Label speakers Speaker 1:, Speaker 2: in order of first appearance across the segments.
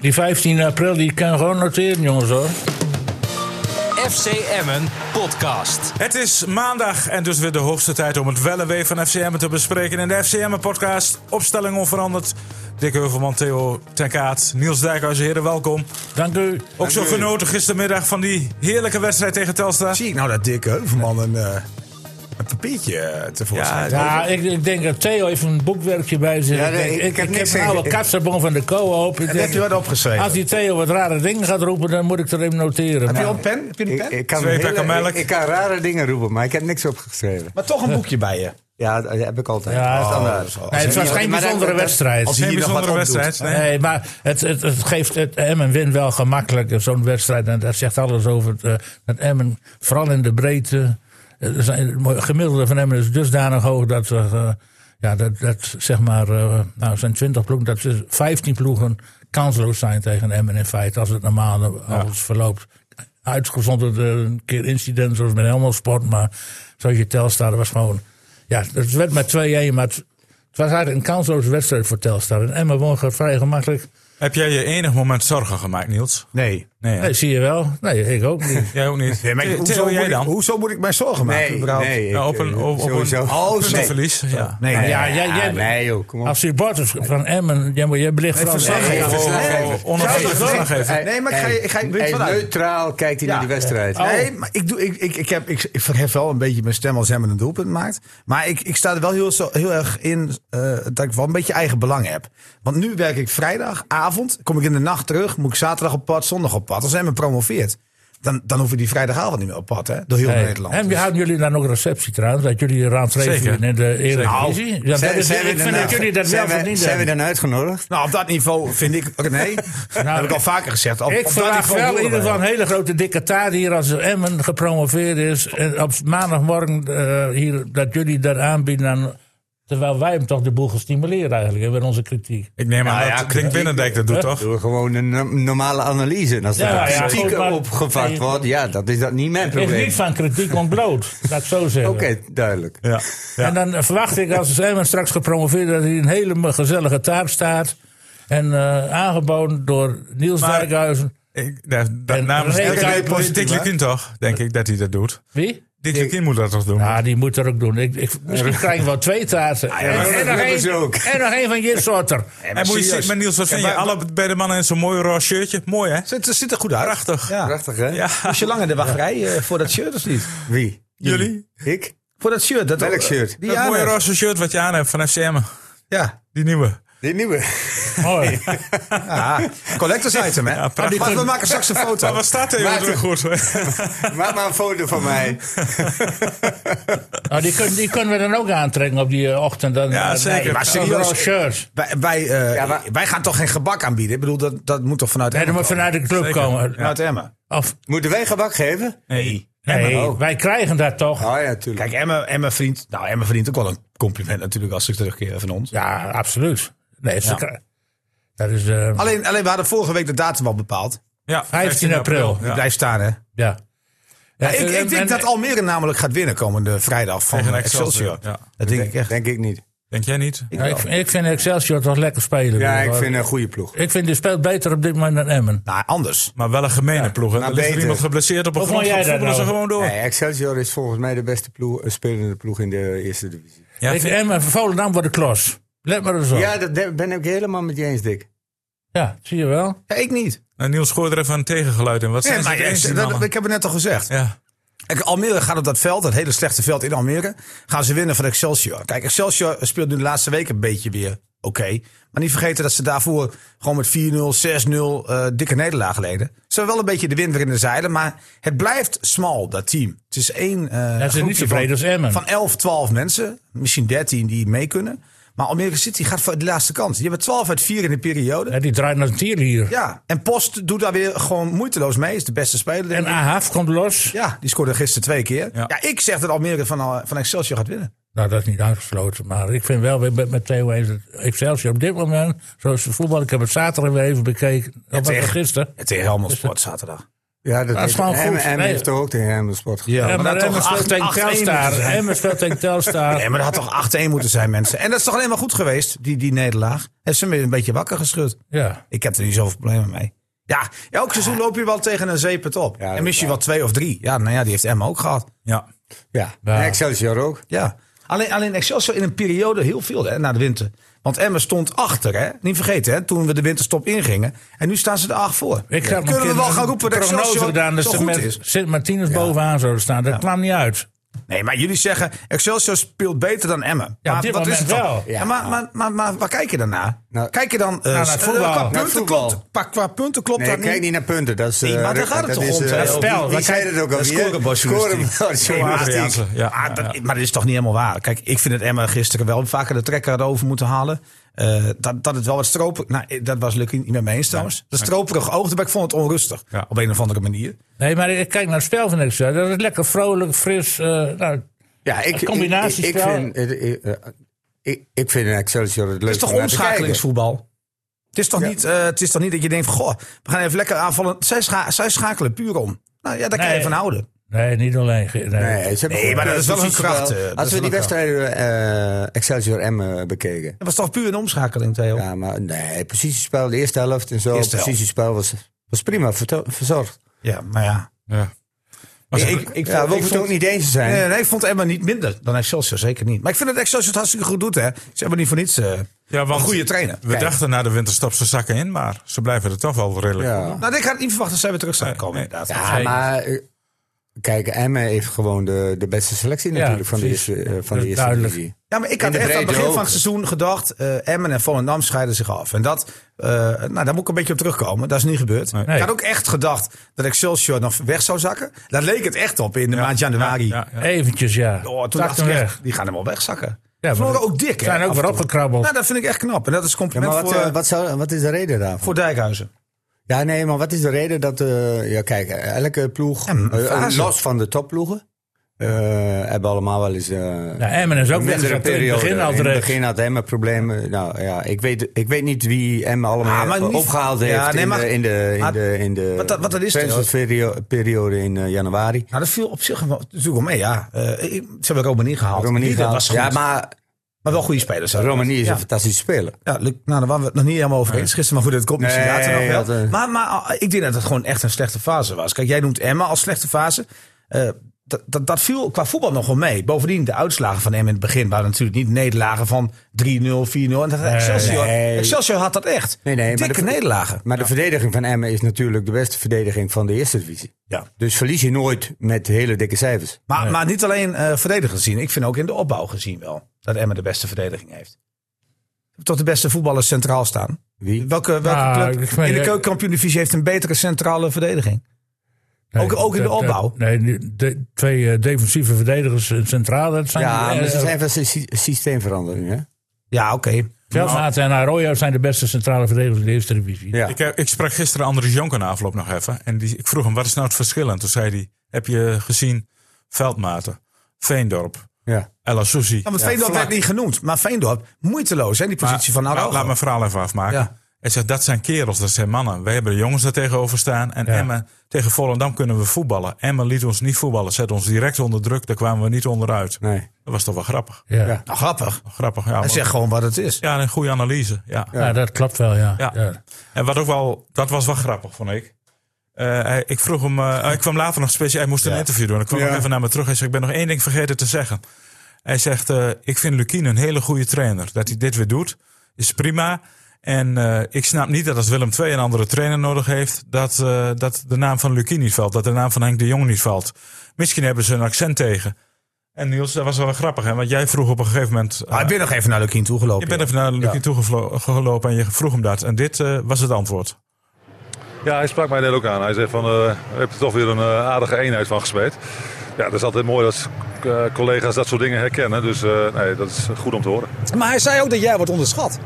Speaker 1: Die 15 april die kan gewoon noteren, jongens hoor.
Speaker 2: FC Emmen podcast.
Speaker 3: Het is maandag en dus weer de hoogste tijd om het wel en wee van FCM te bespreken in de FCM podcast. Opstelling onveranderd. Dick Heuvelman, Theo Tenkaat, Niels Dijkhuis, heren, welkom.
Speaker 1: Dank u.
Speaker 3: Ook zo genoten gistermiddag van die heerlijke wedstrijd tegen Telstra.
Speaker 4: Zie ik nou dat Dick Heuvelman een, eh, een papiertje eh, tevoorschijn
Speaker 3: Ja,
Speaker 1: Ja,
Speaker 4: ja,
Speaker 1: ik, ik denk dat Theo heeft een boekwerkje bij zich.
Speaker 4: Ja,
Speaker 1: ik,
Speaker 4: nee,
Speaker 1: denk,
Speaker 4: ik-
Speaker 1: ik,
Speaker 4: ik heb
Speaker 1: ik
Speaker 4: niks
Speaker 1: heb een
Speaker 4: tegen-
Speaker 1: oude
Speaker 4: ik-
Speaker 1: katsenbon van de co-op. Ik
Speaker 4: En
Speaker 1: denk-
Speaker 4: heb je wat opgeschreven?
Speaker 1: Als die Theo wat rare dingen gaat roepen, dan moet ik er even noteren.
Speaker 4: Heb je
Speaker 1: Maar-
Speaker 4: al een pen? Heb je een
Speaker 5: Ik,
Speaker 4: pen?
Speaker 5: ik, kan
Speaker 3: Twee
Speaker 5: hele-
Speaker 3: pakken melk.
Speaker 5: ik, ik kan rare dingen roepen, maar ik heb niks opgeschreven.
Speaker 4: Maar toch een boekje bij je.
Speaker 5: Ja, dat heb ik altijd.
Speaker 1: Ja, oh.
Speaker 5: Standaard.
Speaker 4: dat is al-
Speaker 1: Nee, het was
Speaker 5: Maar
Speaker 1: geen
Speaker 5: dat-
Speaker 1: bijzondere
Speaker 5: dat-
Speaker 1: wedstrijd.
Speaker 4: als-
Speaker 3: Geen
Speaker 4: hier nog wat
Speaker 3: bijzondere
Speaker 4: opdoet.
Speaker 3: wedstrijd. nee.
Speaker 1: Nee, maar het, het, het geeft het Emmen win wel gemakkelijk, eh, zo'n wedstrijd. En dat zegt alles over het, eh, het Emmen, vooral in de breedte. eh, zijn- Het gemiddelde van Emmen is dusdanig hoog dat we, eh, ja, dat, dat zeg maar, eh, nou, zijn 20 ploegen, dat is 15 ploegen kansloos zijn tegen Emmen in feite, als het normaal alles verloopt. Uitgezonderd eh, een keer incident zoals met Helmond Sport, maar zoals je Telstar, dat was gewoon, ja, het werd maar 2-1, maar het, het was eigenlijk een kansloze wedstrijd voor Telstar. En Emmen won ge- vrij gemakkelijk.
Speaker 3: Heb jij je enig moment zorgen gemaakt, Niels?
Speaker 4: Nee.
Speaker 3: Nee, hè?
Speaker 1: Nee, zie je wel. Nee, ik ook niet.
Speaker 3: jij ook niet.
Speaker 4: Nee, maar ik-
Speaker 3: Theo,
Speaker 4: hoezo,
Speaker 3: jij
Speaker 4: moet ik,
Speaker 3: dan?
Speaker 4: hoezo moet ik mij zorgen maken?
Speaker 5: Nee,
Speaker 4: überhaupt?
Speaker 5: nee. ik,
Speaker 3: Nou, op een,
Speaker 5: eh,
Speaker 3: op, op
Speaker 5: sowieso.
Speaker 3: een
Speaker 5: Oh, nee.
Speaker 3: puntenverlies. Ja.
Speaker 4: Nee,
Speaker 5: Nee,
Speaker 4: nee.
Speaker 1: Ja, jij- jij-
Speaker 5: ah, nee joh, kom op.
Speaker 1: Als je bord is van Emmen, jij, moet- jij belicht vooral...
Speaker 4: verslag-
Speaker 1: Nee,
Speaker 3: Oh, oh, oh,
Speaker 5: Verslaggever.
Speaker 3: oh, onafhankelijk
Speaker 4: Zou je dat
Speaker 3: verslaggever.
Speaker 4: Nee, maar ik ga- ik ga-
Speaker 5: Hey,
Speaker 4: weet je wat
Speaker 5: hey,
Speaker 4: uit?
Speaker 5: neutraal kijkt hij
Speaker 4: Ja.
Speaker 5: naar die wedstrijd.
Speaker 1: Oh.
Speaker 4: Nee, maar ik, doe, ik, ik, ik, heb, ik, ik verhef wel een beetje mijn stem als hem een doelpunt maakt. Maar ik, ik sta er wel heel, zo, heel erg in eh, dat ik wel een beetje eigen belang heb. Want nu werk ik vrijdagavond, kom ik in de nacht terug, moet ik zaterdag op pad, zondag op pad. Als hem promoveert, dan, dan hoeven die vrijdagavond niet meer op pad, hè? Door heel Nederland.
Speaker 1: En
Speaker 4: Dus-
Speaker 1: hadden jullie dan ook receptie trouwens? Dat jullie raadsleden
Speaker 3: Zeker.
Speaker 1: in de Eredivisie? Ja, dat
Speaker 5: Zijn-
Speaker 1: is-
Speaker 5: zijn we
Speaker 1: ik vind
Speaker 5: dan-
Speaker 1: dat jullie dat
Speaker 5: zijn
Speaker 1: wel
Speaker 5: we- Zijn we
Speaker 1: verdienen.
Speaker 5: dan uitgenodigd?
Speaker 4: Nou, op dat niveau vind ik. Nee, dat heb ik al vaker gezegd. Op,
Speaker 1: Ik
Speaker 4: op dat
Speaker 1: verwacht
Speaker 4: niveau
Speaker 1: wel in
Speaker 4: horen
Speaker 1: ieder geval
Speaker 4: wij.
Speaker 1: een hele grote dikke taart hier als Emmen gepromoveerd is. En op maandagmorgen eh, hier, dat jullie dat aanbieden. aan- terwijl wij hem toch de boel gestimuleren eigenlijk hè, met onze kritiek.
Speaker 3: Ik neem aan
Speaker 5: Nou ja,
Speaker 3: dat Klink Binnendijk dat doet, toch?
Speaker 5: Door gewoon een no- normale analyse. En als er
Speaker 1: Ja, ja,
Speaker 5: kritiek
Speaker 1: goed, maar-
Speaker 5: opgevat
Speaker 1: Nee.
Speaker 5: wordt, ja, dat is dat niet mijn
Speaker 1: Is
Speaker 5: probleem.
Speaker 1: niet
Speaker 5: Oké,
Speaker 1: van kritiek ontbloot, laat ik zo zeggen.
Speaker 5: duidelijk.
Speaker 3: Ja.
Speaker 1: En dan verwacht ik als dus Emmen straks gepromoveerd dat hij een hele gezellige taart staat. En eh, aangeboden door Niels
Speaker 3: Maar-
Speaker 1: Dijkhuizen.
Speaker 3: Ik, daar- daar-
Speaker 1: En
Speaker 3: namens
Speaker 1: René
Speaker 3: Dick-
Speaker 1: Kuip
Speaker 3: Dick-
Speaker 1: positief,
Speaker 3: Dick
Speaker 1: hè?
Speaker 3: Lukien toch, denk ik, dat hij dat doet.
Speaker 1: Wie?
Speaker 3: Dick Lukien moet dat toch doen?
Speaker 1: Ja, die moet er ook doen. Ik, ik, misschien krijg ik wel twee taarten.
Speaker 3: Ah,
Speaker 1: En,
Speaker 5: maar
Speaker 1: en
Speaker 5: dat
Speaker 1: nog
Speaker 5: hebben ze
Speaker 1: één-
Speaker 5: ook.
Speaker 1: en nog één van je soorter.
Speaker 3: en moet je
Speaker 4: serieus.
Speaker 3: zien, maar Niels, wat vind je?
Speaker 4: maar-
Speaker 3: Alle bij de mannen in zo'n mooi roze shirtje. Mooi, hè?
Speaker 4: Zit, zit er goed uit.
Speaker 3: Prachtig.
Speaker 4: Ja.
Speaker 5: Prachtig, hè?
Speaker 3: Ja.
Speaker 4: Was je lang in de wachtrij eh, voor dat shirt of niet?
Speaker 5: Wie?
Speaker 3: Jullie?
Speaker 5: Ik?
Speaker 4: Voor dat shirt. Dat,
Speaker 5: Welk shirt?
Speaker 4: Die
Speaker 3: Dat
Speaker 4: aan
Speaker 3: mooie
Speaker 4: hebt.
Speaker 3: roze shirt wat je aan hebt van FCM.
Speaker 4: Ja.
Speaker 3: Die nieuwe.
Speaker 5: Die nieuwe.
Speaker 1: Mooi.
Speaker 4: Ah, collectors item, hè?
Speaker 3: prachtig.
Speaker 4: maar we maken straks een
Speaker 3: Maar
Speaker 4: foto.
Speaker 3: wat staat er
Speaker 5: Maarten.
Speaker 3: heel goed?
Speaker 5: Maak maar een foto van mij.
Speaker 1: Nou, die, kun- die kunnen we dan ook aantrekken op die eh, ochtend. Dan,
Speaker 3: Ja,
Speaker 1: eh,
Speaker 3: zeker.
Speaker 1: nee,
Speaker 3: Maar
Speaker 4: serieus-
Speaker 1: overal shirts.
Speaker 4: Wij, wij, eh,
Speaker 5: Ja, maar-
Speaker 4: wij gaan toch geen gebak aanbieden? Ik bedoel, dat, dat moet toch vanuit
Speaker 1: Nee, dat
Speaker 4: Emmen
Speaker 1: moet
Speaker 4: komen?
Speaker 1: vanuit de club
Speaker 3: Zeker.
Speaker 1: komen.
Speaker 4: Vanuit Emmen.
Speaker 1: Of,
Speaker 5: Moeten wij gebak geven?
Speaker 3: Nee.
Speaker 1: nee,
Speaker 5: ook.
Speaker 1: wij krijgen dat toch.
Speaker 5: Oh ja, tuurlijk.
Speaker 4: Kijk, Emmen, Emmen verdient, nou, Emmen verdient ook wel een compliment natuurlijk als ze terugkeren van ons.
Speaker 1: Ja, absoluut. Nee, ze krijgen- dat is eh,
Speaker 4: Alleen, alleen, we hadden vorige week de datum al bepaald.
Speaker 3: Ja,
Speaker 1: 15 april.
Speaker 4: Die blijft staan, hè?
Speaker 1: Ja. Ja,
Speaker 4: ik,
Speaker 1: en-
Speaker 4: ik denk
Speaker 1: en-
Speaker 4: dat Almere namelijk gaat winnen komende vrijdag van
Speaker 3: Tegen
Speaker 4: Excelsior.
Speaker 3: Excelsior, ja.
Speaker 4: Dat denk ik echt.
Speaker 5: Denk ik niet.
Speaker 3: Denk jij niet?
Speaker 1: Ja, ik, vind- ik vind Excelsior toch lekker spelen.
Speaker 5: Ja,
Speaker 1: weer,
Speaker 5: ik
Speaker 1: hoor.
Speaker 5: vind een goede ploeg.
Speaker 1: ik vind die speelt beter op dit moment dan Emmen.
Speaker 4: Nou, anders.
Speaker 3: Maar wel een gemene ploeg. hè?
Speaker 5: maar
Speaker 3: Er ligt er
Speaker 5: beter.
Speaker 3: iemand geblesseerd op een
Speaker 1: Hoe
Speaker 3: grond.
Speaker 1: vond jij
Speaker 3: Dan
Speaker 1: dat
Speaker 3: voetballen ze
Speaker 1: nou?
Speaker 3: gewoon door.
Speaker 5: Nee, Excelsior is volgens mij de beste ploeg, eh, spelende ploeg in de eerste divisie.
Speaker 3: Ja,
Speaker 1: ik
Speaker 3: vind-
Speaker 1: vind Emmen, Volendam wordt de klos. Let maar eens op. Ja,
Speaker 5: Ja, dat de- ben ik helemaal met je eens, Dick.
Speaker 1: zie je wel.
Speaker 4: Ja, ik niet.
Speaker 3: nou, Niels gooit er even een tegengeluid in. Wat zijn
Speaker 4: Nee, maar
Speaker 3: ze
Speaker 4: ja,
Speaker 3: eens, die
Speaker 4: dat-
Speaker 3: mannen?
Speaker 4: ik heb het net al gezegd.
Speaker 3: Ja.
Speaker 4: Kijk, Almere gaat op dat veld, dat hele slechte veld in Almere, gaan ze winnen van Excelsior. Kijk, Excelsior speelt nu de laatste week een beetje weer oké. Maar niet vergeten dat ze daarvoor gewoon met 4-0, 6-0 eh, dikke nederlaag leden. Ze hebben wel een beetje de wind weer in de zeilen, maar het blijft smal, dat team. Het is één eh
Speaker 1: niet
Speaker 4: groepje
Speaker 1: tevreden
Speaker 4: van-
Speaker 1: als Emmen.
Speaker 4: Van 11, 12 mensen, misschien 13 die mee kunnen. Maar Almere City gaat voor de laatste kans. Die hebben 12 uit 4 in de periode.
Speaker 1: Ja, die draait naar een tier hier.
Speaker 4: Ja, en Post doet daar weer gewoon moeiteloos mee. Is de beste speler. denk
Speaker 1: En
Speaker 4: ik.
Speaker 1: Ahaf komt los.
Speaker 4: Ja, die scoorde gisteren twee keer.
Speaker 3: Ja.
Speaker 4: Ja, ik zeg dat Almere van, eh, van Excelsior gaat winnen.
Speaker 1: Nou, dat is niet uitgesloten. Maar ik vind wel weer met, met Theo eens dat Excelsior op dit moment, zoals de voetbal, ik heb het zaterdag weer even bekeken. Of was het
Speaker 4: tegen-
Speaker 1: gisteren?
Speaker 4: En tegen Helmond Sport zaterdag.
Speaker 5: Ja, dat
Speaker 1: is
Speaker 5: heeft-
Speaker 1: gewoon
Speaker 5: Emmen-
Speaker 1: goed.
Speaker 5: Emmen
Speaker 1: Nee.
Speaker 5: heeft toch ook tegen Emmen sport
Speaker 4: Ja,
Speaker 1: Ja,
Speaker 4: maar,
Speaker 1: maar
Speaker 4: dat
Speaker 1: Emmen
Speaker 4: toch
Speaker 1: speelt
Speaker 4: 8
Speaker 1: tegen
Speaker 4: 1
Speaker 1: Telstar. Emmen speelt tegen Telstar.
Speaker 4: Nee, maar dat had toch 8-1 moeten zijn, mensen. En dat is toch alleen maar goed geweest, die, die nederlaag. Heeft ze me een beetje wakker geschud.
Speaker 1: Ja.
Speaker 4: Ik heb er niet zoveel problemen mee. Ja, elk seizoen loop je wel tegen een zeepet op.
Speaker 5: Ja, dat
Speaker 4: en
Speaker 5: is
Speaker 4: misschien
Speaker 5: waar.
Speaker 4: wel twee of drie. Ja, nou ja, die heeft Emma ook gehad.
Speaker 3: Ja.
Speaker 5: Ja,
Speaker 1: Ja.
Speaker 5: En Excelsior ook.
Speaker 4: Ja. Alleen, alleen Excelsior in een periode heel veel hè, na de winter. Want Emma stond achter, hè? niet vergeten, hè, toen we de winterstop ingingen. En nu staan ze er acht voor.
Speaker 1: Ik
Speaker 4: Ja.
Speaker 1: heb
Speaker 4: Kunnen we wel gaan roepen dat
Speaker 1: prognose
Speaker 4: Excelsior
Speaker 1: gedaan dat
Speaker 4: zo
Speaker 1: ze
Speaker 4: goed
Speaker 1: met
Speaker 4: is?
Speaker 1: Sint-Martinus bovenaan zouden staan. Dat kwam niet uit.
Speaker 4: Nee, maar jullie zeggen Excelsior speelt beter dan Emmen.
Speaker 1: Ja,
Speaker 4: maar
Speaker 1: op dit
Speaker 4: wat is
Speaker 1: moment
Speaker 4: het dan?
Speaker 1: wel.
Speaker 4: Ja, maar, maar, maar, maar waar kijk je dan naar?
Speaker 5: Nou,
Speaker 4: kijk je dan eh,
Speaker 1: naar
Speaker 4: s-
Speaker 1: voetbal.
Speaker 4: eh, Qua
Speaker 1: Naar
Speaker 4: punten,
Speaker 5: voetbal.
Speaker 4: Klopt, pa- qua punten klopt
Speaker 5: Nee,
Speaker 4: dat
Speaker 5: kijk niet naar punten. Dat is,
Speaker 4: Nee,
Speaker 5: eh,
Speaker 4: maar daar gaat het toch
Speaker 5: is,
Speaker 4: om,
Speaker 5: eh,
Speaker 4: dat
Speaker 5: oh,
Speaker 1: spel.
Speaker 5: Wie
Speaker 1: Dat
Speaker 5: zei
Speaker 1: zijn-
Speaker 5: dat ook alweer?
Speaker 4: scorebordjournalistiek.
Speaker 5: Scorebordjournalistiek.
Speaker 3: Journalistiek. Ja.
Speaker 4: Ah, dat- maar dat is toch niet helemaal waar. Kijk, ik vind het Emma gisteren wel vaker de trekker erover moeten halen. Eh, dat, dat het wel wat stroperig... Nou, eh, dat was Lucky niet met me eens trouwens. Dat stroperig oog, maar ik vond het onrustig.
Speaker 3: Ja.
Speaker 4: Op een of andere manier.
Speaker 1: Nee, maar ik kijk naar het spel van Excelsior. Dat is lekker vrolijk, fris. eh, nou,
Speaker 5: Ja, ik,
Speaker 1: Een combinatiespel.
Speaker 5: Ik, ik, vind, eh, eh, eh, ik, ik vind Excelsior het leukste.
Speaker 4: Het is toch
Speaker 5: om naar te
Speaker 4: omschakelingsvoetbal? Het is toch,
Speaker 5: Ja.
Speaker 4: niet, eh, het is toch niet dat je denkt van, goh, we gaan even lekker aanvallen. Zij, scha- zij schakelen puur om. Nou ja, daar kan
Speaker 1: Nee.
Speaker 4: je van houden.
Speaker 1: nee, niet alleen. ge- Nee.
Speaker 5: kijken. Nee, ze hebben
Speaker 4: Nee,
Speaker 5: ook-
Speaker 4: maar dat is wel
Speaker 5: eh,
Speaker 4: hun kracht,
Speaker 5: wel-
Speaker 4: eh, dat
Speaker 5: Als
Speaker 4: is
Speaker 5: we die
Speaker 4: wel hun
Speaker 5: wedstrijden eh Excelsior Emmen bekeken.
Speaker 4: Het was toch puur een omschakeling, Theo?
Speaker 5: Ja, maar nee, positiespel, de eerste helft en zo.
Speaker 4: Eerste helft.
Speaker 5: Positiespel was, was prima verto- verzorgd.
Speaker 4: Ja, maar ja.
Speaker 3: Ja. Maar ze-
Speaker 4: ik
Speaker 5: ja, we hoeven het ook niet eens te zijn.
Speaker 4: Nee, nee, ik vond Emma niet minder dan Excelsior, zeker niet. Maar ik vind dat Excelsior het hartstikke goed doet, hè. Ze hebben niet voor niets eh,
Speaker 3: ja,
Speaker 4: een
Speaker 3: want
Speaker 4: goede trainer.
Speaker 3: We dachten na de winterstop ze zakken in, maar ze blijven er toch wel redelijk.
Speaker 5: ja.
Speaker 4: Nou, ik had niet verwacht dat zij weer terug zouden komen,
Speaker 3: nee.
Speaker 4: inderdaad.
Speaker 5: Ja, maar eh, kijk, Emmen heeft gewoon de, de beste selectie natuurlijk van de
Speaker 1: precies.
Speaker 5: eerste, eh, van
Speaker 1: Dat
Speaker 5: de
Speaker 1: is
Speaker 5: eerste
Speaker 1: duidelijk.
Speaker 5: divisie.
Speaker 4: Ja, maar ik
Speaker 5: In
Speaker 4: had
Speaker 5: de
Speaker 4: echt aan het
Speaker 5: breedte
Speaker 4: begin
Speaker 5: ook.
Speaker 4: van het seizoen gedacht... eh, Emmen en Volendam scheiden zich af. En dat, eh, nou, daar moet ik een beetje op terugkomen. Dat is niet gebeurd.
Speaker 3: Nee.
Speaker 4: Ik had ook echt gedacht dat Excelsior nog weg zou zakken. Daar leek het echt op in de maand januari.
Speaker 3: Ja, ja.
Speaker 1: Eventjes, ja.
Speaker 4: Oh, toen
Speaker 1: Tak
Speaker 4: dacht ik
Speaker 1: hem
Speaker 4: echt, die gaan hem wel wegzakken.
Speaker 1: maar
Speaker 4: Ja, Verloren
Speaker 1: dat-
Speaker 4: ook dik, hè?
Speaker 1: zijn ook
Speaker 4: af
Speaker 1: weer
Speaker 4: en toe.
Speaker 1: opgekrabbeld.
Speaker 4: Nou, dat vind ik echt knap. En dat is
Speaker 5: Ja,
Speaker 4: compliment
Speaker 5: maar wat,
Speaker 4: voor,
Speaker 5: eh, wat, zou, wat is de reden daarvoor?
Speaker 4: voor Dijkhuizen.
Speaker 5: Ja, nee, maar wat is de reden dat... eh, ja, kijk, elke ploeg,
Speaker 4: Ja, maar
Speaker 5: eh,
Speaker 4: fase.
Speaker 5: los van de topploegen, eh, hebben allemaal wel eens... eh,
Speaker 1: Nou, Emmen is ook
Speaker 5: een
Speaker 1: weg.
Speaker 5: mindere
Speaker 1: In het
Speaker 5: periode.
Speaker 1: begin al
Speaker 5: In het
Speaker 1: terecht.
Speaker 5: begin had Emmen problemen. Nou ja, ik weet, ik weet niet wie Emmen
Speaker 4: Ah,
Speaker 5: allemaal
Speaker 4: maar niet-
Speaker 5: opgehaald
Speaker 4: Ja,
Speaker 5: heeft
Speaker 4: nee,
Speaker 5: in,
Speaker 4: maar-
Speaker 5: de, in de, in
Speaker 4: maar-
Speaker 5: de, in de
Speaker 4: wat dat- wat dat is,
Speaker 5: transferperiode in eh, januari.
Speaker 4: Nou, dat viel op zich wel- natuurlijk wel mee, ja. Eh, ik- ze hebben Romani gehaald.
Speaker 5: Romani
Speaker 4: Die, dat was
Speaker 5: gehaald.
Speaker 4: goed.
Speaker 5: Ja,
Speaker 4: maar,
Speaker 5: maar
Speaker 4: wel goede spelers. hè.
Speaker 5: Romani is
Speaker 4: Ja.
Speaker 5: een fantastische speler.
Speaker 4: Ja, Luc, nou, daar waren we het nog niet helemaal over eens gisteren. Maar goed, het komt misschien
Speaker 5: Nee,
Speaker 4: later nog wel.
Speaker 5: dat, eh.
Speaker 4: Maar, maar ah, ik denk dat het gewoon echt een slechte fase was. Kijk, jij noemt Emma als slechte fase. Eh, dat, dat, dat viel qua voetbal nog wel mee. Bovendien, de uitslagen van Emma in het begin waren natuurlijk niet nederlagen van 3-0, 4-0. En dat had eh, Excelsior,
Speaker 5: Nee.
Speaker 4: Excelsior had dat echt.
Speaker 5: Nee, nee, maar
Speaker 4: Dikke
Speaker 5: de-
Speaker 4: nederlagen.
Speaker 5: Maar de verdediging van Emmen is natuurlijk de beste verdediging van de eerste divisie.
Speaker 4: Ja.
Speaker 5: Dus verlies je nooit met hele dikke cijfers.
Speaker 4: Maar, maar niet alleen eh verdedigen gezien. Ik vind ook in de opbouw gezien wel dat Emma de beste verdediging heeft. Tot de beste voetballers centraal staan.
Speaker 5: Wie?
Speaker 4: Welke, welke
Speaker 1: Nou, ik
Speaker 4: club
Speaker 1: vind-
Speaker 4: in de keukenkampioen-divisie heeft een betere centrale verdediging?
Speaker 1: Nee,
Speaker 4: Ook- ook in de
Speaker 1: dat- dat-
Speaker 4: opbouw?
Speaker 1: Nee, nu- de, twee eh, defensieve verdedigers eh, centraal. Dat zijn
Speaker 5: Ja,
Speaker 1: eh,
Speaker 5: maar ze
Speaker 1: eh,
Speaker 5: zijn van sy- sy- systeemverandering, hè?
Speaker 4: Ja, oké.
Speaker 1: Veldmaat en Arroyo zijn de beste centrale verdedigers in de eerste divisie.
Speaker 5: Ja.
Speaker 3: Ik, heb- ik sprak gisteren Andries Jonker na afloop nog even. En die, ik vroeg hem, wat is nou het verschil? En toen zei hij, heb je gezien Veldmaten, Veendorp,
Speaker 5: Ja.
Speaker 3: El Azuzi.
Speaker 4: Ja, want Veendorp werd niet genoemd. Maar Veendorp, moeiteloos hè, die positie
Speaker 3: Maar
Speaker 4: van Araujo.
Speaker 3: laat- Laat mijn verhaal even afmaken.
Speaker 4: Ja.
Speaker 3: Hij zegt, dat zijn kerels, dat zijn mannen. Wij hebben de jongens daar tegenover staan. En Emmen, tegen Volendam kunnen we voetballen. Emmen liet ons niet voetballen. Zet ons direct onder druk. Daar kwamen we niet onderuit.
Speaker 5: Nee.
Speaker 3: Dat was toch wel grappig.
Speaker 1: Ja.
Speaker 5: Ja.
Speaker 4: Nou, grappig.
Speaker 3: Grappig, ja.
Speaker 4: Hij
Speaker 3: maar-
Speaker 4: zegt gewoon wat het is.
Speaker 3: Ja, een goede analyse. Ja.
Speaker 1: Ja, dat klopt wel, ja.
Speaker 3: Ja.
Speaker 1: Ja.
Speaker 3: En wat ook wel, dat was wel grappig, vond ik. Eh, hij- ik vroeg hem, eh, ik kwam later nog speciaal, hij moest een interview doen. Ik kwam
Speaker 5: Ja.
Speaker 3: nog even naar me terug. Hij zegt, ik ben nog één ding vergeten te zeggen. Hij zegt, eh, ik vind Lukien een hele goede trainer. Dat hij dit weer doet, is prima. En eh, ik snap niet dat als Willem II een andere trainer nodig heeft, dat, eh, dat de naam van Lukien niet valt. Dat de naam van Henk de Jong niet valt. Misschien hebben ze een accent tegen. En Niels, dat was wel grappig, hè? want jij vroeg op een gegeven moment... eh,
Speaker 4: Maar Ah, ik ben nog even naar Lukien toegelopen.
Speaker 3: je bent even naar Lukien
Speaker 4: Ja.
Speaker 3: toegelopen en je vroeg hem dat. En dit eh, was het antwoord.
Speaker 6: Ja, hij sprak mij net ook aan. Hij zei van, eh we hebben er toch weer een eh, aardige eenheid van gesmeed. Ja, dat is altijd mooi dat eh, collega's dat soort dingen herkennen. Dus eh, nee, dat is goed om te horen.
Speaker 4: Maar hij zei ook dat jij wordt onderschat.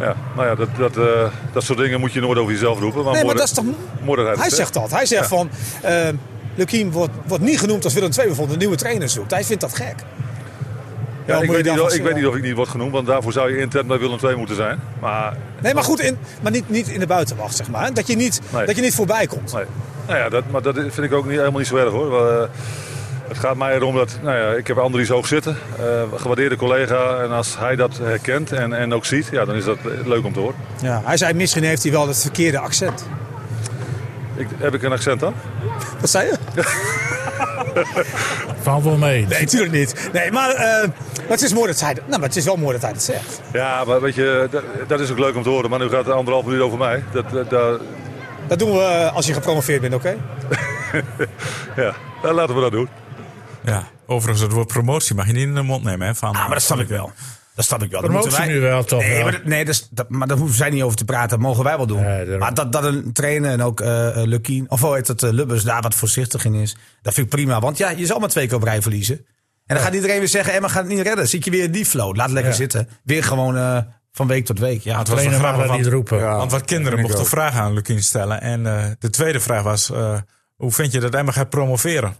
Speaker 6: Ja, nou ja, dat, dat, eh, dat soort dingen moet je nooit over jezelf roepen. Maar
Speaker 7: Nee,
Speaker 6: mooi
Speaker 7: maar dat is toch...
Speaker 6: mooi dat
Speaker 7: Hij zegt dat. Hij zegt van... eh Lukien wordt, wordt niet genoemd als Willem II bijvoorbeeld een nieuwe trainer zoekt. Hij vindt dat gek.
Speaker 6: Ja,
Speaker 7: moet
Speaker 6: ik
Speaker 7: je
Speaker 6: weet,
Speaker 7: dan
Speaker 6: niet,
Speaker 7: van
Speaker 6: of- ik weet
Speaker 7: zeggen.
Speaker 6: niet of ik niet word genoemd, want daarvoor zou je intern bij Willem II moeten zijn. Maar
Speaker 7: Nee, maar goed, in, maar niet, niet in de buitenwacht, zeg maar. Dat je niet,
Speaker 6: Nee.
Speaker 7: dat je niet voorbij komt.
Speaker 6: Nee. Nou ja, dat, maar dat vind ik ook niet, helemaal niet zo erg hoor. Wel, eh, het gaat mij erom dat, nou ja, ik heb Andries hoog zitten, eh, gewaardeerde collega. En als hij dat herkent en, en ook ziet, ja, dan is dat eh, leuk om te horen.
Speaker 7: Ja, hij zei, misschien heeft hij wel het verkeerde accent.
Speaker 6: Ik, heb ik een accent dan?
Speaker 7: Wat zei je?
Speaker 1: Valt wel mee.
Speaker 7: Nee, natuurlijk niet. Nee, maar, eh, maar het is mooi dat hij dat... Nou, maar het is wel mooi dat hij dat zegt.
Speaker 6: Ja, maar weet je, dat, dat is ook leuk om te horen. Maar nu gaat het anderhalf minuut over mij. Dat, dat, dat-
Speaker 7: Dat doen we eh, als je gepromoveerd bent, oké?
Speaker 1: Oh,
Speaker 6: ja, Nou, laten we dat doen.
Speaker 3: Ja. Overigens, het woord promotie mag je niet in de mond nemen. Hè, van,
Speaker 4: Ah, maar dat snap ik wel. Dat snap ik wel. Dat
Speaker 1: Promotie
Speaker 4: moeten wij-
Speaker 1: nu wel, toch
Speaker 4: Nee,
Speaker 1: wel.
Speaker 4: maar, dat- nee dat is- dat, maar daar hoeven zij niet over te praten. Dat mogen wij wel doen.
Speaker 1: Nee, daarom.
Speaker 4: maar dat, dat een trainer en ook eh eh, Lukien, of hoe heet dat, eh, Lubbers daar wat voorzichtig in is. Dat vind ik prima. Want ja, je zal maar twee keer op rij verliezen. En dan gaat iedereen weer zeggen, Emma gaat het niet redden. Zit je weer in die flow. Laat lekker
Speaker 1: Ja.
Speaker 4: zitten. Weer gewoon eh, van week tot week. Ja,
Speaker 3: het was wel
Speaker 1: Trainer mag
Speaker 3: grappig,
Speaker 1: dat niet
Speaker 3: want-
Speaker 1: roepen.
Speaker 5: Ja.
Speaker 3: Want wat kinderen
Speaker 5: vind ik
Speaker 3: mochten
Speaker 5: ook.
Speaker 3: vragen aan Lukien stellen. En eh, de tweede vraag was: eh, hoe vind je dat Emma gaat promoveren?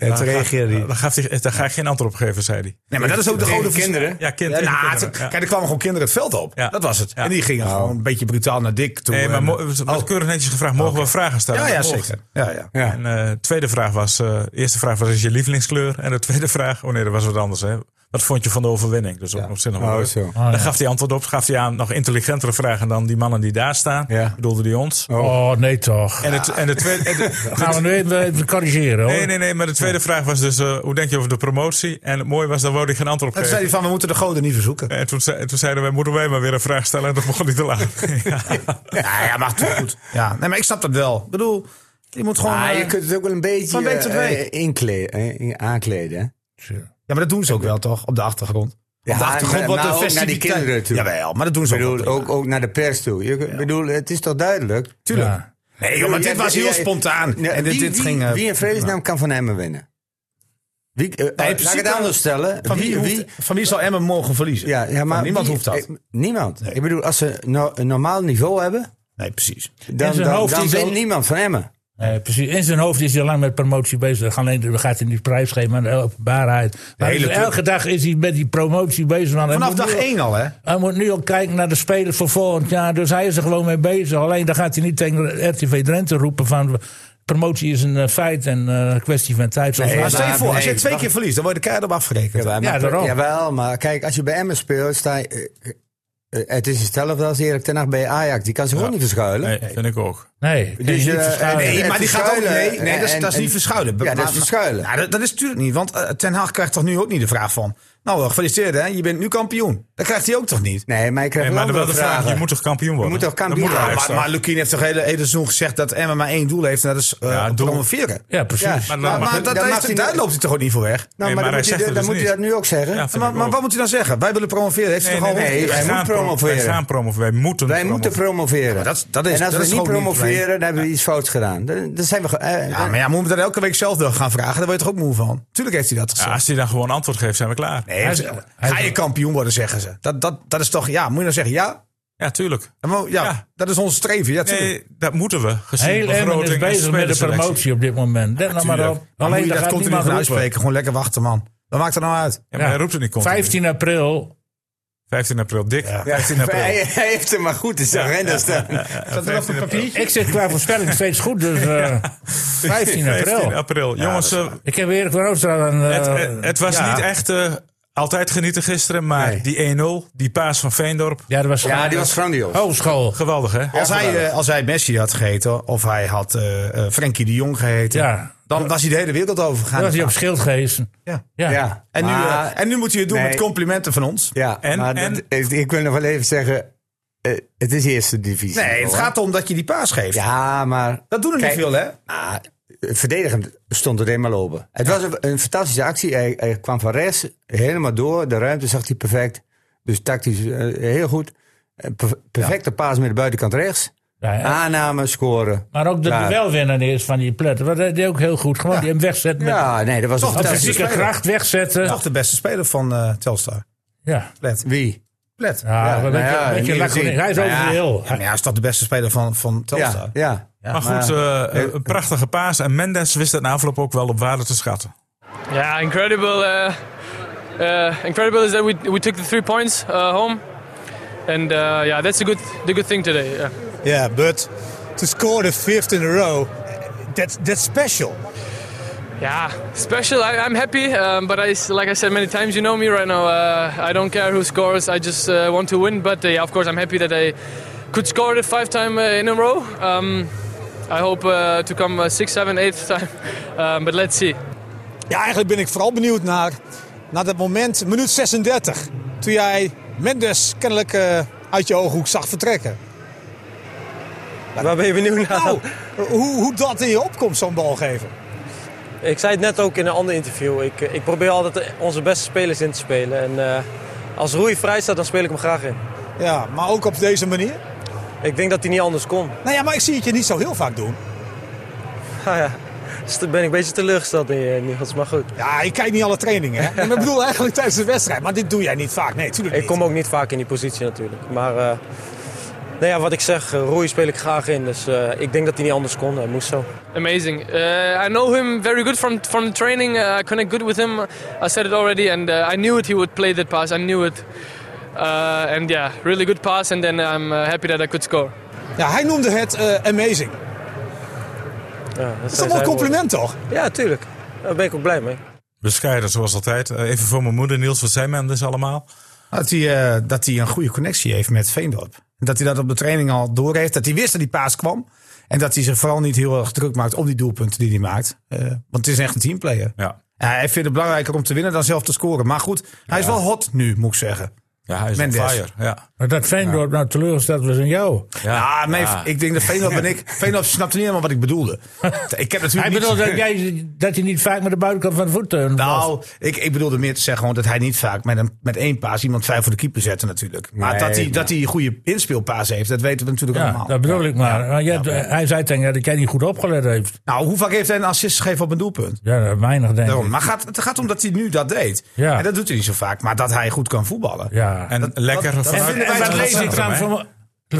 Speaker 4: en te
Speaker 3: Dan ga-
Speaker 4: reageren die.
Speaker 3: dan gaf hij, daar ga ik geen antwoord op geven, zei hij.
Speaker 4: Nee, maar dat is ook de
Speaker 5: Tegen
Speaker 4: grote
Speaker 5: kinderen?
Speaker 4: vers-
Speaker 3: Ja, kind-
Speaker 4: Ja,
Speaker 3: tegen
Speaker 4: nou,
Speaker 3: kinderen,
Speaker 4: het-
Speaker 3: ja.
Speaker 4: Kijk, er kwamen gewoon kinderen het veld op.
Speaker 3: Ja.
Speaker 4: Dat was het.
Speaker 3: Ja.
Speaker 4: En die gingen gewoon een beetje brutaal naar Dick toe.
Speaker 3: Nee, maar
Speaker 4: En-
Speaker 3: mo- het werd keurig netjes gevraagd: mogen we vragen stellen?
Speaker 4: Oh. ja, ja,
Speaker 3: Dat mocht.
Speaker 4: zeker. Ja, ja.
Speaker 5: Ja.
Speaker 3: En eh, de tweede vraag was: eh, de eerste vraag was: is je lievelingskleur? En de tweede vraag: oh nee, dat was wat anders. Hè? Wat vond je van de overwinning? Dus op zich nog wel
Speaker 5: Oh,
Speaker 3: leuk.
Speaker 5: zo.
Speaker 3: Daar gaf hij antwoord op. Gaf hij aan nog intelligentere vragen dan die mannen die daar staan.
Speaker 5: Ja.
Speaker 3: Bedoelde hij ons.
Speaker 1: Oh, nee toch.
Speaker 3: En, het, en de tweede. en de-
Speaker 1: Gaan we nu even, even corrigeren hoor.
Speaker 3: Nee, nee, nee, maar de tweede vraag was dus: eh, hoe denk je over de promotie? En het mooie was, daar wou hij geen antwoord op
Speaker 4: En toen zei
Speaker 3: geven.
Speaker 4: hij van, we moeten de goden niet verzoeken.
Speaker 3: En toen, zei, toen zeiden wij: moeten wij maar weer een vraag stellen? En toen begon hij te lachen. Ja.
Speaker 4: Ja, ja, maar het is goed. Ja, nee, maar ik snap dat wel. Ik bedoel, je moet gewoon...
Speaker 5: Maar
Speaker 4: eh,
Speaker 5: je kunt het ook wel een beetje
Speaker 4: van week tot
Speaker 5: eh,
Speaker 4: week.
Speaker 5: eh, inkleden, eh, in- aankleden. hè?
Speaker 4: Ja, maar dat doen ze ook wel, toch? Op de achtergrond. Op de achtergrond
Speaker 5: maar-
Speaker 4: wordt
Speaker 5: maar
Speaker 4: de
Speaker 5: ook naar die
Speaker 4: festiviteit...
Speaker 5: kinderen toe.
Speaker 4: Jawel, maar dat doen ze
Speaker 5: Ik bedoel,
Speaker 4: wel.
Speaker 5: ook, ook naar de pers toe. Ik bedoel, het is toch duidelijk?
Speaker 4: Tuurlijk.
Speaker 1: Ja.
Speaker 4: Nee, joh, maar dit was heel spontaan.
Speaker 5: Nee,
Speaker 4: en dit,
Speaker 5: wie,
Speaker 4: dit
Speaker 5: wie-
Speaker 4: ging... eh,
Speaker 5: wie in vredesnaam kan van Emmen winnen? Wie, eh, laat
Speaker 4: principe-
Speaker 5: ik het anders stellen.
Speaker 4: van, wie, hoeft- van wie zal Emmen mogen verliezen?
Speaker 5: ja, ja, maar
Speaker 4: Van niemand
Speaker 5: wie-
Speaker 4: hoeft dat.
Speaker 5: eh, niemand. Ik bedoel, als ze no- een normaal niveau hebben,
Speaker 4: Nee, precies.
Speaker 5: dan,
Speaker 1: zijn
Speaker 5: dan,
Speaker 1: hoofd
Speaker 5: dan
Speaker 1: is
Speaker 5: wint
Speaker 1: al-
Speaker 5: niemand van Emmen.
Speaker 1: Nee, precies. In zijn hoofd is hij al lang met promotie bezig. Alleen dan gaat hij die prijs geven aan de openbaarheid. Maar
Speaker 4: hele
Speaker 1: dus elke dag is hij met die promotie bezig. want hij
Speaker 4: Vanaf
Speaker 1: moet
Speaker 4: dag
Speaker 1: nu al-
Speaker 4: 1 al, hè?
Speaker 1: Hij moet nu al kijken naar de spelers voor volgend jaar. Dus hij is er gewoon mee bezig. Alleen dan gaat hij niet tegen RTV Drenthe roepen van... promotie is een eh, feit en eh, een kwestie van tijd. Zoals
Speaker 4: Maar
Speaker 1: wij-
Speaker 4: stel je
Speaker 5: maar-
Speaker 4: voor, als je
Speaker 5: nee,
Speaker 4: twee
Speaker 5: wacht.
Speaker 4: keer verliest, dan word je de kaart op afgerekend.
Speaker 5: Jawel,
Speaker 1: Ja,
Speaker 5: maar,
Speaker 1: daarom.
Speaker 5: jawel, maar kijk, als je bij Emmen speelt, sta je, eh, eh, het is hetzelfde als Erik ten Hag bij Ajax. Die kan zich gewoon niet verschuilen.
Speaker 3: Nee, vind ik ook.
Speaker 1: Nee, kan je
Speaker 5: Dus,
Speaker 1: niet
Speaker 5: eh,
Speaker 1: verschuilen.
Speaker 5: en-
Speaker 4: Nee,
Speaker 5: en
Speaker 4: maar die gaat ook...
Speaker 5: verschuilen,
Speaker 4: Nee, nee dat, is,
Speaker 5: en-
Speaker 4: dat is niet
Speaker 5: en-
Speaker 4: verschuilen.
Speaker 5: Ja, dat
Speaker 4: Maar-
Speaker 5: is verschuilen.
Speaker 4: Nou, dat, dat is natuurlijk niet, want eh, Ten Hag krijgt toch nu ook niet de vraag van... Nou, eh, gefeliciteerd hè, je bent nu kampioen. Dat krijgt hij ook toch niet?
Speaker 5: Nee, maar ik krijg
Speaker 3: Nee,
Speaker 5: wel
Speaker 3: maar
Speaker 5: andere
Speaker 3: wel de vraag: je
Speaker 5: vragen.
Speaker 3: moet toch kampioen worden?
Speaker 5: moet toch kampioen
Speaker 3: Dat moet
Speaker 5: worden?
Speaker 3: Ajax
Speaker 4: Maar,
Speaker 3: toch?
Speaker 4: maar Lukien heeft toch hele, hele seizoen gezegd dat Emma maar één doel heeft. En dat is eh,
Speaker 3: Ja, doel.
Speaker 4: promoveren.
Speaker 1: Ja, precies.
Speaker 5: Ja,
Speaker 3: Maar
Speaker 4: Maar,
Speaker 3: dan mag
Speaker 4: maar
Speaker 3: het-
Speaker 4: dat,
Speaker 5: dan
Speaker 4: heeft-
Speaker 5: mag hij-
Speaker 4: daar loopt hij toch ook niet voor weg?
Speaker 5: Nou,
Speaker 3: Nee,
Speaker 5: maar
Speaker 3: maar
Speaker 5: dan
Speaker 3: hij
Speaker 5: moet,
Speaker 3: zegt
Speaker 5: hij,
Speaker 3: het
Speaker 5: dan
Speaker 3: dus
Speaker 5: moet hij
Speaker 3: niet.
Speaker 5: dat nu ook zeggen.
Speaker 3: Ja, vind ik
Speaker 4: Maar, maar
Speaker 3: ook.
Speaker 4: wat moet hij dan zeggen? Wij willen promoveren. Heeft hij toch al
Speaker 5: nee, nee,
Speaker 4: rond-
Speaker 5: hij
Speaker 3: wij
Speaker 5: moet
Speaker 3: gaan pro-
Speaker 5: promoveren.
Speaker 3: Wij gaan promoveren. Wij moeten
Speaker 5: Wij moeten promoveren.
Speaker 4: dat is- dat is-
Speaker 5: en als
Speaker 4: dat
Speaker 5: we
Speaker 4: is
Speaker 5: niet
Speaker 4: gewoon niet
Speaker 5: promoveren,
Speaker 4: alleen.
Speaker 5: dan hebben we iets fouts gedaan. Dan, dan zijn we... ge- eh,
Speaker 4: Ja, maar ja, moeten we dat elke week zelf wel gaan vragen? Daar word je toch ook moe van? Tuurlijk heeft hij dat
Speaker 3: Ja,
Speaker 4: gezegd.
Speaker 3: als hij dan gewoon antwoord geeft, zijn we klaar.
Speaker 4: nee, hij-
Speaker 1: hij-
Speaker 4: ga
Speaker 1: hij-
Speaker 4: je kampioen worden, zeggen ze. Dat, dat, dat is toch, ja, moet je dan zeggen, ja?
Speaker 3: Ja, tuurlijk.
Speaker 4: En wel, Ja,
Speaker 3: Ja.
Speaker 4: dat is ons streven. Ja, tuurlijk.
Speaker 3: Nee, dat moeten we. Gezien
Speaker 1: Heel
Speaker 3: de
Speaker 1: Emmen
Speaker 3: begroting
Speaker 1: is
Speaker 3: en
Speaker 1: bezig met de
Speaker 3: spelerselectie.
Speaker 1: promotie op dit moment. Let nou maar
Speaker 3: tuurlijk.
Speaker 1: op.
Speaker 4: Maar
Speaker 1: Alleen
Speaker 4: moet
Speaker 1: daar
Speaker 4: je dat
Speaker 1: gaat
Speaker 4: continu
Speaker 1: niemand
Speaker 4: gaan
Speaker 1: roepen.
Speaker 4: uitspreken. Gewoon lekker wachten, man. Wat maakt er nou uit?
Speaker 3: Ja, maar hij roept het niet continu.
Speaker 1: 15 april
Speaker 3: 15 april, dik. 15 april.
Speaker 5: Hij, hij heeft hem maar goed in zijn agenda staan.
Speaker 4: Staat er nog een papiertje?
Speaker 1: Ik zit qua voorspelling steeds goed, dus eh 15
Speaker 3: 15
Speaker 1: april.
Speaker 3: april. Jongens, eh,
Speaker 1: Ik heb Erik van Oostra een... eh,
Speaker 3: het, het, het was
Speaker 1: ja.
Speaker 3: niet echt eh, altijd genieten gisteren, maar
Speaker 5: Nee.
Speaker 3: die 1-0, die paas van Veendorp,
Speaker 1: Ja, dat was,
Speaker 5: Ja, die was grandioos.
Speaker 4: Oh,
Speaker 1: hogeschool.
Speaker 3: geweldig hè?
Speaker 4: Als hij, eh, als hij Messi had gegeten, of hij had eh, eh, Frenkie de Jong gegeten,
Speaker 1: Ja.
Speaker 4: dan was hij de hele wereld
Speaker 1: Dat
Speaker 4: overgegaan.
Speaker 1: was hij op schild gewezen.
Speaker 4: Ja.
Speaker 1: Ja.
Speaker 5: Ja,
Speaker 4: En, nu,
Speaker 5: maar-
Speaker 4: eh, en nu moet hij het doen
Speaker 5: nee.
Speaker 4: met complimenten van ons.
Speaker 5: Ja,
Speaker 3: En-
Speaker 5: maar
Speaker 3: en-
Speaker 5: dat- ik- ik wil nog wel even zeggen, eh, het is eerste divisie.
Speaker 4: Nee, het
Speaker 5: hoor.
Speaker 4: gaat erom dat je die paas geeft.
Speaker 5: Ja, maar
Speaker 4: Dat doen er niet
Speaker 5: Kijk,
Speaker 4: veel, hè?
Speaker 5: ah, verdedigend stond het helemaal open. Het was een, een fantastische actie. Hij, hij kwam van rechts helemaal door. De ruimte zag hij perfect. Dus tactisch eh, heel goed. Eh, per- perfecte paas met de buitenkant rechts.
Speaker 1: Ja, ja.
Speaker 5: Aanname, scoren.
Speaker 1: Maar ook de
Speaker 5: Klaar.
Speaker 1: duelwinnaar is van die plet. Dat deed hij ook heel goed. Gewoon die hem wegzet met
Speaker 5: Ja, nee, dat was
Speaker 4: Toch,
Speaker 5: een
Speaker 4: dat is
Speaker 5: fantastische...
Speaker 1: fysieke
Speaker 4: speler.
Speaker 1: kracht wegzetten. Ja.
Speaker 4: Toch de beste speler van eh, Telstar.
Speaker 1: Ja.
Speaker 4: Plet.
Speaker 5: Wie?
Speaker 4: Plet. Ja.
Speaker 1: Ja,
Speaker 5: Ja,
Speaker 1: een
Speaker 5: nou ja,
Speaker 1: beetje- een beetje
Speaker 5: niet
Speaker 1: laconiek.
Speaker 5: gezien.
Speaker 1: Hij is
Speaker 5: Nou
Speaker 1: over de
Speaker 5: ja.
Speaker 1: heel.
Speaker 4: maar ja, hij is toch de beste speler van, van Telstar?
Speaker 5: Ja, ja.
Speaker 3: maar goed, eh, een prachtige paas. En Mendes wist het na afloop ook wel op waarde te schatten.
Speaker 8: Yeah, incredible uh, uh, incredible is that we, we took the three points uh, home, and uh, yeah, that's a good the good thing today. Yeah.
Speaker 7: Yeah, but to score the fifth in a row, that's that's special.
Speaker 8: Yeah, special. I, I'm happy, um, but I, like I said many times, you know me right now. Uh, I don't care who scores. I just uh, want to win. But uh, yeah, of course, I'm happy that I could score it five times uh, in a row. Um, I hope uh, to come uh, six, seven, eighth time. Um, but let's see.
Speaker 7: Ja, eigenlijk ben ik vooral benieuwd naar, naar dat moment, minuut 36. Toen jij Mendes kennelijk eh, uit je ooghoek zag vertrekken.
Speaker 9: Waar ben je benieuwd naar?
Speaker 7: Nou, hoe, hoe dat in je opkomt, zo'n bal geven.
Speaker 9: Ik zei het net ook in een ander interview. Ik, eh, ik probeer altijd onze beste spelers in te spelen. En eh, als Roei vrij staat, dan speel ik hem graag in.
Speaker 7: Ja, maar ook op deze manier.
Speaker 9: Ik denk dat hij niet anders kon.
Speaker 7: Nou ja, maar ik zie het je niet zo heel vaak doen.
Speaker 9: Ah, ja. Dus daar ben ik een beetje teleurgesteld in je, Niels. Maar goed,
Speaker 7: Ja, ik kijk niet alle trainingen. Hè? Maar ik bedoel eigenlijk tijdens de wedstrijd. Maar dit doe jij niet vaak. Nee, tuurlijk
Speaker 9: ik
Speaker 7: niet.
Speaker 9: kom ook niet vaak in die positie natuurlijk. Maar eh, nou ja, wat ik zeg, eh, Roei speel ik graag in. Dus eh, ik denk dat hij niet anders kon. Hij moest zo.
Speaker 8: Amazing. Uh, I know him very good from from the training. Uh, I connect good with him. I said it already, and uh, I knew it. He would play that pass. I knew it. Uh, and yeah, really good pass. And then I'm uh, happy that I could score.
Speaker 7: Ja, hij noemde het eh, amazing. Dat
Speaker 9: Ja, dat
Speaker 7: is toch wel een compliment, toch?
Speaker 9: Ja, tuurlijk. Daar ben ik ook blij mee.
Speaker 3: Bescheiden, zoals altijd. Eh, Even voor mijn moeder, Niels, wat zijn men dus allemaal?
Speaker 4: Dat hij, eh, dat hij een goede connectie heeft met Veendorp. En Dat hij dat op de training al door heeft. Dat hij wist dat die paas kwam. En dat hij zich vooral niet heel erg druk maakt om die doelpunten die hij maakt. Eh, want het is echt een teamplayer.
Speaker 3: Ja,
Speaker 4: Ja, hij vindt het belangrijker om te winnen dan zelf te scoren. Maar goed, hij is wel hot nu, moet ik zeggen.
Speaker 3: ja hij is
Speaker 4: Mendes.
Speaker 3: on fire. Ja.
Speaker 1: Maar dat Veendorp nou teleurgesteld was in jou.
Speaker 4: Ja, nee, ik denk dat Veenop en ik... Veenop snapte niet helemaal wat ik bedoelde. ik heb natuurlijk
Speaker 1: Hij
Speaker 4: niet-
Speaker 1: bedoelt dat, jij, dat hij niet vaak met de buitenkant van de voet eh, was.
Speaker 4: Nou, ik, ik bedoelde meer te zeggen gewoon dat hij niet vaak met, een, met één paas iemand vijf voor de keeper zette natuurlijk. Maar
Speaker 5: Nee,
Speaker 4: dat, hij,
Speaker 5: maar-
Speaker 4: dat hij een goede inspeelpaas heeft, dat weten we natuurlijk
Speaker 1: Ja,
Speaker 4: allemaal.
Speaker 1: dat bedoel ik maar. Maar jij- Hij zei tegen jou dat jij niet goed opgelet heeft.
Speaker 4: Nou, hoe vaak heeft hij een assist gegeven op een doelpunt?
Speaker 1: Ja, weinig denk ik.
Speaker 4: Daarom. Maar gaat, het gaat om dat hij nu dat deed.
Speaker 1: Ja.
Speaker 4: En dat doet hij niet zo vaak. Maar dat hij goed kan voetballen.
Speaker 1: Ja.
Speaker 3: En lekker vanuit-
Speaker 4: dat- dat
Speaker 1: En
Speaker 4: vinden wij
Speaker 3: vanuit
Speaker 1: wat
Speaker 4: het
Speaker 3: het
Speaker 1: lees ik
Speaker 3: centrum,
Speaker 1: trouwens
Speaker 3: hè?
Speaker 1: van,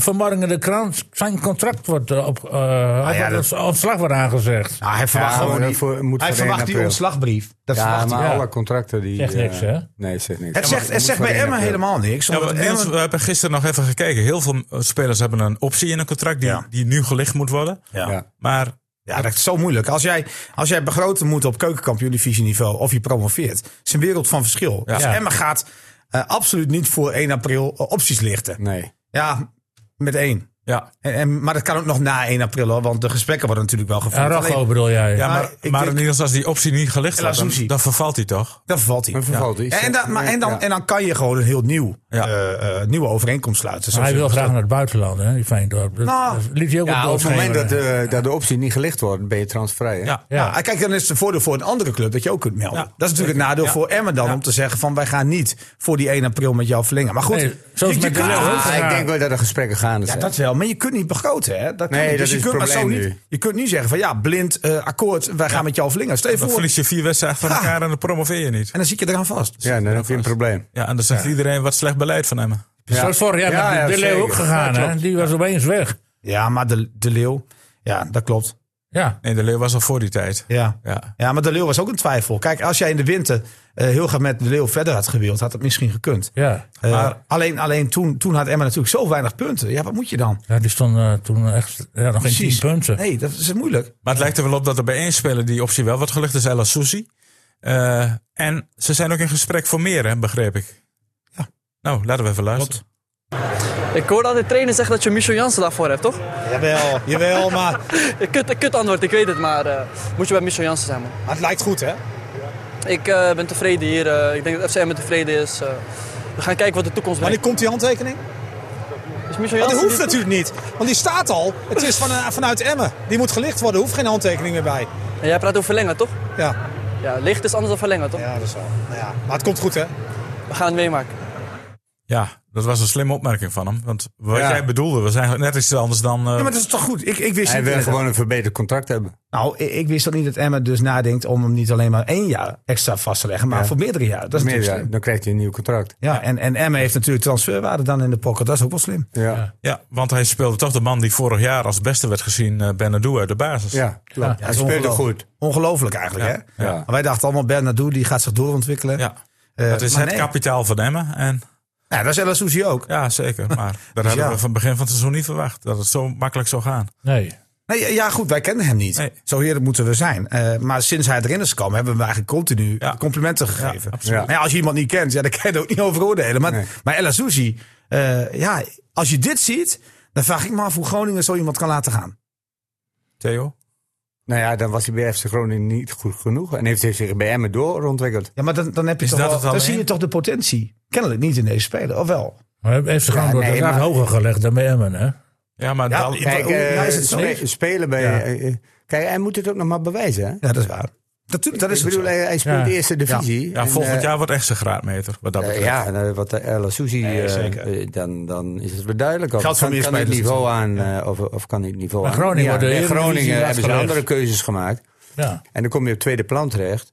Speaker 1: vanmorgen in de krant? Zijn contract wordt eh, op, eh
Speaker 4: Nou ja,
Speaker 1: op-
Speaker 4: dat-
Speaker 1: op ontslag wordt aangezegd.
Speaker 4: Nou, hij verwacht
Speaker 5: Ja,
Speaker 4: gewoon
Speaker 5: maar
Speaker 4: die,
Speaker 5: voor- moet
Speaker 4: hij
Speaker 5: voor
Speaker 4: verwacht
Speaker 5: één
Speaker 4: die
Speaker 5: april.
Speaker 4: ontslagbrief. Dat
Speaker 5: Ja,
Speaker 4: verwacht hij.
Speaker 5: maar
Speaker 1: ja.
Speaker 5: alle contracten die...
Speaker 1: Zegt
Speaker 5: eh,
Speaker 1: niks, hè?
Speaker 5: Nee, zegt niks.
Speaker 4: Het zegt, het zegt bij Emma
Speaker 5: eh.
Speaker 4: helemaal niks.
Speaker 3: Ja,
Speaker 4: omdat
Speaker 3: want Niels,
Speaker 4: Emmen-
Speaker 3: we hebben gisteren nog even gekeken. Heel veel eh, spelers hebben een optie in een contract die,
Speaker 4: Ja.
Speaker 3: die nu gelicht moet worden.
Speaker 4: ja.
Speaker 3: Maar
Speaker 4: Ja, dat is zo moeilijk. Als jij, als jij begroten moet op keukenkampioen-divisieniveau of je promoveert, is een wereld van verschil. Dus
Speaker 1: Ja.
Speaker 4: Emma gaat eh, absoluut niet voor 1 april eh, opties lichten.
Speaker 5: Nee.
Speaker 4: Ja, met één.
Speaker 3: ja,
Speaker 4: En, en, maar dat kan ook nog na 1 april, hoor, want de gesprekken worden natuurlijk wel gevoerd.
Speaker 1: En Rocco
Speaker 4: Alleen,
Speaker 1: bedoel jij?
Speaker 3: ja
Speaker 4: Maar
Speaker 3: maar,
Speaker 4: ik
Speaker 3: maar
Speaker 4: denk-
Speaker 3: Niels, als die optie niet gelicht
Speaker 4: El
Speaker 3: wordt, dan,
Speaker 4: Azuzi.
Speaker 3: dan vervalt hij toch?
Speaker 4: dan vervalt hij.
Speaker 5: Dan vervalt hij.
Speaker 4: En, dan, maar, en, dan,
Speaker 5: Ja.
Speaker 4: en dan kan je gewoon een heel nieuw,
Speaker 3: Ja.
Speaker 4: eh, eh, nieuwe overeenkomst sluiten.
Speaker 1: Maar
Speaker 4: zoals
Speaker 1: hij wil
Speaker 4: je-
Speaker 1: graag naar het buitenland, hè, die Veendorp. Dat,
Speaker 4: Nou,
Speaker 1: dat liet hij ook
Speaker 5: Ja, op het moment dat
Speaker 1: doorschemeren.
Speaker 5: de, dat de optie niet gelicht wordt, ben je transvrij. Hè? Nou,
Speaker 3: Ja.
Speaker 1: ja.
Speaker 4: Ja. nou, kijk, dan is het een voordeel voor een andere club dat je ook kunt melden.
Speaker 3: Ja,
Speaker 4: dat is natuurlijk het nadeel voor Emmen dan om te zeggen van wij gaan niet voor die 1 april met jou verlengen. Maar goed,
Speaker 1: Nee, zoals
Speaker 4: je- je
Speaker 1: met de
Speaker 4: kunt-
Speaker 1: Leeuwen.
Speaker 4: Ah,
Speaker 5: Ah, ik denk wel dat er gesprekken Dus, eh, gaande
Speaker 4: Ja,
Speaker 5: zijn.
Speaker 4: dat wel. Maar je kunt niet begroten, hè? Dat kan
Speaker 5: Nee,
Speaker 4: niet. Dus
Speaker 5: dat
Speaker 4: je
Speaker 5: is
Speaker 4: kunt
Speaker 5: het probleem
Speaker 4: niet,
Speaker 5: nu.
Speaker 4: Je kunt niet zeggen van ja, blind eh, akkoord, wij gaan met jou verlengen. Stel je
Speaker 3: Dan
Speaker 4: voor.
Speaker 3: verlies je vier wedstrijden van
Speaker 4: Ja.
Speaker 3: elkaar en dan promoveer je niet.
Speaker 4: En dan zit je eraan vast.
Speaker 5: Ja, dan heb je een probleem.
Speaker 3: Ja, en dan zegt iedereen wat slecht beleid van hem.
Speaker 1: Zoals vorig jaar
Speaker 5: Ja,
Speaker 1: met
Speaker 5: ja,
Speaker 1: de Leeuw
Speaker 5: zeker.
Speaker 1: ook gegaan, hè? Die was opeens weg.
Speaker 4: Ja, maar de, de Leeuw. Ja, dat klopt.
Speaker 1: Ja.
Speaker 3: Nee, de Leeuw was al voor die tijd.
Speaker 4: Ja.
Speaker 3: Ja.
Speaker 4: ja, maar de Leeuw was ook een twijfel. Kijk, als jij in de winter eh, heel graag met de Leeuw verder had gewild, had het misschien gekund.
Speaker 1: Ja.
Speaker 4: Eh, alleen alleen toen, toen had Emma natuurlijk zo weinig punten. Ja, wat moet je dan?
Speaker 1: ja, die stond eh, toen echt ja, nog geen tien punten.
Speaker 4: Nee, dat is moeilijk.
Speaker 3: Maar het lijkt er wel op dat er bij één speler die optie wel wordt gelicht is, El Azuzi. Eh, en ze zijn ook in gesprek voor meer, hè, begreep ik.
Speaker 4: Ja.
Speaker 3: Nou, laten we even luisteren.
Speaker 10: Ik hoor altijd trainen zeggen dat je Michel Jansen daarvoor hebt, toch?
Speaker 7: Jawel, jawel, maar
Speaker 10: Een Kut, een kut antwoord, ik weet het, maar eh, moet je bij Michel Jansen zijn, man.
Speaker 7: maar het lijkt goed, hè?
Speaker 10: Ik eh, ben tevreden hier. eh, ik denk dat FCM tevreden is. eh. we gaan kijken wat de toekomst
Speaker 7: Wanneer
Speaker 10: brengt.
Speaker 7: komt die handtekening?
Speaker 10: Is Michel
Speaker 7: Maar dat
Speaker 10: Jansen
Speaker 7: hoeft
Speaker 10: die-
Speaker 7: natuurlijk niet, want die staat al. Het is van, eh, vanuit Emmen. Die moet gelicht worden, er hoeft geen handtekening meer bij.
Speaker 10: En jij praat over verlengen, toch?
Speaker 7: Ja,
Speaker 10: Ja, licht is anders dan verlengen, toch?
Speaker 7: ja dat is wel. Nou ja, maar het komt goed, hè?
Speaker 10: We gaan het meemaken.
Speaker 3: Ja, dat was een slimme opmerking van hem. Want wat
Speaker 5: Ja.
Speaker 3: jij bedoelde was eigenlijk net iets anders dan... eh,
Speaker 4: Ja, maar dat is toch goed? Ik, ik wist
Speaker 5: Hij
Speaker 4: niet
Speaker 5: wil
Speaker 4: dat-
Speaker 5: gewoon een verbeterd contract hebben.
Speaker 4: Nou, ik, ik wist dat niet dat Emma dus nadenkt om hem niet alleen maar één jaar extra vast te leggen, maar
Speaker 5: Ja.
Speaker 4: voor meerdere jaren. Dat
Speaker 5: Meer,
Speaker 4: is natuurlijk
Speaker 5: ja,
Speaker 4: slim.
Speaker 5: dan krijgt hij een nieuw contract.
Speaker 4: Ja, en, en Emma heeft natuurlijk transferwaarde dan in de pocket. Dat is ook wel slim.
Speaker 5: Ja, ja.
Speaker 3: Ja, want hij speelde toch de man die vorig jaar als beste werd gezien, eh Benadou uit de basis.
Speaker 5: klopt.
Speaker 4: Ja,
Speaker 5: hij
Speaker 4: dat is
Speaker 5: speelde
Speaker 4: ongelooflijk.
Speaker 5: goed.
Speaker 4: Ongelooflijk eigenlijk,
Speaker 3: Ja,
Speaker 4: hè?
Speaker 5: ja.
Speaker 4: Maar wij dachten allemaal, Bernardo die gaat zich doorontwikkelen.
Speaker 3: Ja.
Speaker 4: Eh,
Speaker 3: Dat is
Speaker 4: maar
Speaker 3: het
Speaker 4: nee.
Speaker 3: kapitaal van Emmen. En
Speaker 4: Ja, dat is El Souci ook.
Speaker 3: ja, zeker. Maar daar hadden
Speaker 4: ja.
Speaker 3: we van het begin van het seizoen niet verwacht. Dat het zo makkelijk zou gaan.
Speaker 1: Nee.
Speaker 4: Nee, ja, ja, goed, wij kennen hem niet.
Speaker 3: Nee.
Speaker 4: Zo eerlijk moeten we zijn. Eh, maar sinds hij erin is gekomen, hebben we hem eigenlijk continu
Speaker 3: Ja.
Speaker 4: complimenten gegeven.
Speaker 3: absoluut.
Speaker 4: Maar ja, als je iemand niet kent, ja, dan kan je er ook niet over oordelen. Maar,
Speaker 5: Nee.
Speaker 4: maar El Azouzi, eh, ja, als je dit ziet, dan vraag ik me af hoe Groningen zo iemand kan laten gaan.
Speaker 3: Theo?
Speaker 5: Nou ja, dan was hij bij FC Groningen niet goed genoeg. En heeft hij zich bij Emmen doorontwikkeld.
Speaker 4: Ja, maar dan, dan, heb je
Speaker 3: Is
Speaker 4: toch
Speaker 3: dat
Speaker 4: wel-
Speaker 3: het
Speaker 4: dan
Speaker 3: alleen?
Speaker 4: zie je toch de potentie. Kennelijk niet in deze speler, of wel?
Speaker 1: Maar heeft ze gewoon
Speaker 5: Ja,
Speaker 1: wat
Speaker 5: nee,
Speaker 1: een graad
Speaker 5: maar-
Speaker 1: hoger gelegd dan bij Emmen, hè?
Speaker 3: Ja, maar
Speaker 4: Ja,
Speaker 3: dan-
Speaker 4: ik-
Speaker 5: Kijk,
Speaker 4: Hoe-
Speaker 5: eh,
Speaker 4: ja, is het zo?
Speaker 5: spe- spelen bij...
Speaker 4: Ja.
Speaker 5: eh, eh, kijk, hij moet het ook nog maar bewijzen. Hè?
Speaker 4: Ja, dat is waar. Natuurlijk, dat is
Speaker 5: ik
Speaker 4: ook
Speaker 5: bedoel,
Speaker 4: zo.
Speaker 5: hij, hij speelt
Speaker 1: Ja.
Speaker 5: de eerste divisie.
Speaker 3: ja,
Speaker 5: en,
Speaker 3: volgend
Speaker 5: eh,
Speaker 3: jaar wordt echt zijn graadmeter. Wat dat
Speaker 5: eh,
Speaker 3: betreft.
Speaker 5: ja, en, eh, wat de El Sousi,
Speaker 3: Nee,
Speaker 5: eh,
Speaker 3: zeker.
Speaker 5: eh, dan, dan is het weer duidelijk. Of
Speaker 4: Geldt voor
Speaker 5: kan,
Speaker 4: meer
Speaker 5: kan hij het
Speaker 4: spelers
Speaker 5: niveau aan, eh, of, of kan hij het niveau
Speaker 1: Maar
Speaker 5: aan.
Speaker 1: Groningen wordt de
Speaker 5: bij
Speaker 1: Eredivisie
Speaker 5: Groningen eh, hebben ze
Speaker 1: afgelegd.
Speaker 5: andere keuzes gemaakt.
Speaker 1: Ja.
Speaker 5: En dan kom je op het tweede plan terecht.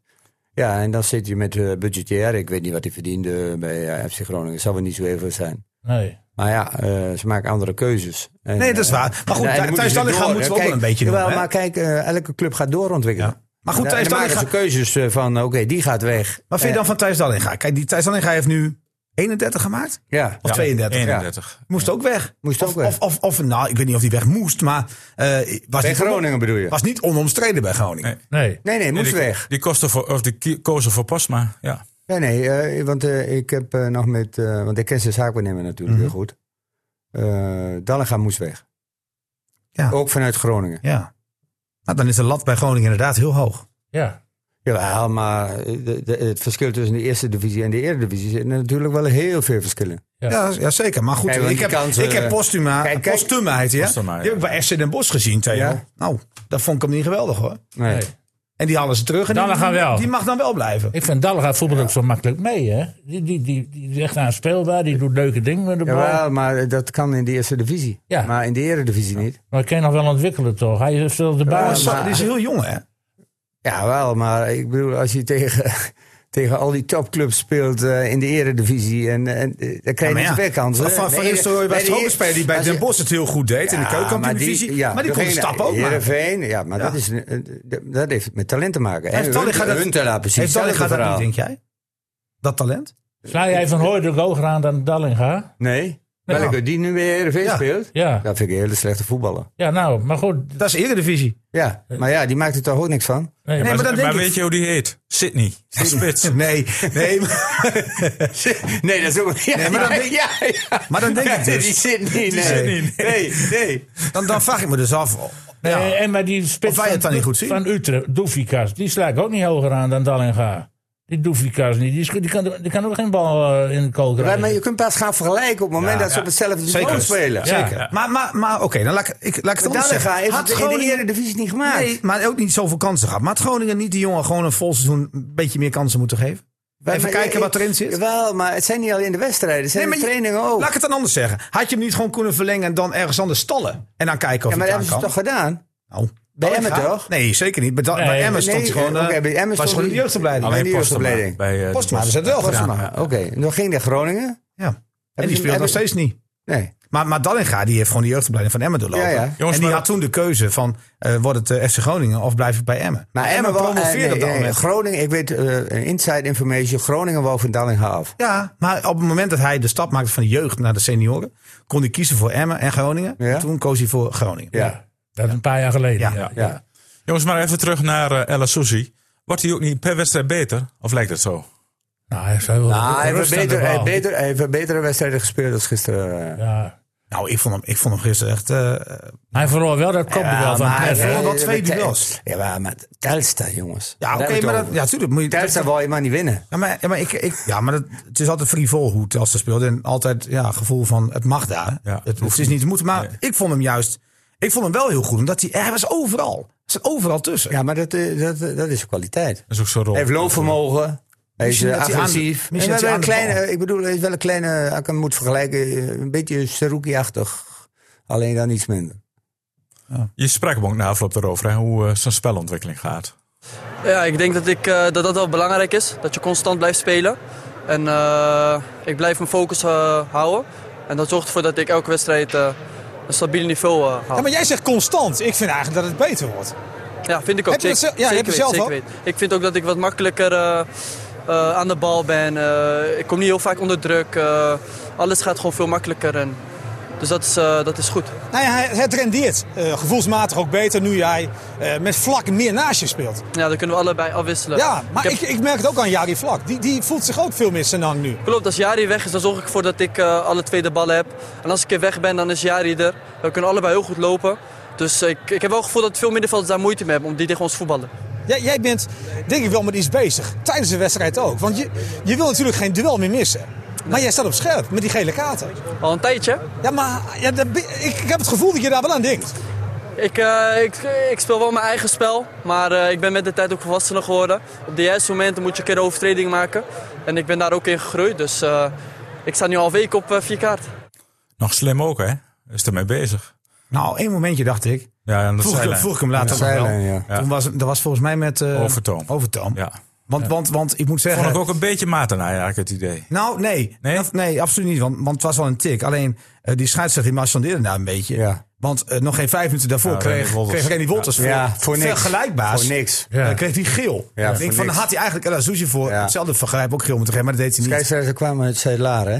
Speaker 5: Ja, en dan zit je met eh, budgetair. Ik weet niet wat hij verdiende bij eh, FC Groningen. Zal wel niet zo even zijn.
Speaker 1: Nee.
Speaker 5: Maar ja, eh, ze maken andere keuzes. En,
Speaker 4: Nee, dat is
Speaker 5: eh,
Speaker 4: waar. Maar goed,
Speaker 5: en dan
Speaker 4: Thijs
Speaker 5: moeten ze
Speaker 4: Dallinga
Speaker 5: door.
Speaker 4: moeten we ook wel
Speaker 5: Kijk,
Speaker 4: een beetje doen,
Speaker 5: jawel,
Speaker 4: hè?
Speaker 5: maar kijk, eh, elke club gaat doorontwikkelen.
Speaker 4: Maar goed,
Speaker 5: En
Speaker 4: Thijs
Speaker 5: dan maken ze
Speaker 4: Dallinga-
Speaker 5: keuzes eh, van, oké, die gaat weg. Eh,
Speaker 4: Wat vind je dan van Thijs Dallinga? Kijk, die Thijs Dallinga heeft nu 31 gemaakt.
Speaker 5: Ja,
Speaker 4: Of 32.
Speaker 3: 31.
Speaker 4: Moest ook weg.
Speaker 5: Moest
Speaker 4: of,
Speaker 5: ook weg.
Speaker 4: Of, of, of- nou, ik weet niet of hij weg moest, maar eh, was,
Speaker 5: bij
Speaker 4: niet on-
Speaker 5: Groningen bedoel je?
Speaker 4: was niet onomstreden bij Groningen.
Speaker 3: Nee.
Speaker 1: Nee.
Speaker 5: Nee, nee,
Speaker 3: En
Speaker 5: moest
Speaker 3: die,
Speaker 5: weg.
Speaker 3: Die, kosten voor, of die ki- kozen voor Pasma. Ja.
Speaker 5: Nee, nee, eh, want eh, ik heb eh, nog met... eh, want ik ken zijn zaakwaarnemer natuurlijk
Speaker 4: Mhm.
Speaker 5: heel goed. Eh Dallinga moest weg.
Speaker 4: Ja.
Speaker 5: Ook vanuit Groningen.
Speaker 4: Ja. Nou, dan is de lat bij Groningen inderdaad heel hoog.
Speaker 1: Ja.
Speaker 5: Jawel, maar eh, de- de- het verschil tussen de eerste divisie en de eredivisie... zit natuurlijk wel heel veel verschillen.
Speaker 1: Ja.
Speaker 4: Ja, ja zeker. Maar goed,
Speaker 5: Kijk, want
Speaker 4: ik,
Speaker 5: die
Speaker 4: heb,
Speaker 5: kansen-
Speaker 4: ik heb Postuma,
Speaker 5: Kijk, kijk.
Speaker 4: Postuma heet hij, hè?
Speaker 3: Postuma, ja.
Speaker 4: Die heb ik bij FC Den Bosch gezien, Theo.
Speaker 5: Ja.
Speaker 4: Nou, dat vond ik hem niet geweldig, hoor.
Speaker 5: Nee.
Speaker 1: Nee.
Speaker 4: En die halen ze terug. En die,
Speaker 1: Dallinga wel.
Speaker 4: die mag dan wel blijven.
Speaker 1: Ik vind Dalga voetbal ook zo makkelijk mee, hè? Die, die, die, die is echt aanspeelbaar, die doet leuke dingen met de bal.
Speaker 5: Jawel, maar eh, dat kan in de eerste divisie.
Speaker 1: Ja.
Speaker 5: Maar in de eredivisie niet.
Speaker 1: Maar dat kan je nog wel ontwikkelen, toch? Hij is wel de
Speaker 4: Maar
Speaker 1: baas.
Speaker 4: Oh, zo-
Speaker 5: maar-
Speaker 4: die is heel jong, hè?
Speaker 5: Jawel, maar ik bedoel, als je tegen, tegen al die topclubs speelt eh, in de eredivisie... En, en, eh, dan krijg je niet zoveel kansen.
Speaker 4: Van, van
Speaker 5: Bij-
Speaker 4: Nistelrooy was
Speaker 5: bij de-
Speaker 4: ook een speler die bij
Speaker 5: als je-
Speaker 4: Den Bosch het heel goed deed. in de
Speaker 5: Ja,
Speaker 4: keukenkampioen-divisie.
Speaker 5: ja,
Speaker 4: maar die kon de
Speaker 5: degene-
Speaker 4: stap ook maken.
Speaker 5: Heerenveen, ja, maar Dat, is, een- een- dat heeft met talent te maken.
Speaker 4: Heeft
Speaker 5: En
Speaker 4: Dallinga
Speaker 5: hun-
Speaker 4: dat-
Speaker 5: hun talent, precies.
Speaker 4: Heeft Dallinga dat
Speaker 5: hetzelfde
Speaker 4: niet, denk jij? Dat talent?
Speaker 1: Sla jij Van Hooy de hoger aan dan Dallinga?
Speaker 5: verhaal. Nee? Welke die nu weer Heerenveen
Speaker 4: Ja.
Speaker 5: speelt?
Speaker 1: Ja.
Speaker 5: Dat vind ik een hele slechte voetballer.
Speaker 1: ja, nou, maar goed.
Speaker 4: Dat is eredivisie.
Speaker 5: Ja, maar ja, die maakt er toch ook niks van.
Speaker 1: Nee,
Speaker 4: Nee,
Speaker 1: maar-
Speaker 4: maar dan
Speaker 3: Maar,
Speaker 4: denk ik...
Speaker 3: weet je hoe die heet? Sydney. De spits.
Speaker 4: Nee, nee, maar-
Speaker 5: Nee, dat is ook... Ja,
Speaker 4: Nee, maar dan
Speaker 5: ja,
Speaker 4: denk-
Speaker 5: ja, ja.
Speaker 4: maar dan denk ik
Speaker 5: Nee,
Speaker 4: dus-
Speaker 5: Die zit niet, nee.
Speaker 4: zit
Speaker 3: niet,
Speaker 5: Nee, nee.
Speaker 4: dan, dan vraag ik me dus af. Ja.
Speaker 1: Eh, en maar die spits
Speaker 4: Of wij het dan
Speaker 1: van-
Speaker 4: niet goed zien.
Speaker 1: van Utrecht, Doefikas, die sla ik ook niet hoger aan dan Dallinga. Die Doefikas niet, die, is- die, kan, die kan ook geen bal eh, in de kool
Speaker 5: Maar,
Speaker 1: krijgen.
Speaker 5: maar je kunt pas gaan vergelijken op het moment
Speaker 3: Ja,
Speaker 5: dat ze
Speaker 3: ja.
Speaker 5: op hetzelfde
Speaker 4: Zeker.
Speaker 5: niveau spelen.
Speaker 1: Zeker.
Speaker 4: Maar, maar, maar oké, dan laat ik, ik, laat ik het anders
Speaker 5: Dallinga
Speaker 4: zeggen.
Speaker 5: heeft
Speaker 4: Had
Speaker 5: het in de
Speaker 4: Groningen,
Speaker 5: Eredivisie niet gemaakt.
Speaker 4: nee, maar ook niet zoveel kansen gehad. Maar had Groningen niet die jongen gewoon een vol seizoen een beetje meer kansen moeten geven? Even
Speaker 5: Maar-
Speaker 4: kijken
Speaker 5: ja,
Speaker 4: wat erin zit.
Speaker 5: Jawel, Oh, maar het zijn niet alleen de wedstrijden. Het zijn
Speaker 4: Nee,
Speaker 5: de
Speaker 4: maar je-
Speaker 5: trainingen ook.
Speaker 4: Laat ik het dan anders zeggen. Had je hem niet gewoon kunnen verlengen en dan ergens anders stallen? En dan kijken of
Speaker 5: Ja, maar
Speaker 4: hij
Speaker 5: dat
Speaker 4: het
Speaker 5: hebben ze
Speaker 4: aan
Speaker 5: toch
Speaker 4: kan?
Speaker 5: gedaan?
Speaker 4: Nou,
Speaker 5: Bij
Speaker 4: Dallinga?
Speaker 5: Emmen toch?
Speaker 4: Nee, zeker niet. Bij, Da-
Speaker 1: Nee,
Speaker 4: bij Emmen
Speaker 5: nee,
Speaker 4: stond hij gewoon...
Speaker 5: eh,
Speaker 4: eh,
Speaker 5: oké, bij Emmen stond
Speaker 4: was gewoon in de
Speaker 5: hij-
Speaker 4: jeugdopleiding.
Speaker 5: Alleen
Speaker 3: Alleen
Speaker 5: die
Speaker 3: Postma.
Speaker 5: jeugdopleiding.
Speaker 3: Bij, eh,
Speaker 4: Postma hebben ze dat wel
Speaker 5: Postma,
Speaker 4: gedaan.
Speaker 5: Oké, en dan ging naar Groningen.
Speaker 4: Ja. En
Speaker 5: Hebben
Speaker 4: die
Speaker 5: ze-
Speaker 4: speelt nog
Speaker 5: hebben-
Speaker 4: steeds niet.
Speaker 5: Nee.
Speaker 4: Maar, maar Dallinga die heeft gewoon de jeugdopleiding van Emmen doorlopen.
Speaker 5: Ja, ja.
Speaker 3: Jongens,
Speaker 4: en die
Speaker 3: maar-
Speaker 4: had toen de keuze van, eh wordt het eh, FC Groningen of blijf ik bij Emmen?
Speaker 5: Maar Emmen wou-
Speaker 4: promoveerde
Speaker 5: eh,
Speaker 4: op dat
Speaker 5: nee, eh,
Speaker 4: moment.
Speaker 5: Groningen, ik weet eh, inside information. Groningen wou van Dallinga af.
Speaker 4: Ja, maar op het moment dat hij de stap maakte van de jeugd naar de senioren, kon hij kiezen voor Emmen en Groningen.
Speaker 5: Ja.
Speaker 4: En toen koos hij voor Groningen.
Speaker 5: Ja.
Speaker 1: Dat is een paar jaar geleden.
Speaker 4: Ja.
Speaker 1: Ja.
Speaker 5: Ja.
Speaker 3: Jongens, maar even terug naar eh El Sousi. Wordt hij ook niet per wedstrijd beter? Of lijkt het zo?
Speaker 1: Nou, hij is wel
Speaker 5: Ah, hij, heeft
Speaker 1: rust aan de
Speaker 5: beter, hij,
Speaker 1: bal.
Speaker 5: heeft beter, hij heeft betere wedstrijden gespeeld dan gisteren. eh.
Speaker 1: Ja.
Speaker 4: Nou, ik vond hem, ik vond hem gisteren echt. eh,
Speaker 1: Hij verloor wel dat kopduel van
Speaker 4: maar hij
Speaker 1: Klef.
Speaker 4: heeft wel
Speaker 5: Eh,
Speaker 4: wat twee
Speaker 5: met-
Speaker 4: duels.
Speaker 5: Ja, maar- maar Telstar, jongens.
Speaker 4: ja, oké, maar dat, ja, natuurlijk moet je.
Speaker 5: Telstar wou je maar niet winnen.
Speaker 4: ja, maar, ja, maar, ik, ik, ja, maar dat, het is altijd frivol hoe Telstar speelt. En altijd ja, gevoel van het mag daar.
Speaker 3: Ja,
Speaker 4: het,
Speaker 3: hoeft
Speaker 4: het is niet te moeten. Maar
Speaker 3: Nee.
Speaker 4: ik vond hem juist. Ik vond hem wel heel goed. Omdat hij, hij was overal. Hij zat overal tussen.
Speaker 5: Ja, maar dat, eh, dat, eh, dat is kwaliteit.
Speaker 3: Dat is ook zo'n rol.
Speaker 5: Hij heeft loopvermogen. Hij is
Speaker 4: Misschien
Speaker 5: eh,
Speaker 4: dat hij aan de-
Speaker 5: agressief.
Speaker 4: misschien dat
Speaker 5: Hij
Speaker 4: hij
Speaker 5: is
Speaker 4: aan
Speaker 5: wel
Speaker 4: de
Speaker 5: een kleine, ik bedoel, hij is wel een kleine, als ik hem moet vergelijken, eh, een beetje Seruki-achtig. Alleen dan iets minder.
Speaker 3: Je sprak hem ook na afloop erover, hè, hoe eh, zijn spelontwikkeling gaat.
Speaker 10: Ja, ik denk dat, ik, eh, dat dat wel belangrijk is. Dat je constant blijft spelen. En eh, ik blijf mijn focus eh, houden. En dat zorgt ervoor dat ik elke wedstrijd eh, een stabiel niveau eh, haal.
Speaker 7: Ja,
Speaker 10: Ja,
Speaker 7: maar jij zegt constant. Ik vind eigenlijk dat het beter wordt.
Speaker 10: vind ik ook.
Speaker 7: Heb je dat
Speaker 10: zeker,
Speaker 7: zelf- ja, heb je
Speaker 10: zeker
Speaker 7: zelf
Speaker 10: weten,
Speaker 7: ook?
Speaker 10: zeker weten. Ik vind ook dat ik wat makkelijker eh, eh, aan de bal ben. eh, ik kom niet heel vaak onder druk. eh, alles gaat gewoon veel makkelijker. En, dus dat is, eh, dat is goed.
Speaker 7: Nou ja, het rendeert eh, gevoelsmatig ook beter nu jij eh, met vlak meer naast je speelt.
Speaker 10: Ja, dan kunnen we allebei afwisselen.
Speaker 7: Ja, maar
Speaker 10: heb-
Speaker 7: ik, ik, merk het ook aan Jari Vlak. Die, die voelt zich ook veel meer zijn hang nu.
Speaker 10: Klopt, als Jari weg is, dan zorg ik ervoor dat ik eh, alle twee de ballen heb. En als ik er weg ben, dan is Jari er. We kunnen allebei heel goed lopen. Dus ik, ik heb wel het gevoel dat veel middenvelders daar moeite mee hebben om die tegen ons voetballen.
Speaker 7: Jij, jij bent denk ik wel met iets bezig. Tijdens de wedstrijd ook. Want je, je wil natuurlijk geen duel meer missen. Maar jij staat op scherp met die gele kaarten.
Speaker 10: Al een tijdje.
Speaker 7: Ja, maar ja, dat be- ik, ik heb het gevoel dat je daar wel aan denkt.
Speaker 10: Ik, eh, ik, ik speel wel mijn eigen spel, maar eh, ik ben met de tijd ook volwassener geworden. Op de juiste momenten moet je een keer een overtreding maken. En ik ben daar ook in gegroeid, dus eh, ik sta nu al een week op eh, vier kaart.
Speaker 3: Nog slim ook, hè? Is ermee bezig.
Speaker 4: Nou, één momentje dacht ik.
Speaker 3: Ja, en dat
Speaker 4: Vroeg, ik-
Speaker 3: zijlijn.
Speaker 4: vroeg ik hem later nog wel.
Speaker 5: Zijlijn, ja.
Speaker 3: Ja.
Speaker 4: Toen was, dat was volgens mij met... eh,
Speaker 3: Overtoom.
Speaker 4: Overtoom.
Speaker 3: Ja.
Speaker 4: Want, want, want ik moet zeggen...
Speaker 3: Vond ik ook een beetje maten eigenlijk het idee.
Speaker 4: Nou, nee.
Speaker 3: Nee?
Speaker 4: Dat- nee, absoluut niet. Want, want het was wel een tik. Alleen eh, die scheidsrechter die marchandeerde daar een beetje.
Speaker 5: Ja.
Speaker 4: Want eh, nog geen vijf minuten daarvoor
Speaker 3: Ja,
Speaker 4: kreeg,
Speaker 3: Randy Wolters.
Speaker 4: kreeg Randy Wolters voor,
Speaker 5: Ja, voor niks.
Speaker 4: vergelijkbaars.
Speaker 5: Voor niks.
Speaker 4: eh,
Speaker 1: Ja.
Speaker 4: kreeg hij geel.
Speaker 5: Ja,
Speaker 4: ik
Speaker 5: voor
Speaker 4: denk van,
Speaker 5: niks.
Speaker 4: had hij eigenlijk El Azouzi voor
Speaker 5: Ja.
Speaker 4: hetzelfde vergrijp ook geel moeten geven. Maar dat deed hij niet.
Speaker 5: Scheidsrechter kwamen uit Zeelaar, hè?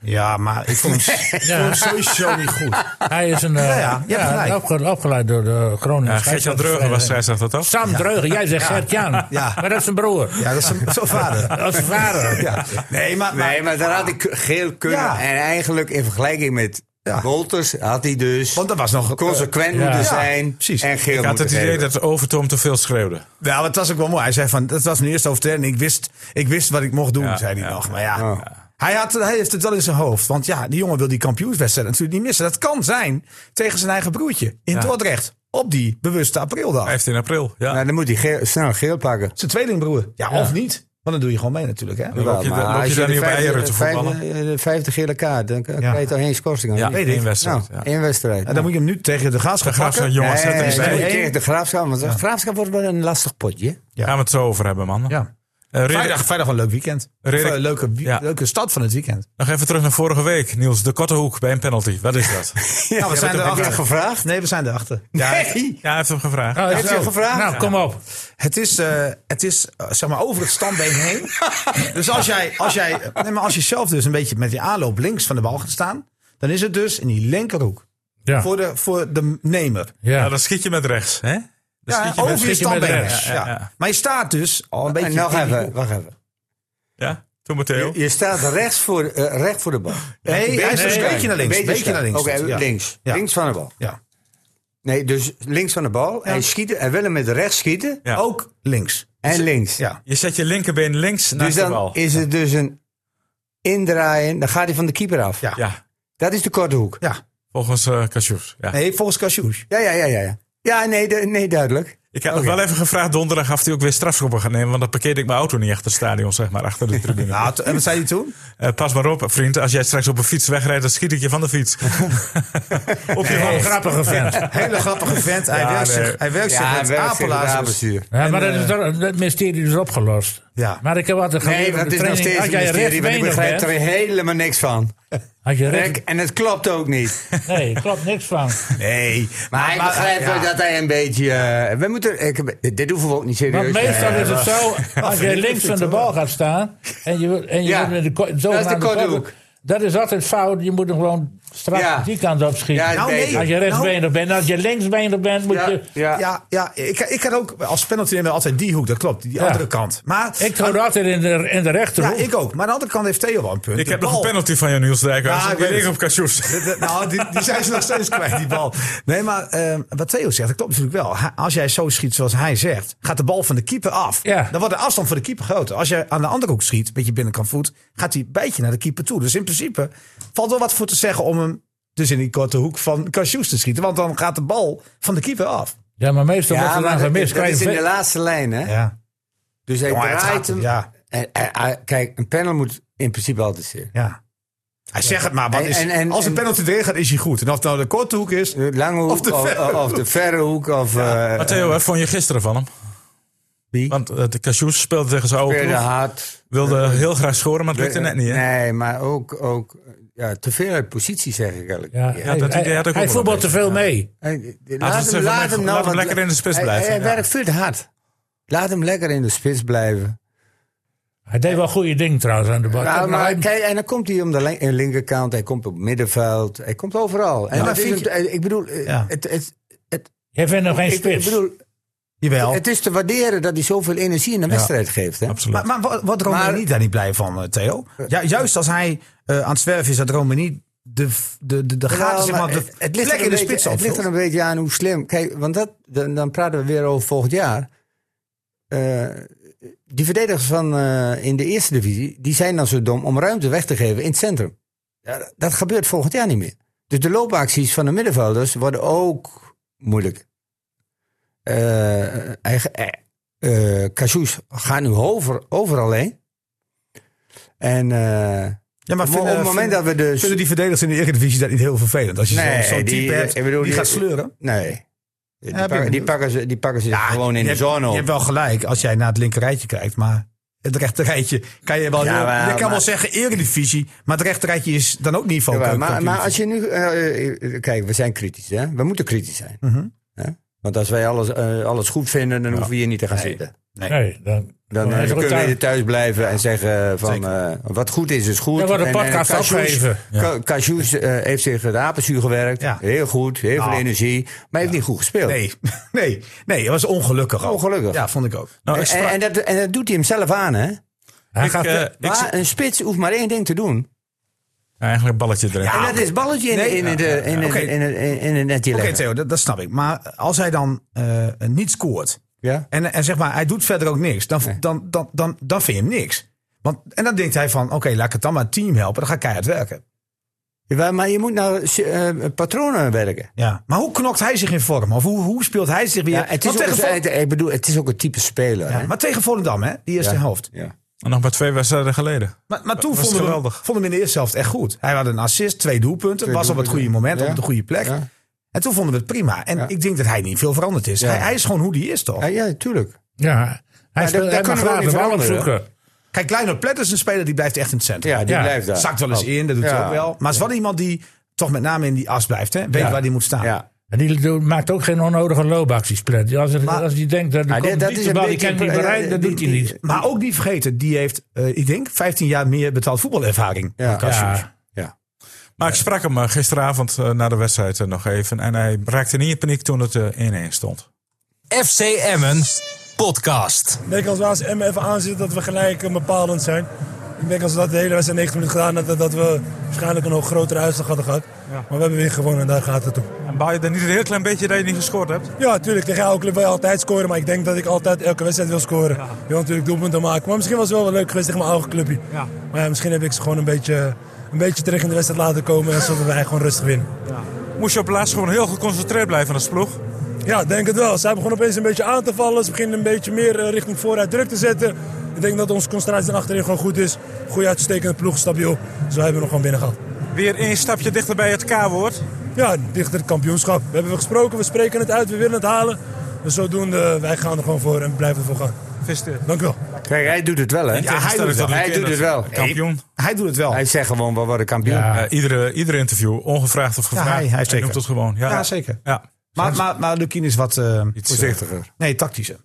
Speaker 4: Ja, maar ik vond hem,
Speaker 1: Ja.
Speaker 4: ik vond hem sowieso niet goed.
Speaker 1: Hij is een, eh,
Speaker 4: Ja, ja, je hebt gelijk.
Speaker 1: opge- opgeleid door de Groningen.
Speaker 3: Ja, Gertjan Dreugen was eh, scheidsrechter, toch?
Speaker 1: Sam Dreugen, jij zegt Gert-Jan.
Speaker 4: Ja.
Speaker 1: Maar dat is zijn broer.
Speaker 4: Ja, dat is hem- zo'n vader.
Speaker 1: Dat is zijn vader.
Speaker 4: Ja. Nee, maar, maar,
Speaker 5: Nee, maar daar had ik geel kunnen.
Speaker 4: Ja.
Speaker 5: En eigenlijk in vergelijking met
Speaker 4: Ja.
Speaker 5: Wolters had hij dus
Speaker 4: Want dat was nog...
Speaker 5: consequent
Speaker 1: ja.
Speaker 5: moeten
Speaker 1: Ja,
Speaker 5: zijn
Speaker 4: precies.
Speaker 5: en
Speaker 3: Ik
Speaker 5: geel
Speaker 3: had
Speaker 5: moeten
Speaker 3: het idee
Speaker 5: geven.
Speaker 3: dat Overtoom te veel schreeuwde.
Speaker 4: Ja, maar het was ook wel mooi. Hij zei van, dat was mijn eerste overtreding. Ik wist, ik wist wat ik mocht doen,
Speaker 3: Ja,
Speaker 4: zei hij
Speaker 3: ja,
Speaker 4: nog.
Speaker 3: ja.
Speaker 4: Maar ja,
Speaker 5: Oh.
Speaker 4: hij, had, hij heeft het wel in zijn hoofd. Want ja, die jongen wil die kampioenswedstrijd natuurlijk niet missen. Dat kan zijn tegen zijn eigen broertje in Dordrecht. Op die bewuste aprildag.
Speaker 3: 15 april, ja.
Speaker 5: Nou, dan moet hij geel- snel geel pakken.
Speaker 4: Zijn tweelingbroer. Ja, of niet. Want dan doe je gewoon mee natuurlijk, hè?
Speaker 3: loop je
Speaker 5: Maar
Speaker 3: daar- loop je
Speaker 5: als
Speaker 3: daar
Speaker 5: de
Speaker 3: niet op
Speaker 5: vijfde-
Speaker 3: eieren te
Speaker 5: vijfde-
Speaker 3: voetballen?
Speaker 5: eh, De vijfde gele kaart, dan k- krijg je toch geen schorsing aan.
Speaker 3: Ja,
Speaker 5: Niet?
Speaker 3: één
Speaker 4: ik.
Speaker 5: Nou,
Speaker 3: wedstrijd. ja.
Speaker 5: één wedstrijd.
Speaker 4: En dan moet je hem nu tegen de gaas gaan
Speaker 3: Graaf
Speaker 4: pakken.
Speaker 3: zijn jongens, zet
Speaker 5: Nee,
Speaker 3: hem
Speaker 5: nee,
Speaker 3: bij.
Speaker 5: nee, tegen de graafschap. Want de graafschap wordt wel een lastig potje.
Speaker 3: Gaan we het zo over hebben, man.
Speaker 4: Ja.
Speaker 3: Eh, Ridder-
Speaker 4: Vrijdag, vrijdag wel een leuk weekend. Of,
Speaker 3: Redelijk-
Speaker 4: eh, leuke, wie-
Speaker 3: Ja.
Speaker 4: leuke stad van het weekend.
Speaker 3: Nog even terug naar vorige week, Niels. De korte hoek bij een penalty. Wat is dat?
Speaker 4: nou, we zijn
Speaker 5: Heb je
Speaker 4: erachter.
Speaker 5: dat gevraagd?
Speaker 4: Nee, we zijn erachter.
Speaker 5: Nee.
Speaker 3: ja, hij heeft hem gevraagd.
Speaker 1: Nou,
Speaker 4: je
Speaker 1: zo.
Speaker 4: gevraagd?
Speaker 1: Nou, kom op.
Speaker 4: Het is, eh, het is eh, zeg maar over het standbeen heen. dus als jij, als jij, nee, maar als je zelf dus een beetje met die aanloop links van de bal gaat staan, dan is het dus in die linkerhoek
Speaker 1: Ja.
Speaker 4: voor de, voor de nemer.
Speaker 3: Ja, Nou,
Speaker 1: Ja.
Speaker 3: dan schiet je met rechts, hè? Dan
Speaker 4: Ja,
Speaker 3: schiet je met-
Speaker 4: over je
Speaker 1: schiet je met
Speaker 4: standbeen.
Speaker 1: rechts.
Speaker 4: heen.
Speaker 3: Ja,
Speaker 4: Ja,
Speaker 3: ja.
Speaker 4: Maar je staat dus al een beetje.
Speaker 5: En nog
Speaker 4: in die
Speaker 5: even,
Speaker 4: hoek.
Speaker 5: wacht even.
Speaker 3: Ja, toen
Speaker 5: Je,
Speaker 3: Matteo.
Speaker 5: je staat rechts voor, eh, recht voor de bal.
Speaker 4: Nee, hij is dus een
Speaker 5: schuin.
Speaker 4: beetje naar links. Een beetje
Speaker 5: schuin.
Speaker 4: naar links.
Speaker 5: Oké,
Speaker 4: Ja.
Speaker 5: links.
Speaker 4: Ja.
Speaker 5: Links van de bal.
Speaker 4: Ja.
Speaker 5: Nee, dus links van de bal. En schieten. En willen met rechts schieten.
Speaker 3: Ja.
Speaker 4: Ook links.
Speaker 5: En links.
Speaker 4: Ja.
Speaker 3: Je zet je linkerbeen links naast
Speaker 5: Dus
Speaker 3: de
Speaker 5: dan
Speaker 3: bal.
Speaker 5: is het dus een indraaien. Dan gaat hij van de keeper af.
Speaker 4: Ja.
Speaker 3: Ja,
Speaker 5: Dat is de korte hoek.
Speaker 4: Ja.
Speaker 3: volgens eh Kassius. Ja.
Speaker 4: Nee, volgens Cassius.
Speaker 5: Ja, ja, ja, ja. ja. Ja, nee, du- nee duidelijk.
Speaker 3: Ik heb nog wel even gevraagd donderdag of hij ook weer strafschoppen gaat nemen. Want dan parkeerde ik mijn auto niet achter het stadion, zeg maar, achter de tribune.
Speaker 4: Nou, t- en wat zei hij toen?
Speaker 3: Eh, pas maar op, vriend. Als jij straks op een fiets wegrijdt, dan schiet ik je van de fiets. op je
Speaker 1: Wel een
Speaker 3: hoofd.
Speaker 1: grappige vent.
Speaker 4: Hele grappige vent. Hij
Speaker 3: Ja,
Speaker 4: werkt
Speaker 3: nee.
Speaker 4: zich, hij werkt zich
Speaker 5: hij
Speaker 4: met
Speaker 5: werkt zich met
Speaker 4: apelazers.
Speaker 5: apenzuur.
Speaker 1: Ja, maar dat, is, dat, dat mysterie is opgelost.
Speaker 4: eh, Ja.
Speaker 1: Maar ik heb altijd geleerd
Speaker 5: Nee,
Speaker 1: op
Speaker 5: dat
Speaker 1: de
Speaker 5: is nog
Speaker 1: training, als
Speaker 5: steeds een
Speaker 1: jij
Speaker 5: mysterie, want ik
Speaker 1: rechtsbenig
Speaker 5: begrijp er
Speaker 1: bent,
Speaker 5: helemaal niks van.
Speaker 1: als je recht,
Speaker 5: Rek, en het klopt ook niet.
Speaker 1: nee, er klopt niks van.
Speaker 4: Nee.
Speaker 5: Maar hij begrijpt wel dat hij een beetje... eh, we moeten, ik, heb- dit hoeven we ook niet serieus
Speaker 1: Want
Speaker 5: te
Speaker 1: meestal
Speaker 5: nemen.
Speaker 1: is het zo, als jij links van de bal gaat staan en je, wil- en je
Speaker 5: Ja,
Speaker 1: wil met de ko-
Speaker 5: dat is de
Speaker 1: zogenaamde
Speaker 5: korte
Speaker 1: korte-
Speaker 5: hoek.
Speaker 1: Dat is altijd fout. Je moet hem gewoon strak
Speaker 5: Ja.
Speaker 1: die kant op schieten.
Speaker 5: Ja,
Speaker 4: Nou, nee.
Speaker 5: beter.
Speaker 1: als je rechtsbenig bent, als je linksbenig bent, moet
Speaker 5: Ja,
Speaker 1: je...
Speaker 5: ja.
Speaker 4: Ja, ja ik, ik had ook als penalty nemen altijd die hoek, dat klopt. Die
Speaker 1: Ja.
Speaker 4: andere kant. Maar,
Speaker 1: Ik hou altijd in de, in de
Speaker 4: ja,
Speaker 1: rechterhoek.
Speaker 4: ik ook. Maar aan de andere kant heeft Theo wel een punt.
Speaker 3: Ik
Speaker 4: De
Speaker 3: heb nog een
Speaker 4: bal-
Speaker 3: penalty van jou, Niels Dijkhuis.
Speaker 4: Ja, ik
Speaker 3: die
Speaker 4: weet
Speaker 3: ligt
Speaker 4: het.
Speaker 3: op Kassius.
Speaker 4: De- de- nou, die, die zijn ze nog steeds kwijt, die bal. Nee, maar ehm, wat Theo zegt, dat klopt natuurlijk wel. Hij- Als jij zo schiet zoals hij zegt, gaat de bal van de keeper af.
Speaker 1: Ja.
Speaker 4: Dan wordt de afstand van de keeper groter. Als jij aan de andere hoek schiet, met je binnenkant voet, gaat hij een beetje naar de keeper toe. Dus in principe valt wel wat voor te zeggen om hem dus in die korte hoek van Cassius te schieten. Want dan gaat de bal van de keeper af.
Speaker 1: Ja, maar meestal wordt
Speaker 5: Ja,
Speaker 1: er dan
Speaker 5: maar
Speaker 1: gemist.
Speaker 5: dat, dat
Speaker 1: Krijg
Speaker 5: is
Speaker 1: je
Speaker 5: in de
Speaker 1: veel-
Speaker 5: laatste lijn, hè?
Speaker 4: Ja.
Speaker 5: Dus hij
Speaker 4: Jongen, het
Speaker 5: draait
Speaker 4: gaat-
Speaker 5: hem.
Speaker 4: ja.
Speaker 5: En- en- en- kijk, een panel moet in principe altijd zitten.
Speaker 4: Ja. Hij zegt het maar. Wat
Speaker 5: En-
Speaker 4: is,
Speaker 5: en- en-
Speaker 4: als een
Speaker 5: en-
Speaker 4: penalty erin gaat, is hij goed. En of het nou de korte hoek is.
Speaker 5: De lange hoek, of
Speaker 3: Oh,
Speaker 5: de,
Speaker 4: verre
Speaker 5: of, de verre hoek, of eh
Speaker 3: Matteo, wat vond je gisteren van hem?
Speaker 5: Wie?
Speaker 3: Want eh, de Kassius speelde tegen zijn oude
Speaker 5: verre
Speaker 3: ploeg.
Speaker 5: hard.
Speaker 3: Wilde heel graag scoren, maar het lukte net niet, hè?
Speaker 5: Eh, Nee, maar ook, ook ja, te veel uit positie, zeg ik eigenlijk.
Speaker 1: Ja,
Speaker 5: Ja.
Speaker 1: hij-
Speaker 3: dat idee
Speaker 1: hij-
Speaker 3: had ik ook
Speaker 1: Hij
Speaker 3: wel
Speaker 1: voetbalt
Speaker 3: een
Speaker 1: te veel mee.
Speaker 5: Hij-
Speaker 3: Laat
Speaker 5: Laat
Speaker 3: het
Speaker 5: hem,
Speaker 3: even
Speaker 5: laat
Speaker 3: lekker-
Speaker 5: hem nou
Speaker 3: laat hem
Speaker 5: wat-
Speaker 3: lekker in de spits
Speaker 5: hij-
Speaker 3: blijven,
Speaker 5: Hij,
Speaker 3: ja.
Speaker 5: werkt veel te hard. Laat hem lekker in de spits blijven.
Speaker 1: Hij deed wel goede ding trouwens aan de bal.
Speaker 5: Ja,
Speaker 1: Kijk,
Speaker 5: maar
Speaker 1: hij-
Speaker 5: kijk, en dan komt hij om de lin- eh, linkerkant, hij komt op het middenveld, hij komt overal. En
Speaker 4: Ja,
Speaker 5: dat is
Speaker 4: vind
Speaker 5: het- ik bedoel, eh,
Speaker 4: Ja.
Speaker 5: het, het,
Speaker 1: Jij vindt nog geen
Speaker 5: ik, ik
Speaker 1: spits.
Speaker 5: bedoel,
Speaker 4: Jawel.
Speaker 5: het is te waarderen dat hij zoveel energie in de wedstrijd geeft. Hè?
Speaker 3: Absoluut.
Speaker 4: Maar, maar wat, wat Romani
Speaker 5: Maar-
Speaker 4: daar niet blij van, eh, Theo? Ja, juist als hij eh, aan het zwerven is, dat Romani de, de, de, de gaten,
Speaker 5: Jawel,
Speaker 4: zeg maar,
Speaker 5: maar
Speaker 4: de
Speaker 5: het- het ligt
Speaker 4: plek
Speaker 5: er
Speaker 4: in
Speaker 5: een beetje-
Speaker 4: de spits op.
Speaker 5: Het ligt er een beetje aan hoe slim. Kijk, want dat, dan, dan praten we weer over volgend jaar. Eh, die verdedigers van eh, in de eerste divisie, die zijn dan zo dom om ruimte weg te geven in het centrum. Ja, dat gebeurt volgend jaar niet meer. Dus de loopacties van de middenvelders worden ook moeilijk. Eh eigen- eh, eh, Cassius gaat nu over, overal heen. En eh,
Speaker 4: Ja, maar
Speaker 5: op het moment dat we dus...
Speaker 4: Vinden die verdedigers in de Eredivisie dat niet heel vervelend? Als je
Speaker 5: Nee,
Speaker 4: zo'n zo'n
Speaker 5: die-
Speaker 4: type hebt,
Speaker 5: ik bedoel,
Speaker 4: die
Speaker 5: die-
Speaker 4: gaat sleuren.
Speaker 5: Nee. Die,
Speaker 4: heb je
Speaker 5: pakken, die,
Speaker 4: bedoeld?
Speaker 5: pakken ze, die pakken ze gewoon in
Speaker 4: Ah, je
Speaker 5: de
Speaker 4: hebt-
Speaker 5: zone
Speaker 4: Je
Speaker 5: op.
Speaker 4: hebt wel gelijk als jij naar het linkerrijtje kijkt, maar het rechterrijtje kan je wel.
Speaker 5: Ja,
Speaker 4: heel-
Speaker 5: maar-
Speaker 4: je kan wel
Speaker 5: maar-
Speaker 4: zeggen Eredivisie, maar het rechterrijtje is dan ook niet van.
Speaker 5: Ja,
Speaker 4: keuken-
Speaker 5: maar, maar
Speaker 4: kampioen.
Speaker 5: als je nu... eh, eh, kijk, we zijn kritisch. Hè? We moeten kritisch zijn.
Speaker 4: Mhm.
Speaker 5: Hè? Want als wij alles, eh, alles goed vinden, dan hoeven we hier niet te gaan zitten.
Speaker 1: Nee, dan,
Speaker 5: Dan, eh,
Speaker 1: hij is ook
Speaker 5: kunnen we
Speaker 1: thuis.
Speaker 5: hier thuis blijven en zeggen van eh, wat goed is, is goed.
Speaker 1: Ja, wat een
Speaker 5: En- en
Speaker 1: podcast
Speaker 5: Cassius-
Speaker 1: afgeven.
Speaker 5: Ca- Cassius eh, heeft zich de apenzuur gewerkt.
Speaker 4: Ja.
Speaker 5: Heel goed, heel
Speaker 4: Nou.
Speaker 5: veel energie. Maar hij heeft niet goed gespeeld.
Speaker 4: Nee, nee, nee, het was ongelukkig. ook.
Speaker 5: Ongelukkig.
Speaker 4: Ja, vond ik ook.
Speaker 3: Nou,
Speaker 5: En,
Speaker 3: ik sprak-
Speaker 5: en, dat, en dat doet hij hem zelf aan, hè?
Speaker 1: hij
Speaker 3: ik,
Speaker 1: gaat,
Speaker 3: eh, ik
Speaker 5: Maar
Speaker 3: zie-
Speaker 5: een spits hoeft maar één ding te doen.
Speaker 3: eigenlijk een balletje erin.
Speaker 5: En dat is balletje in,
Speaker 4: Nee,
Speaker 5: in, in, de- in,
Speaker 4: Oké.
Speaker 5: in, in, in, in het netje
Speaker 4: Oké,
Speaker 5: leggen.
Speaker 4: Theo, dat, dat snap ik. Maar als hij dan eh, niet scoort
Speaker 5: Ja?
Speaker 4: en, en zeg maar, hij doet verder ook niks, dan,
Speaker 5: Nee.
Speaker 4: dan, dan, dan, dan vind je hem niks. Want, en dan denkt hij van, oké, laat ik het dan maar het team helpen, dan ga ik keihard werken.
Speaker 5: Jawel, Maar je moet naar eh, patronen werken.
Speaker 4: Ja. Maar hoe knokt hij zich in vorm? Of hoe, hoe speelt hij zich weer?
Speaker 5: Ja, het,
Speaker 4: Want
Speaker 5: is ook,
Speaker 4: tegen Vol-
Speaker 5: een- ik bedoel, het is ook een type speler.
Speaker 4: Ja,
Speaker 5: hè?
Speaker 4: maar tegen Volendam, hè? Die eerste
Speaker 5: Ja.
Speaker 4: helft.
Speaker 5: Ja.
Speaker 3: En nog maar twee wedstrijden geleden.
Speaker 4: Maar, maar toen
Speaker 3: Was
Speaker 4: vonden we, hem,
Speaker 3: geweldig.
Speaker 4: vonden we hem in de eerste helft echt goed. Hij had een assist, twee doelpunten.
Speaker 5: Twee
Speaker 4: was op het goede
Speaker 5: doelpunten.
Speaker 4: moment,
Speaker 5: Ja.
Speaker 4: op de goede plek.
Speaker 5: Ja.
Speaker 4: En toen vonden we het prima. En ik denk dat hij niet veel veranderd is. Hij, hij is gewoon hoe die is, toch?
Speaker 5: Ja, ja, tuurlijk.
Speaker 1: ja, hij, speelt,
Speaker 5: dat
Speaker 1: hij mag
Speaker 5: kunnen we ook
Speaker 1: graag de
Speaker 5: niet
Speaker 1: bal
Speaker 5: veranderen.
Speaker 1: opzoeken.
Speaker 4: Kijk, Kleiner Plet is een speler die blijft echt in het centrum.
Speaker 5: Ja, die
Speaker 1: Ja.
Speaker 5: blijft daar. Oh.
Speaker 4: Zakt wel eens in, dat doet hij
Speaker 5: Ja.
Speaker 4: ook wel. Maar is wel iemand die toch met name in die as blijft. Hè? Weet
Speaker 1: Ja.
Speaker 4: waar die moet staan.
Speaker 5: Ja.
Speaker 1: En die doet- maakt ook geen onnodige loopacties, Plet. Als, er-
Speaker 4: Maar-
Speaker 1: als hij denkt dat,
Speaker 5: Maar
Speaker 1: komt
Speaker 5: dit- dat
Speaker 1: niet
Speaker 5: is
Speaker 1: de
Speaker 5: een
Speaker 1: bal, die
Speaker 5: beetje-
Speaker 1: kan ik niet bereiken, dat
Speaker 5: die-
Speaker 1: doet hij niet.
Speaker 4: eh, Maar ook niet vergeten, die heeft, eh, ik denk, 15 jaar meer betaald voetbalervaring.
Speaker 5: Ja.
Speaker 4: dan Cassius.
Speaker 1: Ja.
Speaker 3: Maar ik sprak hem eh, gisteravond eh, na de wedstrijd eh, nog even. En hij raakte niet in paniek toen het eh, 1-1 stond.
Speaker 2: FC Emmen podcast.
Speaker 11: Ik denk als we als Emmen even aanzitten dat we gelijk een bepalend zijn. Ik denk als we dat de hele wedstrijd 90 minuten gedaan hadden, dat we waarschijnlijk een nog grotere uitslag hadden gehad. Maar we hebben weer gewonnen en daar gaat het om.
Speaker 3: En baal je dan niet een heel klein beetje dat je niet gescoord hebt?
Speaker 11: Ja, natuurlijk, tegen elke club wil je altijd scoren, maar ik denk dat ik altijd elke wedstrijd wil scoren. Je wil natuurlijk doelpunten maken, maar misschien was het wel wel leuk geweest tegen mijn oude clubje. Maar ja, misschien heb ik ze gewoon een beetje, een beetje terug in de wedstrijd laten komen en zodat wij gewoon rustig winnen.
Speaker 3: Moest je op het laatst gewoon heel geconcentreerd blijven als ploeg?
Speaker 11: Ja, ik denk het wel. Zij begonnen opeens een beetje aan te vallen. Ze beginnen een beetje meer eh, richting vooruit druk te zetten. Ik denk dat onze concentratie dan achterin gewoon goed is. Goede uitstekende ploeg, stabiel. Dus wij hebben nog gewoon binnen gehad.
Speaker 3: Weer één stapje dichter bij het K-woord.
Speaker 11: Ja, dichter het kampioenschap. We hebben gesproken, we spreken het uit, we willen het halen. Dus zodoende, wij gaan er gewoon voor en blijven ervoor gaan.
Speaker 3: Visste.
Speaker 11: Dank u wel.
Speaker 5: Kijk, hij doet het wel, hè?
Speaker 4: Ja, hij doet het wel.
Speaker 5: Hij doet het wel.
Speaker 3: Kampioen.
Speaker 4: Hij doet het wel.
Speaker 5: Hij zegt gewoon, we worden kampioen.
Speaker 3: Eh, iedere, iedere interview, ongevraagd of gevraagd.
Speaker 4: hij- hij zeker.
Speaker 3: noemt het gewoon. Ja,
Speaker 4: Ja, zeker.
Speaker 3: Ja,
Speaker 4: Maar, maar, maar Lukien is wat eh,
Speaker 3: iets voorzichtig.
Speaker 5: Voorzichtiger.
Speaker 4: nee, tactischer.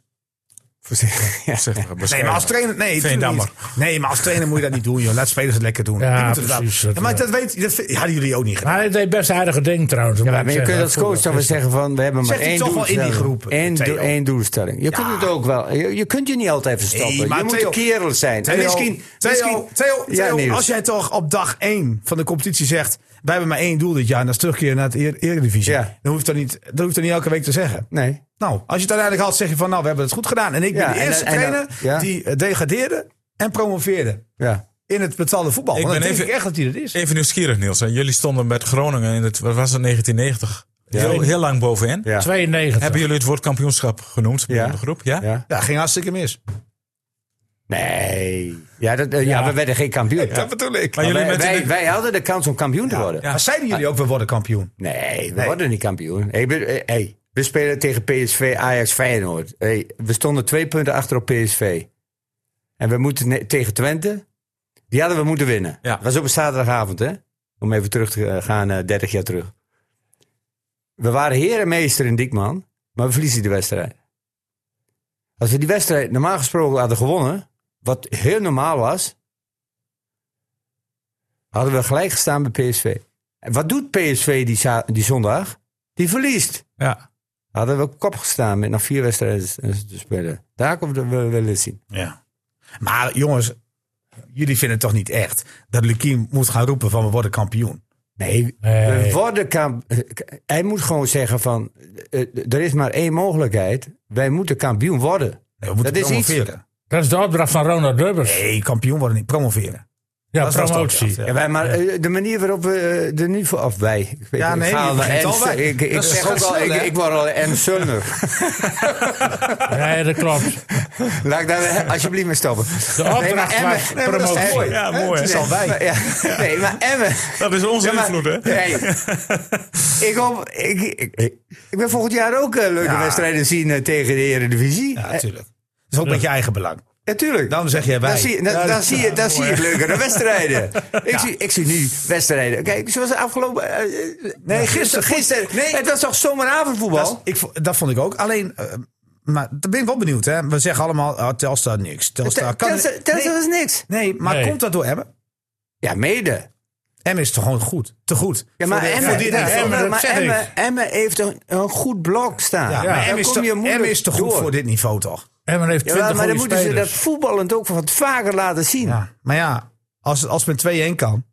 Speaker 5: Voorzichtig. Ja.
Speaker 3: voorzichtiger
Speaker 4: Nee, maar als trainer, nee, natuurlijk
Speaker 3: Veendammer.
Speaker 4: niet. nee, maar als trainer moet je dat niet doen, joh. Laat spelers het lekker doen.
Speaker 1: Ja,
Speaker 4: Die moeten het wel-
Speaker 1: precies,
Speaker 4: Ja,
Speaker 1: dat,
Speaker 4: maar
Speaker 1: eh.
Speaker 4: dat weet, dat vind- hadden jullie ook niet gedaan.
Speaker 1: Maar hij deed best aardige ding trouwens. moet ik
Speaker 5: maar je
Speaker 1: zeggen.
Speaker 5: kunt als coach dan wel zeggen van, we hebben maar
Speaker 4: Zegt hij
Speaker 5: één
Speaker 4: toch wel in die
Speaker 5: doelstelling.
Speaker 4: groep,
Speaker 5: Eén,
Speaker 4: Theo?
Speaker 5: doel- één doelstelling. Je kunt het ook wel. Je, je kunt je niet altijd verstoppen.
Speaker 4: maar
Speaker 5: je moet
Speaker 4: Theo-
Speaker 5: een kerel zijn. En
Speaker 4: Theo,
Speaker 5: misschien...
Speaker 4: Theo,
Speaker 5: misschien
Speaker 4: Theo,
Speaker 5: Ja,
Speaker 4: Theo,
Speaker 5: Niels.
Speaker 4: als jij toch op dag 1 van de competitie zegt... wij hebben maar één doel dit jaar en dat is terugkeren naar het Eer- Eredivisie...
Speaker 5: Ja.
Speaker 4: Dan, hoeft dat niet, dat hoeft dat niet elke week te zeggen.
Speaker 5: Nee.
Speaker 4: Nou, als je het uiteindelijk had, zeg je van... nou, we hebben het goed gedaan. En ik
Speaker 5: Ja,
Speaker 4: ben de
Speaker 5: en
Speaker 4: eerste
Speaker 5: dan- en dan-
Speaker 4: trainer
Speaker 5: ja.
Speaker 4: die eh, degradeerde en promoveerde...
Speaker 5: Ja.
Speaker 4: in het betaalde voetbal.
Speaker 3: Ik
Speaker 4: Want
Speaker 3: ben
Speaker 4: Oh, dan denk
Speaker 3: even-
Speaker 4: ik echt dat hij dat is.
Speaker 3: Even nieuwsgierig, Niels. En jullie stonden met Groningen in het, wat was het, 1990. Heel, heel lang bovenin.
Speaker 5: Ja.
Speaker 1: 92.
Speaker 3: Hebben jullie het woord kampioenschap genoemd binnen
Speaker 5: Ja.
Speaker 3: de groep? Ja?
Speaker 5: Ja.
Speaker 4: Ja, ging hartstikke mis.
Speaker 5: Nee. Ja, dat, eh, ja. we werden geen kampioen.
Speaker 4: Dat bedoel ik.
Speaker 3: Maar
Speaker 4: Maar,
Speaker 3: jullie
Speaker 5: Wij,
Speaker 3: met de-
Speaker 5: wij, wij hadden de kans om kampioen te worden. Ah.
Speaker 3: Ja.
Speaker 4: zeiden jullie ook, we worden kampioen?
Speaker 5: Nee, we worden niet kampioen. Hey, we, eh, hey, we spelen tegen PSV, Ajax, Feyenoord. Hey, we stonden twee punten achter op PSV. En we moeten ne- tegen Twente. Die hadden we moeten winnen.
Speaker 3: Ja.
Speaker 5: Dat was op een zaterdagavond, hè? Om even terug te eh, gaan, eh, 30 jaar terug. We waren heer en meester in Diekman, maar we verliezen de wedstrijd. Als we die wedstrijd normaal gesproken hadden gewonnen, wat heel normaal was, hadden we gelijk gestaan bij PSV. En wat doet PSV die, za- die zondag? Die verliest.
Speaker 3: Ja.
Speaker 5: Hadden we kop gestaan met nog vier wedstrijden te spelen. Daar komt we wel eens zien.
Speaker 4: Ja. Maar jongens, jullie vinden het toch niet echt dat Lukien moet gaan roepen van we worden kampioen?
Speaker 5: Nee, We worden kamp- Hij moet gewoon zeggen van, eh, eh, er is maar één mogelijkheid. Wij moeten kampioen worden.
Speaker 4: moeten
Speaker 5: dat is iets.
Speaker 4: promoveren.
Speaker 1: Dat is de opdracht van Ronald Dubbers.
Speaker 4: Nee, kampioen worden niet, promoveren.
Speaker 1: Ja,
Speaker 4: Dat is wel
Speaker 1: promotie.
Speaker 4: standaard,
Speaker 5: Ja, wij, maar eh, de manier waarop we eh, er nu voor af wij. Ik weet-
Speaker 4: Ja,
Speaker 5: ik
Speaker 4: nee,
Speaker 5: ga
Speaker 4: je
Speaker 5: al naar
Speaker 4: begint
Speaker 5: Ernst-
Speaker 4: al wij.
Speaker 5: Ik, ik
Speaker 4: Dat is
Speaker 5: zeg ook
Speaker 4: heel
Speaker 5: al,
Speaker 4: snel,
Speaker 5: ik,
Speaker 4: hè?
Speaker 5: ik word al Ernst Zulner.
Speaker 1: Ja, dat klopt.
Speaker 5: Laat ik daar eh, alsjeblieft mee stoppen.
Speaker 1: De opdracht
Speaker 5: Emmen-
Speaker 1: was promotie.
Speaker 5: Emmen-
Speaker 3: Ja, mooi.
Speaker 5: Nee, maar- ja, nee, maar Emmen.
Speaker 3: Dat is onze
Speaker 5: Ja, maar-
Speaker 3: invloed, hè?
Speaker 5: Nee. ik, hoop, ik, ik, ik wil volgend jaar ook eh, leuke
Speaker 4: Ja.
Speaker 5: wedstrijden zien eh, tegen de Eredivisie.
Speaker 4: Ja,
Speaker 5: Eh,
Speaker 4: natuurlijk. Dat is ook met je eigen belang.
Speaker 5: Natuurlijk.
Speaker 4: Dan zeg je wij.
Speaker 5: Dan zie, je- dan,
Speaker 4: Ja,
Speaker 5: dan
Speaker 4: dat-
Speaker 5: zie, je, dan zie je leukere wedstrijden. Ik, zie, ik zie nu wedstrijden. Kijk, zoals de afgelopen... eh, eh, nee, gisteren. gisteren
Speaker 4: nee.
Speaker 5: Het was toch zomeravondvoetbal?
Speaker 4: Dat, is- ik, vo- dat vond ik ook. Alleen, eh, maar daar ben ik wel benieuwd. Hè. We zeggen allemaal, ah, Telstar niks. Telstar kan...
Speaker 5: Telstra- Telstra
Speaker 4: nee,
Speaker 5: is niks.
Speaker 4: nee, maar
Speaker 1: Nee.
Speaker 4: komt dat door Emmen?
Speaker 5: Ja, mede.
Speaker 4: Emmen is toch gewoon goed? Te goed.
Speaker 5: Ja, maar
Speaker 4: Voor de-
Speaker 5: Emmen
Speaker 4: voor dit
Speaker 5: ja,
Speaker 4: niveau.
Speaker 5: Emmen-
Speaker 1: dat
Speaker 5: maar
Speaker 1: zeg ik.
Speaker 5: Emmen- Emmen heeft een, een goed blok staan.
Speaker 4: Ja, maar Emmen is,
Speaker 5: kom
Speaker 4: te,
Speaker 5: je moeilijk
Speaker 4: Emmen is te goed
Speaker 5: door.
Speaker 4: voor dit niveau, toch?
Speaker 1: Emmen heeft
Speaker 5: Jawel,
Speaker 1: 20
Speaker 5: maar dan
Speaker 1: goede
Speaker 5: moeten ze dat
Speaker 1: spelers.
Speaker 5: voetballend ook wat vaker laten zien. Ja,
Speaker 4: Ja. Maar ja, als, als men 2-1 kan.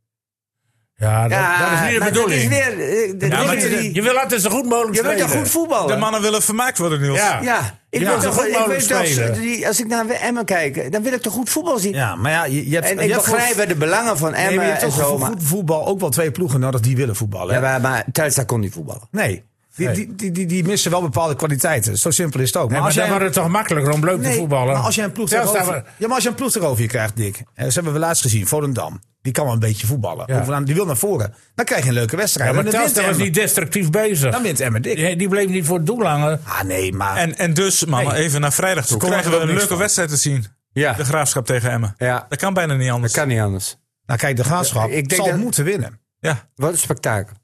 Speaker 1: Ja, dat, dat is niet de
Speaker 5: maar
Speaker 1: bedoeling.
Speaker 5: Dat is weer, eh, de
Speaker 1: Ja, maar
Speaker 5: dingen
Speaker 1: je-
Speaker 5: die-
Speaker 1: je wil altijd zo goed mogelijk
Speaker 5: je bent
Speaker 1: spelen.
Speaker 5: een goed voetballer.
Speaker 3: De mannen willen vermaakt worden, Niels.
Speaker 1: Ja.
Speaker 5: Ja, ik
Speaker 1: Ja,
Speaker 5: wil
Speaker 1: zo
Speaker 5: toch,
Speaker 1: goed
Speaker 5: ik
Speaker 1: mogelijk
Speaker 5: weet toch
Speaker 1: spelen.
Speaker 5: die- als ik naar Emmen kijk, dan wil ik toch goed voetbal zien.
Speaker 4: Ja, maar ja, je, je hebt,
Speaker 5: En
Speaker 4: je
Speaker 5: ik
Speaker 4: hebt
Speaker 5: begrijp
Speaker 4: voor-
Speaker 5: de belangen van
Speaker 4: Nee,
Speaker 5: Emmen
Speaker 4: maar je hebt
Speaker 5: en
Speaker 4: toch
Speaker 5: zo.
Speaker 4: voor
Speaker 5: Maar,
Speaker 4: goed voetbal ook wel twee ploegen nodig die willen voetballen.
Speaker 5: ja,
Speaker 4: hè?
Speaker 5: maar, maar Telstra kon niet voetballen.
Speaker 4: Nee. Die, Die, die, die, die missen wel bepaalde kwaliteiten. Zo simpel is het ook. Maar,
Speaker 1: Nee, maar
Speaker 4: als,
Speaker 1: dan
Speaker 4: jij,
Speaker 1: wordt het toch makkelijker om leuk te
Speaker 4: nee,
Speaker 1: voetballen.
Speaker 4: maar als jij een ploeg
Speaker 1: Telstra
Speaker 4: tegenover,
Speaker 1: wa-
Speaker 4: ja, maar als je een ploeg tegenover je krijgt, Dick. eh, Dat hebben we laatst gezien. Volendam. Die kan wel een beetje voetballen.
Speaker 1: Ja.
Speaker 4: Of aan- Die wil naar voren. Dan krijg je een leuke wedstrijd.
Speaker 1: Ja, maar
Speaker 4: En dan wint
Speaker 1: Telstra was
Speaker 4: Emmen.
Speaker 1: niet destructief bezig.
Speaker 4: Dan wint Nou, Emmen dik.
Speaker 1: Die, die bleef niet voor het doel hangen.
Speaker 4: Ah, nee, maar...
Speaker 3: En, en dus, mannen, even naar vrijdag toe.
Speaker 4: konden
Speaker 3: Krijgen
Speaker 4: er
Speaker 3: we een
Speaker 4: ook niks
Speaker 3: leuke
Speaker 4: van.
Speaker 3: wedstrijd te zien.
Speaker 5: Ja,
Speaker 3: De Graafschap tegen Emmen.
Speaker 5: Ja.
Speaker 3: Dat kan bijna niet anders.
Speaker 5: dat kan niet anders.
Speaker 4: nou, kijk, de graafschap
Speaker 5: Ik denk
Speaker 4: zal
Speaker 5: dat-
Speaker 4: moeten winnen.
Speaker 3: Ja.
Speaker 5: Wat een spektakel.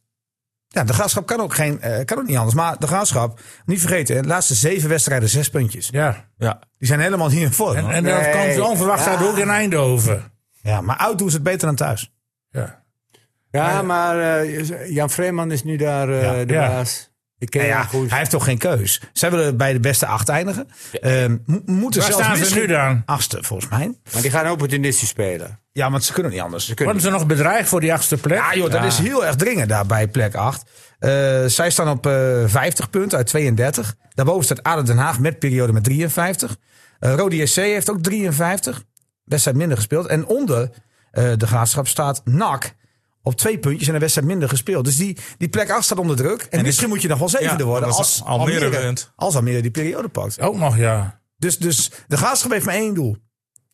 Speaker 4: Ja, de graafschap kan ook, geen, eh, kan ook niet anders. Maar de graafschap, niet vergeten, hè, de laatste zeven wedstrijden zes puntjes.
Speaker 1: Ja.
Speaker 3: Ja.
Speaker 4: Die zijn helemaal hier in vorm.
Speaker 1: En, en dan
Speaker 5: Nee.
Speaker 1: kwam ze onverwacht
Speaker 5: Ja.
Speaker 1: uit de hoek in Eindhoven.
Speaker 4: ja, maar uit doen ze het beter dan thuis.
Speaker 1: Ja.
Speaker 5: Ja, maar eh, Jan Vreeman is nu daar eh,
Speaker 1: Ja,
Speaker 5: de
Speaker 1: ja.
Speaker 5: baas. Ik ken
Speaker 4: Nou
Speaker 5: hem
Speaker 4: ja,
Speaker 5: goed.
Speaker 4: hij heeft toch geen keus. Zij willen bij de beste acht eindigen. Ehm, mo- moeten
Speaker 1: Waar
Speaker 4: zelfs
Speaker 1: staan ze nu
Speaker 4: misschien-
Speaker 1: dan?
Speaker 4: Achtste, volgens mij.
Speaker 5: Maar die gaan opportunistisch spelen.
Speaker 4: Ja, want ze kunnen niet anders.
Speaker 1: Worden ze nog bedreigd voor die achtste plek?
Speaker 4: Ja, joh, dat is heel erg dringend daar bij plek 8. zij staan op eh 50 punten uit 32. Daarboven staat ADO Den Haag met periode met 53. Eh Rode SC heeft ook 53. Wedstrijd minder gespeeld. En onder eh, de graafschap staat NAC op twee puntjes en een wedstrijd minder gespeeld. Dus die, die plek 8 staat onder druk. En, misschien moet je nog wel zevende
Speaker 3: Ja,
Speaker 4: worden
Speaker 3: als
Speaker 4: als
Speaker 3: Almere
Speaker 4: Almere,
Speaker 3: wint.
Speaker 4: als Almere die periode pakt.
Speaker 1: Ook nog, ja.
Speaker 4: Dus, dus de graafschap heeft maar één doel.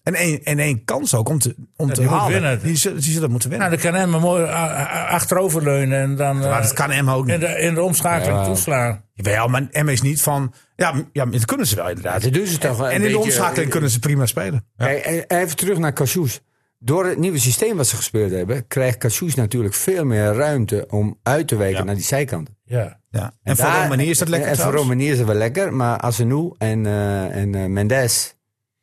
Speaker 4: En één, en één kans ook om te, om te
Speaker 1: die moet
Speaker 4: halen.
Speaker 1: winnen.
Speaker 4: Die, zullen, die zullen moeten winnen.
Speaker 1: Nou, dan kan Emmen mooi a- a- achteroverleunen en dan eh,
Speaker 4: maar dat kan hem ook niet.
Speaker 1: in, de, in de omschakeling toeslaan.
Speaker 4: Jawel, maar M is niet van. Ja, m- ja, dat kunnen ze wel inderdaad.
Speaker 5: Dat doen ze toch wel een
Speaker 4: En in de
Speaker 5: beetje- eh,
Speaker 4: omschakeling kunnen ze prima spelen.
Speaker 5: Kijk, eh, Even terug naar Cassius. Door het nieuwe systeem wat ze gespeeld hebben, krijgt Cassius natuurlijk veel meer ruimte om uit te wijken naar die zijkanten.
Speaker 1: Ja.
Speaker 4: Ja. En, voor
Speaker 5: daar-
Speaker 4: Romanië is dat lekker.
Speaker 5: En voor
Speaker 4: trouwens.
Speaker 5: Romanië is dat wel lekker. Maar Azenou en, eh, en eh, Mendes,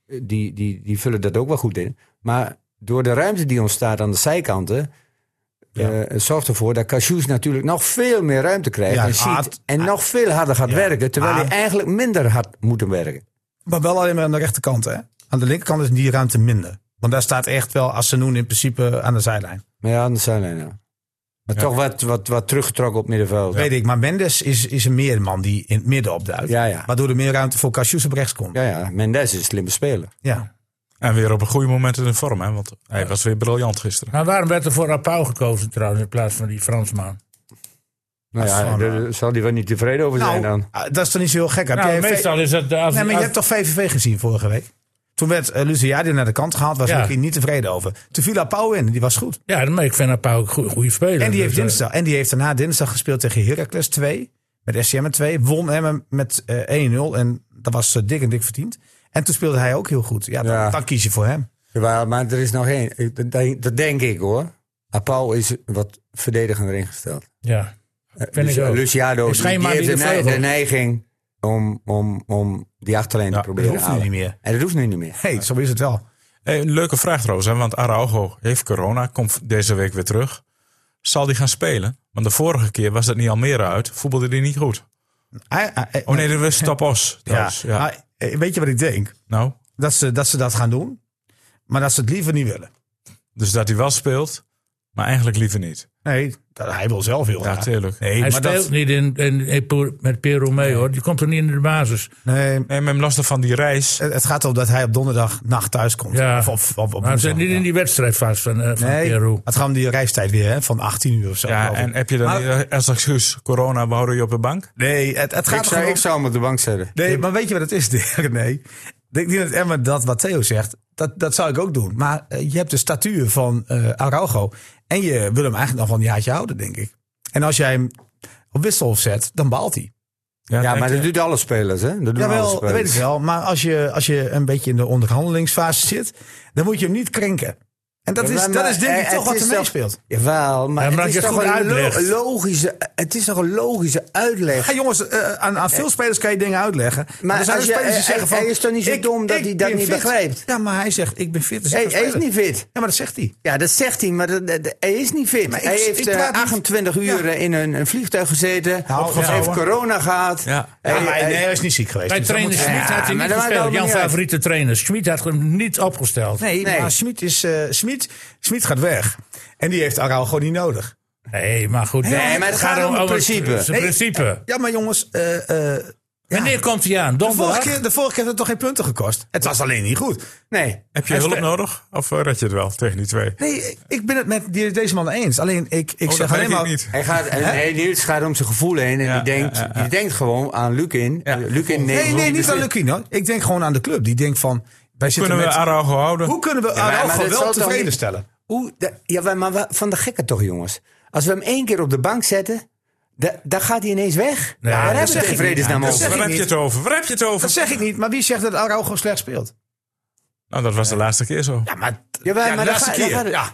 Speaker 5: eh, die, die, die vullen dat ook wel goed in. Maar door de ruimte die ontstaat aan de zijkanten... eh zorgt ervoor dat Cassius natuurlijk nog veel meer ruimte krijgt.
Speaker 4: Ja, Ah.
Speaker 5: en, ziet,
Speaker 4: Aad-
Speaker 5: en nog veel harder gaat werken. Terwijl
Speaker 4: Aad-
Speaker 5: hij eigenlijk minder hard moet werken.
Speaker 4: Maar wel alleen maar aan de rechterkant. Hè? Aan de linkerkant is die ruimte minder. Want daar staat echt wel Assenoen in principe aan de zijlijn.
Speaker 5: Maar ja, aan de zijlijn. ja. nou. Maar toch wat, wat, wat teruggetrokken op middenveld.
Speaker 4: Weet ik. Maar Mendes is, is een meerman die in het midden opduikt.
Speaker 5: Ja, ja.
Speaker 4: Waardoor er meer ruimte voor Cassius op rechts komt. Ja.
Speaker 5: Ja, ja, Mendes is een slimme speler.
Speaker 3: En weer op een goede moment in de vorm, hè? Want hij was weer briljant gisteren.
Speaker 1: Maar waarom werd er voor Apau gekozen trouwens in plaats van die Fransman?
Speaker 5: Nou ja, daar zal hij wel niet tevreden over zijn
Speaker 4: eh, Nou,
Speaker 5: dan.
Speaker 4: ah, dat is toch niet zo heel gek. Heb
Speaker 1: Nou,
Speaker 4: jij V-
Speaker 1: meestal is het... Als,
Speaker 4: Nee, maar je
Speaker 1: als-
Speaker 4: hebt toch VVV gezien vorige week? Toen werd uh, Luciadi naar de kant gehaald. Was
Speaker 1: Ja.
Speaker 4: hij niet tevreden over. Toen viel Pauw in. Die was goed.
Speaker 1: Ja, maar ik vind Apau een goe- goede speler.
Speaker 4: En die, heeft
Speaker 1: Dus, eh,
Speaker 4: dinsdag, en die heeft daarna dinsdag gespeeld tegen Heracles 2. Met SCM 2. Won hem met eh, 1-0. En dat was eh, dik en dik verdiend. En toen speelde hij ook heel goed. Ja, dan,
Speaker 5: Ja.
Speaker 4: dan kies je voor hem.
Speaker 5: Ja, maar er is nog één. Ik- Dat denk, dat denk ik hoor. Apau is wat verdedigender ingesteld.
Speaker 1: Ja, vind
Speaker 5: Luci-
Speaker 1: ik ook.
Speaker 5: Luciano
Speaker 1: Is
Speaker 5: die,
Speaker 1: geen
Speaker 5: die
Speaker 1: man
Speaker 5: heeft
Speaker 1: die
Speaker 5: de,
Speaker 1: de
Speaker 5: nei-
Speaker 1: vleugel-
Speaker 5: de neiging om, om, om die achterlijn te
Speaker 4: Dat
Speaker 5: proberen te
Speaker 4: hoeft nu
Speaker 5: halen.
Speaker 4: niet meer.
Speaker 5: En dat hoeft nu niet meer.
Speaker 4: Hey, zo is het wel.
Speaker 3: Eh, Hey, een leuke vraag trouwens, hè, want Araujo heeft corona, komt deze week weer terug. Zal die gaan spelen? Want de vorige keer was dat niet Almere uit, voetbalde die niet goed. oh nee, dat was Tapos.
Speaker 4: Ja.
Speaker 3: trouwens, Ja.
Speaker 4: Nou, eh, weet je wat ik denk?
Speaker 3: Nou?
Speaker 4: Dat ze, dat ze dat gaan doen, maar dat ze het liever niet willen.
Speaker 3: Dus dat hij wel speelt, maar eigenlijk liever niet.
Speaker 4: Nee, dat, hij wil zelf heel
Speaker 3: Ja,
Speaker 4: graag.
Speaker 3: tuurlijk.
Speaker 4: Nee,
Speaker 1: Hij
Speaker 4: maar dat-
Speaker 1: speelt niet in, in, in Peru- met Peru mee hoor. Die komt er niet in de basis.
Speaker 4: Nee,
Speaker 3: Nee, maar hem lastig van die reis.
Speaker 4: het, het gaat erom dat hij op donderdag nacht thuis komt.
Speaker 1: Ja.
Speaker 4: Of, of, of, op
Speaker 1: maar hij zit
Speaker 4: woensdag.
Speaker 1: niet in die wedstrijd vast van, eh, van
Speaker 4: Nee,
Speaker 1: Peru.
Speaker 4: het gaat om die reistijd weer, hè, van 18 uur of zo.
Speaker 3: Ja,
Speaker 4: geloof ik.
Speaker 3: en heb je dan
Speaker 4: Maar-
Speaker 3: niet eh, als excuus corona, we houden je op de bank?
Speaker 4: Nee, het,
Speaker 5: Ik
Speaker 4: het gaat er
Speaker 5: zou,
Speaker 4: gewoon
Speaker 5: ik zou hem op de bank zetten.
Speaker 4: Nee, maar weet je wat het is, Dirk? Nee. Ik denk dat Emma dat wat Theo zegt, dat, dat zou ik ook doen. Maar eh, je hebt de statuur van eh Araujo. En je wil hem eigenlijk nog wel een jaartje houden, denk ik. En als jij hem op wissel zet, dan baalt hij.
Speaker 5: Ja,
Speaker 3: denk
Speaker 5: maar
Speaker 3: je-
Speaker 5: dat doet alle spelers, hè? Dat doen alle
Speaker 4: Jawel, dat
Speaker 5: spelers.
Speaker 4: weet ik wel. Maar als je, als je een beetje in de onderhandelingsfase zit, dan moet je hem niet krenken. En dat,
Speaker 5: Ja,
Speaker 4: is,
Speaker 5: maar-
Speaker 4: dat is denk ik
Speaker 5: eh,
Speaker 4: toch wat
Speaker 5: het
Speaker 4: er
Speaker 5: is
Speaker 4: meespeelt.
Speaker 5: Jawel, maar,
Speaker 1: Ja, maar als
Speaker 5: het,
Speaker 1: je
Speaker 5: is
Speaker 1: het
Speaker 5: toch
Speaker 1: goed
Speaker 5: een lo-
Speaker 1: uitlegt.
Speaker 5: logische, het is toch een logische uitleg.
Speaker 4: Ja, jongens, eh, aan, aan veel spelers kan je dingen uitleggen.
Speaker 5: Maar
Speaker 4: er zijn
Speaker 5: als
Speaker 4: ook
Speaker 5: je-
Speaker 4: spelers die
Speaker 5: hij-
Speaker 4: zeggen van...
Speaker 5: hij is toch niet zo
Speaker 4: ik-
Speaker 5: dom dat
Speaker 4: ik
Speaker 5: hij dat
Speaker 4: ben
Speaker 5: niet
Speaker 4: fit.
Speaker 5: begrijpt?
Speaker 4: Ja, maar hij zegt, ik ben fit. Dat
Speaker 5: Hij,
Speaker 4: zegt een
Speaker 5: hij is
Speaker 4: speler.
Speaker 5: niet fit.
Speaker 4: Ja, maar dat zegt hij.
Speaker 5: Ja, dat zegt hij, maar dat, dat- hij is niet fit.
Speaker 4: Maar ik-
Speaker 5: hij
Speaker 4: ik
Speaker 5: heeft
Speaker 4: praat
Speaker 5: eh,
Speaker 4: niet-
Speaker 5: 28
Speaker 4: Ja.
Speaker 5: uur eh, in een, een vliegtuig gezeten.
Speaker 4: Nou,
Speaker 5: hij heeft
Speaker 4: ja.
Speaker 5: corona gehad.
Speaker 3: Ja.
Speaker 5: Hij-
Speaker 4: Ja, maar hij,
Speaker 5: hij-
Speaker 4: nee, hij is niet ziek geweest.
Speaker 1: Bij
Speaker 4: dus dat
Speaker 1: trainer
Speaker 4: moet-
Speaker 1: Schmid had hij
Speaker 5: maar
Speaker 1: niet
Speaker 5: dat maakt
Speaker 1: gespeeld.
Speaker 5: allemaal
Speaker 1: Jouw
Speaker 5: niet uit.
Speaker 1: favoriete trainer. Schmid had hem niet opgesteld.
Speaker 4: Nee,
Speaker 5: Nee.
Speaker 4: maar Schmid, is, eh Schmid, Schmid gaat weg. En die heeft Araujo gewoon niet nodig.
Speaker 1: Nee, maar goed.
Speaker 5: Nee, maar het gaat om het principe.
Speaker 1: Het
Speaker 4: Nee.
Speaker 1: principe.
Speaker 4: Ja, maar jongens, eh, eh,
Speaker 1: Wanneer komt hij aan?
Speaker 4: de, vorige
Speaker 1: Donderdag?
Speaker 4: keer, de vorige keer had het toch geen punten gekost? Het was alleen niet goed.
Speaker 5: nee.
Speaker 3: Heb je
Speaker 4: Hij
Speaker 3: hulp
Speaker 4: spe-
Speaker 3: nodig? Of eh, red je het wel tegen die twee?
Speaker 4: Nee, ik ben het met die- deze man eens. Alleen ik, ik
Speaker 3: Oh, dat
Speaker 4: zeg
Speaker 3: weet
Speaker 4: alleen
Speaker 3: ik
Speaker 4: maar...
Speaker 3: niet.
Speaker 5: Hij gaat, en, nee, Niels gaat om zijn gevoel heen en
Speaker 3: Ja,
Speaker 5: die, denkt,
Speaker 3: ja, ja, ja.
Speaker 5: die denkt gewoon aan Lukin.
Speaker 3: Ja.
Speaker 5: Eh, Lukin neemt
Speaker 4: Nee,
Speaker 5: hem
Speaker 4: nee,
Speaker 5: op de
Speaker 4: niet aan
Speaker 5: fiets.
Speaker 4: Lukien hoor. Ik denk gewoon aan de club. Die denkt van, wij zitten
Speaker 3: Kunnen we
Speaker 4: met...
Speaker 3: Araujo houden?
Speaker 4: hoe kunnen we
Speaker 5: maar- maar
Speaker 4: Araujo
Speaker 5: dat
Speaker 4: wel
Speaker 5: zal toch
Speaker 4: tevreden
Speaker 5: niet-
Speaker 4: stellen?
Speaker 5: Hoe, da- ja, wij- maar wa- van de gekken toch, jongens. Als we hem één keer op de bank zetten, da- dan gaat hij ineens weg.
Speaker 1: Nee,
Speaker 5: Daar
Speaker 1: dat
Speaker 5: hebben
Speaker 1: zeg
Speaker 5: we
Speaker 1: ik
Speaker 5: geen
Speaker 1: niet.
Speaker 5: vredesnaam
Speaker 4: Ja, dat
Speaker 5: over.
Speaker 3: Waar
Speaker 4: zeg ik
Speaker 3: heb je
Speaker 4: niet.
Speaker 3: het over? Waar heb je het over?
Speaker 4: Dat zeg ik niet, maar wie zegt dat Araujo slecht speelt?
Speaker 3: Nou, dat was de laatste keer zo.
Speaker 4: Ja, maar,
Speaker 5: Jawel, maar
Speaker 4: de
Speaker 5: daar
Speaker 4: laatste
Speaker 5: ga- daar
Speaker 4: keer.
Speaker 5: gaat het-
Speaker 4: ja.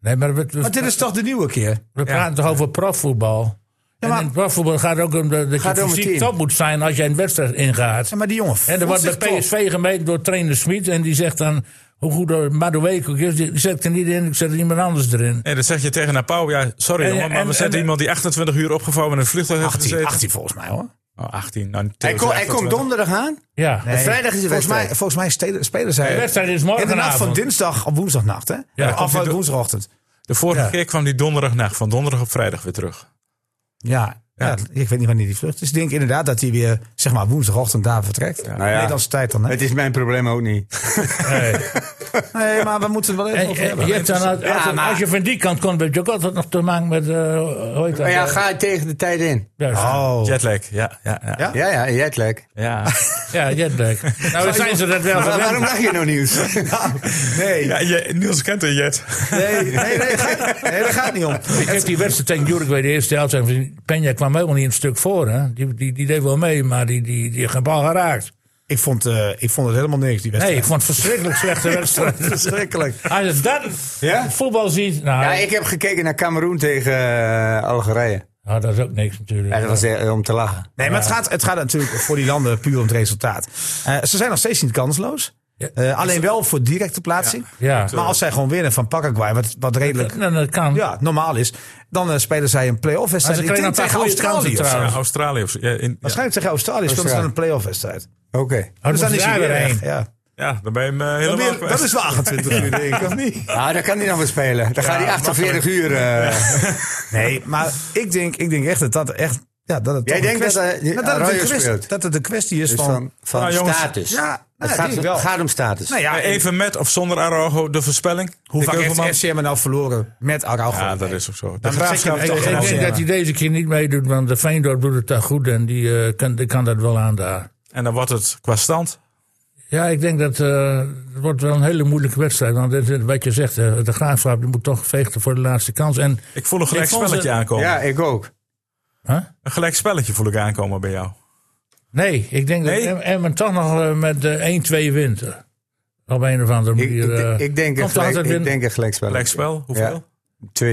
Speaker 1: Nee, maar we, we-
Speaker 4: Maar dit is toch de nieuwe keer?
Speaker 1: we praten toch over profvoetbal?
Speaker 4: maar-
Speaker 1: en in profvoetbal gaat het ook om de- dat je
Speaker 5: Gaat om het
Speaker 1: fysiek
Speaker 5: team.
Speaker 1: top moet zijn als jij een wedstrijd ingaat.
Speaker 4: Ja, maar die jongen
Speaker 1: En er
Speaker 4: voelt
Speaker 1: wordt
Speaker 4: zich
Speaker 1: bij
Speaker 4: top.
Speaker 1: PSV gemeten door trainer Smit. En die zegt dan, hoe goed Madueke ook is, die zet ik er niet in, ik zet er iemand anders erin.
Speaker 3: En dan zeg je tegen Napau, ja, sorry
Speaker 1: En-
Speaker 3: jongen, maar
Speaker 1: en-
Speaker 3: we zetten
Speaker 1: en-
Speaker 3: iemand die 28 uur opgevouwen in een vliegtuig heeft
Speaker 4: 18,
Speaker 3: gezeten.
Speaker 4: 18 volgens mij hoor.
Speaker 3: Oh, 18. Nou,
Speaker 5: Hij,
Speaker 3: Theo
Speaker 5: ko-
Speaker 3: zei
Speaker 5: hij komt
Speaker 3: 28.
Speaker 5: donderdag aan.
Speaker 1: Ja,
Speaker 4: Nee,
Speaker 5: vrijdag is de
Speaker 4: volgens
Speaker 5: wedstrijd.
Speaker 4: Mij, volgens mij steden- spelen zij.
Speaker 1: De wedstrijd is morgenavond.
Speaker 4: In de nacht van dinsdag op woensdagnacht, hè?
Speaker 1: dan
Speaker 4: of
Speaker 3: komt hij
Speaker 4: eh,
Speaker 3: do-
Speaker 4: woensdagochtend.
Speaker 3: De vorige
Speaker 4: Ja.
Speaker 3: keer kwam die donderdagnacht, van donderdag op vrijdag weer terug.
Speaker 4: Ja. Ja. ik weet niet wanneer die vlucht is. Ik denk inderdaad dat hij weer zeg maar, woensdagochtend daar vertrekt.
Speaker 5: Nou ja.
Speaker 4: Nederlandse tijd dan. Hè?
Speaker 5: Het is mijn probleem ook niet.
Speaker 1: Nee.
Speaker 4: Nee, maar we moeten het wel even
Speaker 1: En-
Speaker 4: over
Speaker 1: en
Speaker 4: hebben.
Speaker 1: je hebt dan, als,
Speaker 5: Ja,
Speaker 1: als-
Speaker 5: maar-
Speaker 1: als je van die kant komt, heb je ook altijd nog te maken met... eh hoe heet dat?
Speaker 5: Maar ja,
Speaker 1: eh,
Speaker 5: ga hij tegen de tijd in.
Speaker 1: juist.
Speaker 4: Oh.
Speaker 3: Jetlag, ja, ja, ja.
Speaker 4: Ja?
Speaker 3: ja?
Speaker 5: Ja, ja, jetlag.
Speaker 3: ja.
Speaker 1: Ja, jetlag. Nou, dan zijn ze dat wel
Speaker 5: Maar waarom
Speaker 1: gewend.
Speaker 5: lach je nou nieuws?
Speaker 4: Nee,
Speaker 3: je- Niels kent een jet.
Speaker 4: nee, nee, nee, ga- nee, daar gaat het niet om.
Speaker 1: Ik heb die wedstrijd tegen Uruguay de eerste helft. gezien. Peña kwam helemaal niet een stuk voor. Hè? Die, die, die deed wel mee, maar die, die, die heeft geen bal geraakt.
Speaker 4: Ik vond, eh, ik vond het helemaal niks, die
Speaker 1: Nee,
Speaker 4: wedstrijd.
Speaker 1: ik vond het verschrikkelijk slechte wedstrijd.
Speaker 4: verschrikkelijk.
Speaker 1: Als je dat
Speaker 5: Ja?
Speaker 1: voetbal ziet, nou,
Speaker 5: Ja, ik heb gekeken naar Cameroen tegen eh, Algerije.
Speaker 1: nou, dat is ook niks natuurlijk.
Speaker 5: Ja, dat was eh, om te lachen.
Speaker 4: Nee, maar het gaat, het gaat natuurlijk voor die landen puur om het resultaat. Eh, ze zijn nog steeds niet kansloos.
Speaker 1: Ja.
Speaker 4: Eh, alleen wel voor directe plaatsing.
Speaker 1: Ja.
Speaker 4: Maar als zij gewoon winnen van Paraguay, wat, wat redelijk
Speaker 1: Nou, dat kan.
Speaker 4: ja, normaal is, dan eh, spelen zij een play-off wedstrijd.
Speaker 1: Maar ze
Speaker 4: Ik
Speaker 1: kregen
Speaker 4: denk
Speaker 1: een paar
Speaker 4: tegen
Speaker 1: goede
Speaker 4: Australië.
Speaker 1: kansen
Speaker 4: of zo.
Speaker 1: trouwens.
Speaker 3: Ja, Australië of zo. Ja, in- ja.
Speaker 4: Waarschijnlijk tegen Australië speelden ze dan een play-off wedstrijd.
Speaker 5: Oké.
Speaker 1: Oh,
Speaker 4: Dus dan
Speaker 1: moet
Speaker 4: is hij
Speaker 1: daar
Speaker 4: weer
Speaker 1: heen.
Speaker 4: weg. Ja.
Speaker 3: ja, dan ben je hem eh,
Speaker 4: Dan
Speaker 3: helemaal
Speaker 4: weer- Dat
Speaker 3: kwijt.
Speaker 4: is wel 28 uur, denk ik, of niet?
Speaker 5: Ah, daar kan hij nog wel spelen. Dan gaat hij 48 uur. eh,
Speaker 4: Nee, maar ik denk, ik denk echt dat dat echt... Ja, dat het
Speaker 5: Jij
Speaker 4: toch een
Speaker 5: denkt dat,
Speaker 4: kwestie-
Speaker 5: eh,
Speaker 4: Nou, dat, het een
Speaker 5: Arroyo
Speaker 4: kwestie-
Speaker 5: speelt?
Speaker 4: dat het een kwestie is
Speaker 5: dus
Speaker 4: van...
Speaker 5: van van
Speaker 3: Nou, jongens.
Speaker 5: status.
Speaker 4: Ja,
Speaker 5: het
Speaker 4: nou,
Speaker 5: gaat,
Speaker 4: denk ik wel.
Speaker 5: gaat om status.
Speaker 4: Nou ja,
Speaker 3: Eh, Even met of zonder Araujo de voorspelling.
Speaker 4: Hoe
Speaker 3: Dick
Speaker 4: vaak
Speaker 3: Heuvelman?
Speaker 4: heeft FCM nou verloren met Araujo?
Speaker 3: Ja, dat is ook zo. De
Speaker 4: Dan
Speaker 3: graafschap
Speaker 4: zeg je-
Speaker 3: toch
Speaker 1: Ik
Speaker 4: Ja.
Speaker 1: denk
Speaker 3: gewoon.
Speaker 1: dat hij deze keer niet meedoet, want de Feyenoord doet het daar goed en die, eh, kan, die kan dat wel aan daar.
Speaker 3: En dan wordt het qua stand.
Speaker 1: Ja, ik denk dat eh, het wordt wel een hele moeilijke wedstrijd. Want dit- dit- wat je zegt, eh, de graafschap die moet toch vechten voor de laatste kans. En
Speaker 3: Ik voel een gelijk
Speaker 1: Ik vond
Speaker 3: spelletje
Speaker 1: ze-
Speaker 3: aankomen.
Speaker 5: Ja, ik ook.
Speaker 1: Huh?
Speaker 3: Een gelijk spelletje voel ik aankomen bij jou.
Speaker 1: Nee, ik denk
Speaker 3: Nee?
Speaker 1: dat Em- Emmen toch nog eh, met eh, 1-2 wint. eh, Op een of andere
Speaker 5: Ik,
Speaker 1: manier.
Speaker 5: ik,
Speaker 1: eh,
Speaker 5: ik denk een
Speaker 1: komt er
Speaker 5: gelijk,
Speaker 1: altijd
Speaker 5: ik
Speaker 1: win-
Speaker 5: denk een gelijkspel.
Speaker 3: Gelijk spel, hoeveel? 2-2, 3-3,
Speaker 5: 2-2, 3-3.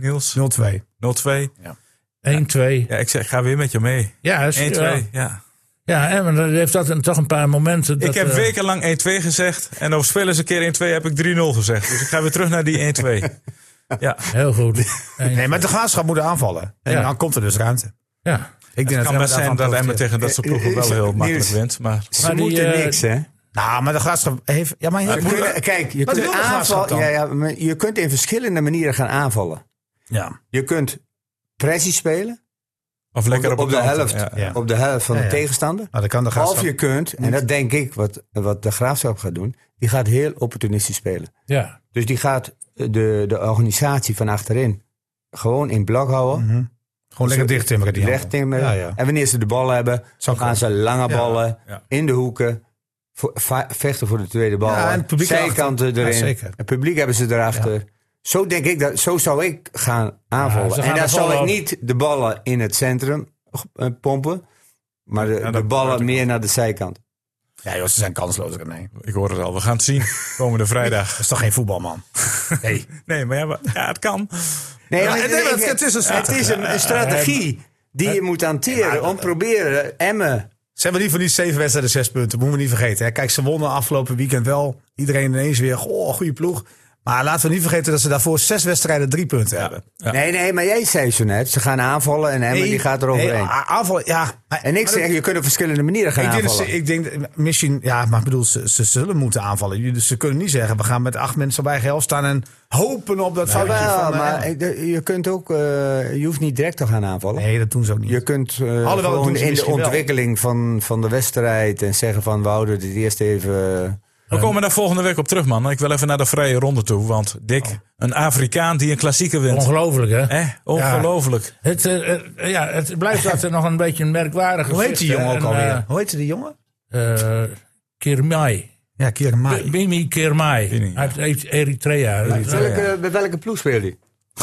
Speaker 3: Niels.
Speaker 4: 0-2.
Speaker 3: 0-2.
Speaker 1: 1-2.
Speaker 3: Ja, ik, zeg, ik ga weer met je mee. 1-2,
Speaker 1: 1-2. Ja, is- ja.
Speaker 3: ja.
Speaker 1: Ja, Emmen dat heeft dat een, toch een paar momenten.
Speaker 3: Ik
Speaker 1: dat,
Speaker 3: heb
Speaker 1: eh,
Speaker 3: wekenlang 1-2 gezegd. En over spelers een keer 1-2 heb ik 3-0 gezegd. Dus ik ga weer terug naar die 1-2. Ja.
Speaker 1: Heel goed.
Speaker 4: Nee, maar de graafschap moet aanvallen. En
Speaker 3: Ja.
Speaker 4: dan komt er dus ruimte.
Speaker 1: Ja.
Speaker 4: Ik
Speaker 3: het kan
Speaker 4: Emmen
Speaker 3: best zijn
Speaker 4: daarvan
Speaker 3: dat Emmen
Speaker 4: profiteert.
Speaker 3: tegen dat
Speaker 5: Eh,
Speaker 3: soort ploegen wel heel makkelijk wint. Maar eh,
Speaker 4: Ze moeten
Speaker 1: eh,
Speaker 4: niks, hè? Nou, maar de graafschap heeft... Ja, maar
Speaker 5: Maar
Speaker 4: je-
Speaker 5: we kunnen- kijk, je
Speaker 4: Wat
Speaker 5: kunt,
Speaker 4: wil de graafschap
Speaker 5: aanval,
Speaker 4: dan?
Speaker 5: ja, ja, maar je kunt in verschillende manieren gaan aanvallen.
Speaker 4: Ja.
Speaker 5: Je kunt pressie spelen.
Speaker 3: Of lekker
Speaker 5: op de,
Speaker 3: op de
Speaker 5: helft,
Speaker 3: kanten, ja, ja.
Speaker 5: op de helft van
Speaker 4: Ja,
Speaker 5: de
Speaker 4: ja.
Speaker 5: tegenstander.
Speaker 4: Nou, dat kan de graafschap
Speaker 5: of je kunt, en
Speaker 4: niet.
Speaker 5: dat denk ik wat, wat de graafschap gaat doen, die gaat heel opportunistisch spelen.
Speaker 1: Ja.
Speaker 5: Dus die gaat de, de organisatie van achterin gewoon in blok houden.
Speaker 4: Mhm. Gewoon lekker dicht timmeren die
Speaker 5: Recht
Speaker 4: handen.
Speaker 5: timmeren.
Speaker 4: Ja, ja.
Speaker 5: En wanneer ze de bal hebben, gaan ze lange
Speaker 4: Ja,
Speaker 5: ballen
Speaker 3: ja.
Speaker 5: in de hoeken. vo- va- vechten voor de tweede bal.
Speaker 4: Ja, en het publiek
Speaker 5: Zijkanten
Speaker 4: erachter.
Speaker 5: erin.
Speaker 4: Ja, zeker.
Speaker 5: Het publiek hebben ze erachter. Zo denk ik dat, zo zou ik gaan aanvallen.
Speaker 1: Ja, ze
Speaker 4: Nou,
Speaker 1: gaan
Speaker 5: en dan
Speaker 1: de
Speaker 5: zal
Speaker 1: ballen
Speaker 5: ik
Speaker 1: op-
Speaker 5: niet de ballen in het centrum eh, pompen. Maar de, de
Speaker 3: dat-
Speaker 5: ballen meer naar de zijkant.
Speaker 4: Ja, joh, ze zijn kansloos. Nee.
Speaker 3: Ik hoor het al. We gaan het zien. Komende vrijdag.
Speaker 4: Dat is toch geen voetbalman? Nee.
Speaker 3: Nee, maar ja, maar- ja, het kan.
Speaker 5: Nee,
Speaker 4: Ja,
Speaker 5: maar
Speaker 4: nee, maar het is een
Speaker 5: het is een, een strategie die je moet hanteren. om proberen Emmen.
Speaker 4: Ze hebben niet voor die zeven wedstrijden zes punten. Moeten we niet vergeten. Hè. Kijk, ze wonnen afgelopen weekend wel. Iedereen ineens weer. Goh, goede ploeg. Maar laten we niet vergeten dat ze daarvoor zes wedstrijden drie punten hebben.
Speaker 5: Nee, nee, maar jij zei zo net. Ze gaan aanvallen en Emmen
Speaker 4: Nee,
Speaker 5: die gaat eroverheen.
Speaker 4: nee, a- aanvallen, ja. Maar-
Speaker 5: en ik
Speaker 4: maar
Speaker 5: zeg,
Speaker 4: dat-
Speaker 5: je kunt op verschillende manieren gaan
Speaker 4: ik denk, dat
Speaker 5: aanvallen.
Speaker 4: ze, ik denk dat misschien, ja, maar ik bedoel, ze, ze zullen moeten aanvallen. Je- Dus ze kunnen niet zeggen, we gaan met acht mensen bij geel staan en hopen op dat foutje
Speaker 5: Jawel,
Speaker 4: van... eh,
Speaker 5: maar ik- de- je kunt ook, eh, je hoeft niet direct te gaan aanvallen.
Speaker 4: nee, dat doen ze ook niet.
Speaker 5: Je kunt eh,
Speaker 4: dat doen
Speaker 5: gewoon
Speaker 4: ze
Speaker 5: in de
Speaker 4: misschien wel.
Speaker 5: ontwikkeling van, van de wedstrijd en zeggen van we houden dit eerst even. eh,
Speaker 3: We komen daar volgende week op terug, man. Ik wil even naar de vrije ronde toe. Want Dick, een Afrikaan die een klassieker wint.
Speaker 1: Oh. Ongelooflijk, hè?
Speaker 3: Eh, ongelooflijk.
Speaker 1: Het, eh, eh, ja, het blijft altijd nog een beetje een merkwaardige.
Speaker 4: Hoe heet die jongen ook alweer? Hoe heet die jongen?
Speaker 1: alweer? eh, Kirmai.
Speaker 4: Ja, Kiermaai.
Speaker 1: Bimi Kirmai.
Speaker 3: Bimi,
Speaker 1: Hij
Speaker 3: ja.
Speaker 1: heeft- heeft Eritrea.
Speaker 5: eh, Welke, Bij welke ploeg speel je?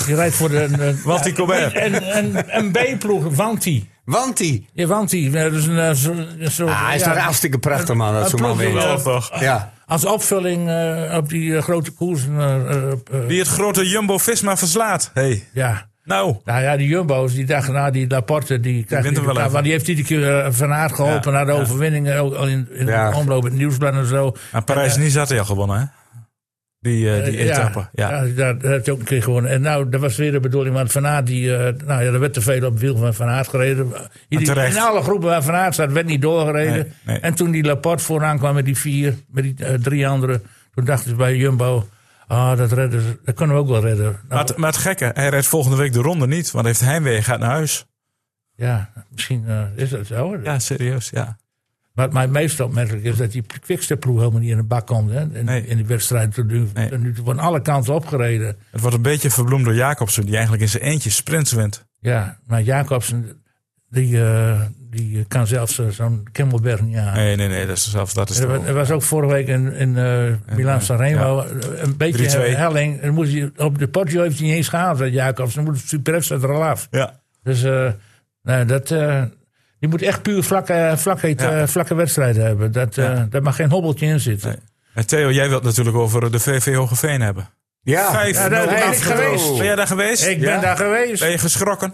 Speaker 1: Die rijdt voor de. eh,
Speaker 3: Wanty Colbert.
Speaker 1: Een, een, een B-ploeg, Wanty.
Speaker 5: Want die.
Speaker 1: Ja, Wanty. Dat is een, eh, zo, zo-
Speaker 5: Ah, hij is
Speaker 1: ja,
Speaker 5: toch hartstikke prachtig man. Dat
Speaker 1: een
Speaker 5: zo'n man
Speaker 1: ploeg die,
Speaker 5: wint.
Speaker 1: eh,
Speaker 5: Ja.
Speaker 1: Als opvulling eh, op die eh, grote koersen. eh, eh, eh,
Speaker 3: Wie het grote Jumbo-Visma verslaat. Hey.
Speaker 1: ja.
Speaker 3: Nou,
Speaker 1: Nou ja, die Jumbo's, die dachten na die Laporte, die krijgt
Speaker 3: wint
Speaker 1: niet
Speaker 3: hem wel
Speaker 1: elkaar,
Speaker 3: even.
Speaker 1: Want die heeft iedere keer eh, Van Aert geholpen
Speaker 3: Ja,
Speaker 1: naar de overwinningen. Ook al in, in
Speaker 5: Ja.
Speaker 1: de omloop het nieuwsblad en zo.
Speaker 3: aan Parijs-Nice had hij al gewonnen, hè? Die, eh, die
Speaker 1: Eh, ja,
Speaker 3: etappe.
Speaker 1: ja.
Speaker 3: Ja.
Speaker 1: daar daar heeft hij ook een keer gewonnen. En nou, dat was weer de bedoeling, want Van Aert, die, eh, nou ja, er werd te veel op het wiel van Van Aert gereden. Iedereen-
Speaker 3: terecht.
Speaker 1: in alle groepen waar Van Aert zat, werd niet doorgereden.
Speaker 3: Nee, nee.
Speaker 1: En toen die Laporte vooraan kwam met die vier, met die eh, drie anderen, toen dachten ze bij Jumbo, ah, dat redden ze, dat kunnen we ook wel redden. Nou,
Speaker 3: Maar, het, maar het gekke, hij rijdt volgende week de ronde niet. Want hij heeft heimwee, gaat naar huis.
Speaker 1: ja, misschien eh, is dat zo.
Speaker 3: Ja, serieus, ja.
Speaker 1: Wat mij meest opmerkelijk is dat die Quickstep-ploeg helemaal niet in de bak komt. Hè? In,
Speaker 3: Nee.
Speaker 1: in die wedstrijd tot nu
Speaker 3: Nee.
Speaker 1: tot nu toe van alle kanten opgereden.
Speaker 3: Het wordt een beetje verbloemd door Jacobsen, die eigenlijk in zijn eentje sprints wint.
Speaker 1: Ja, maar Jacobsen, die, eh, die kan zelfs eh, zo'n Kimmelberg niet
Speaker 5: Ah.
Speaker 1: aan.
Speaker 3: Nee, nee, nee, dat is zelfs dat is
Speaker 1: Er, wa- er
Speaker 3: toch-
Speaker 1: was ook vorige week in, in eh Milan Sanremo een beetje
Speaker 3: 3-2.
Speaker 1: helling. Dan moest hij, op de potje heeft hij niet eens gehaald, dat Jacobsen. Dan moet het Superf er al af.
Speaker 3: Ja.
Speaker 1: Dus eh, nou, dat, eh, je moet echt puur vlakke, vlakke,
Speaker 3: Ja.
Speaker 1: eh, vlakke wedstrijden hebben. Dat, eh,
Speaker 3: Ja.
Speaker 1: Daar mag geen hobbeltje in zitten.
Speaker 3: Nee. En Theo, jij wilt natuurlijk over de VV Hogeveen hebben.
Speaker 5: Ja.
Speaker 3: Vijf.
Speaker 1: Ja, daar
Speaker 3: nul
Speaker 1: ben ik
Speaker 3: afgedroogd.
Speaker 1: geweest.
Speaker 3: Ben jij daar geweest?
Speaker 1: Ik ben
Speaker 5: Ja?
Speaker 1: daar geweest.
Speaker 3: Ben je geschrokken?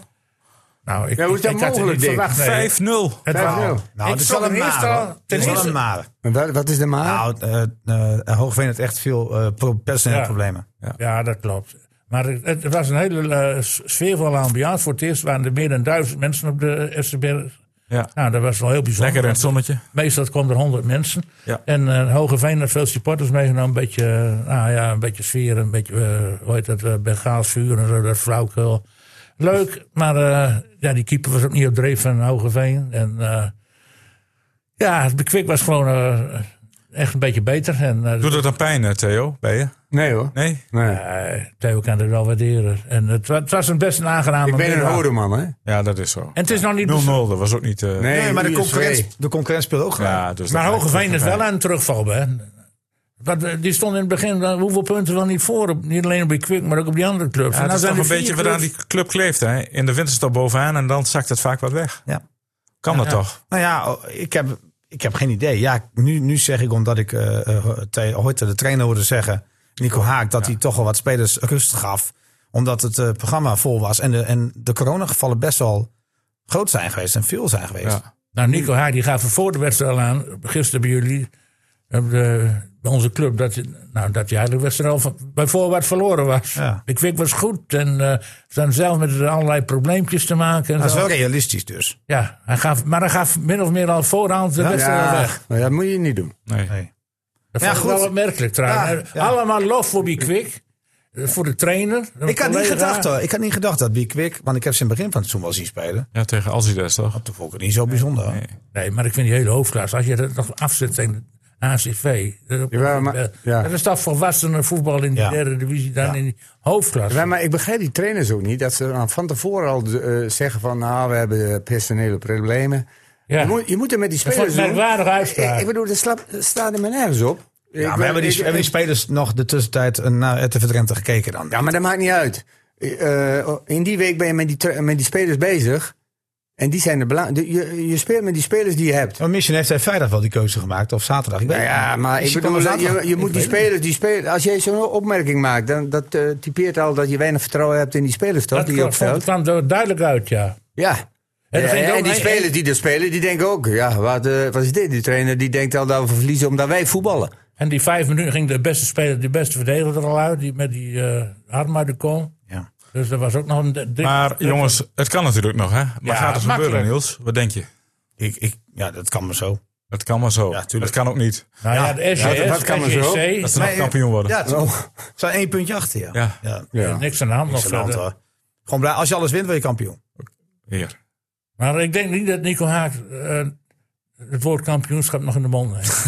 Speaker 1: Nou, ik,
Speaker 5: Ja, hoe is
Speaker 1: ik-
Speaker 5: dat
Speaker 1: ik had het
Speaker 5: mogelijk,
Speaker 1: niet
Speaker 5: Dick?
Speaker 1: verwacht. nee.
Speaker 3: 5-0.
Speaker 1: Het was-
Speaker 5: 5-0.
Speaker 4: Nou,
Speaker 1: Ik
Speaker 4: het is
Speaker 1: zag
Speaker 4: wel een
Speaker 1: hem eerst al-
Speaker 4: maar.
Speaker 1: ten
Speaker 4: Het is wel
Speaker 1: eerste-
Speaker 4: een maar.
Speaker 5: En Wat, wat is de maat?
Speaker 4: Nou, eh eh, Hoogveen heeft echt veel eh, pro- personele
Speaker 1: Ja.
Speaker 4: problemen.
Speaker 1: Ja, dat klopt. Maar het, het was een hele eh, s- sfeervolle ambiance. Voor het eerst waren er meer dan duizend mensen op de Esterberg.
Speaker 3: Ja.
Speaker 1: Nou, dat was wel heel bijzonder.
Speaker 3: Lekker in het zonnetje.
Speaker 1: Meestal komt er honderd mensen.
Speaker 3: Ja.
Speaker 1: En eh Hogeveen had veel supporters meegenomen. Een beetje, eh, nou ja, een beetje sfeer, een beetje, eh, hoe heet dat, eh, Bengaals vuur en zo, dat flauwkul. Leuk, maar eh, ja, die keeper was ook niet op dreef van Hogeveen. En eh, ja, het bekwik was gewoon eh, echt een beetje beter. En, eh,
Speaker 3: Doet dat dan pijn, eh, Theo, bij je?
Speaker 5: nee hoor.
Speaker 3: Nee?
Speaker 5: Nee.
Speaker 1: eh, Theo kan het wel waarderen. En het, wa- het was een best een aangename
Speaker 5: Ik ben een
Speaker 1: middag.
Speaker 5: oude man, hè?
Speaker 3: Ja, dat is zo.
Speaker 1: En het is nog
Speaker 3: 0-0,
Speaker 1: niet...
Speaker 3: dat was ook niet... eh,
Speaker 5: Nee,
Speaker 4: Nee, maar de
Speaker 5: USV.
Speaker 4: concurrent, de concurrent speelt ook gelijk.
Speaker 3: Ja, dus
Speaker 1: Maar
Speaker 3: dat-
Speaker 1: Hogeveen is wel aan het terugvallen. Hè? Want, eh, die stond in het begin eh, hoeveel punten wel niet voor. op- niet alleen op die Kwik, maar ook op die andere clubs.
Speaker 3: Ja,
Speaker 1: En
Speaker 3: het
Speaker 1: nou
Speaker 3: is
Speaker 1: zijn
Speaker 3: toch een
Speaker 1: er vier
Speaker 3: beetje
Speaker 1: clubs-
Speaker 3: waaraan die club kleeft. Hè? In de winterstop bovenaan en dan zakt het vaak wat weg.
Speaker 4: Ja.
Speaker 3: Kan dat toch?
Speaker 4: Nou ja, oh, ik heb, ik heb geen idee. Ja, nu, nu zeg ik omdat ik eh eh, te- ooit de trainer hoorde zeggen, Nico Haak, dat hij toch al wat spelers rust gaf. Omdat het eh, programma vol was en de, en de coronagevallen best wel groot zijn geweest en veel zijn geweest.
Speaker 3: Ja.
Speaker 1: Nou, Nico Haar die gaf er voor de wedstrijd al aan, gisteren bij jullie, op de, bij onze club, dat, je- nou, dat die eigenlijk wedstrijd al van- bij voorwaarts verloren was.
Speaker 4: Ja.
Speaker 1: Ik vind het was goed en eh, ze staan zelf met allerlei probleempjes te maken. En
Speaker 4: Dat is
Speaker 1: zo.
Speaker 4: wel realistisch dus.
Speaker 1: Ja, hij gaf, maar hij gaf min of meer al voorhand de wedstrijd al
Speaker 5: Ja,
Speaker 1: weg.
Speaker 5: maar dat moet je niet doen.
Speaker 3: Nee.
Speaker 1: Dat
Speaker 4: Ja,
Speaker 1: vond ik
Speaker 4: goed.
Speaker 1: wel opmerkelijk trouwens.
Speaker 4: Ja, ja.
Speaker 1: Allemaal lof voor die kwik. eh, Voor de trainer. de
Speaker 4: Ik had niet
Speaker 1: collega.
Speaker 5: eh,
Speaker 4: gedacht hoor. Ik had niet gedacht dat Big Quick, want ik heb ze in het begin van het seizoen wel zien spelen.
Speaker 3: Ja, tegen Alcides toch?
Speaker 4: Dat vond ik niet zo bijzonder. hoor.
Speaker 1: Nee, maar ik vind die hele hoofdklasse. Als je dat nog afzet tegen ACV. Dat,
Speaker 5: Jawel, maar-
Speaker 1: eh,
Speaker 5: ja.
Speaker 1: dat is toch volwassenen voetbal in de
Speaker 4: Ja.
Speaker 1: derde divisie dan
Speaker 4: Ja.
Speaker 1: in die hoofdklasse.
Speaker 5: Ja, maar ik begrijp die trainers ook niet. Dat ze dan van tevoren al eh, zeggen van... nou, we hebben eh, personele problemen.
Speaker 1: Ja.
Speaker 5: Je, moet, je moet er met die
Speaker 1: Dat vond ik
Speaker 5: spelers
Speaker 1: een
Speaker 5: doen.
Speaker 1: merkwaardige
Speaker 5: Ik,
Speaker 1: uitspraak.
Speaker 5: ik bedoel, dat slaat- staat er maar nergens op. Ik
Speaker 4: Ja, maar
Speaker 5: ben-
Speaker 4: hebben, die,
Speaker 5: ik-
Speaker 4: hebben die
Speaker 5: ik-
Speaker 4: spelers nog de tussentijd eh, naar RTV Drenthe gekeken dan?
Speaker 5: Ja, maar dat maakt niet uit. Eh, in die week ben je met die, tra- met die spelers bezig. En die zijn de belang- de- Je, je speelt met die spelers die je hebt.
Speaker 4: Maar misschien heeft hij vrijdag wel die keuze gemaakt, of zaterdag. Ik weet
Speaker 5: Nou ja,
Speaker 4: het niet.
Speaker 5: maar ik
Speaker 4: Misschien
Speaker 5: bedoel,
Speaker 4: kwam er
Speaker 5: je,
Speaker 4: zaterdag.
Speaker 5: je
Speaker 4: Ik
Speaker 5: moet die
Speaker 4: weet het
Speaker 5: spelers, die spelers... Als jij zo'n opmerking maakt, dan dat, eh, typeert al dat je weinig vertrouwen hebt in die spelers, toch?
Speaker 1: dat
Speaker 5: die je
Speaker 1: kwam, vond,
Speaker 5: opstelt.
Speaker 1: kwam er duidelijk uit, ja.
Speaker 5: Ja.
Speaker 1: En
Speaker 5: En,
Speaker 1: dat vind ik ook-
Speaker 5: en die
Speaker 1: en-
Speaker 5: spelers die er spelen, die denken ook... Ja, wat, eh, wat is dit? Die trainer die denkt al dat we verliezen omdat wij voetballen.
Speaker 1: En die vijf minuten ging de beste speler, de beste verdediger er al uit. Die, met die eh, arm uit de kom.
Speaker 4: niet. Ja.
Speaker 1: Dus dat was ook nog een... dik-
Speaker 3: Maar jongens, het kan natuurlijk nog, hè? Maar
Speaker 1: Ja,
Speaker 3: gaat het gebeuren,
Speaker 1: makkelijk.
Speaker 3: Niels? Wat denk je?
Speaker 4: Ik, ik, ja, dat kan maar zo.
Speaker 3: Het kan maar zo.
Speaker 4: Ja,
Speaker 3: het
Speaker 4: tuurlijk.
Speaker 3: kan ook niet.
Speaker 1: Nou ja, de SJS,
Speaker 5: dat- dat kan maar zo.
Speaker 1: SJC,
Speaker 3: Dat ze nog
Speaker 4: Nee,
Speaker 3: kampioen worden.
Speaker 4: Ja, het
Speaker 5: Oh.
Speaker 4: het staat één puntje achter, ja.
Speaker 3: Ja.
Speaker 4: ja.
Speaker 5: Ja.
Speaker 1: Niks aan de hand nog
Speaker 4: Niks aan de hand,
Speaker 1: verder.
Speaker 4: hoor. Gewoon blij, als je alles wint, word je kampioen.
Speaker 3: Hier.
Speaker 1: Maar ik denk niet dat Nico Haak eh, het woord kampioenschap nog in de mond heeft.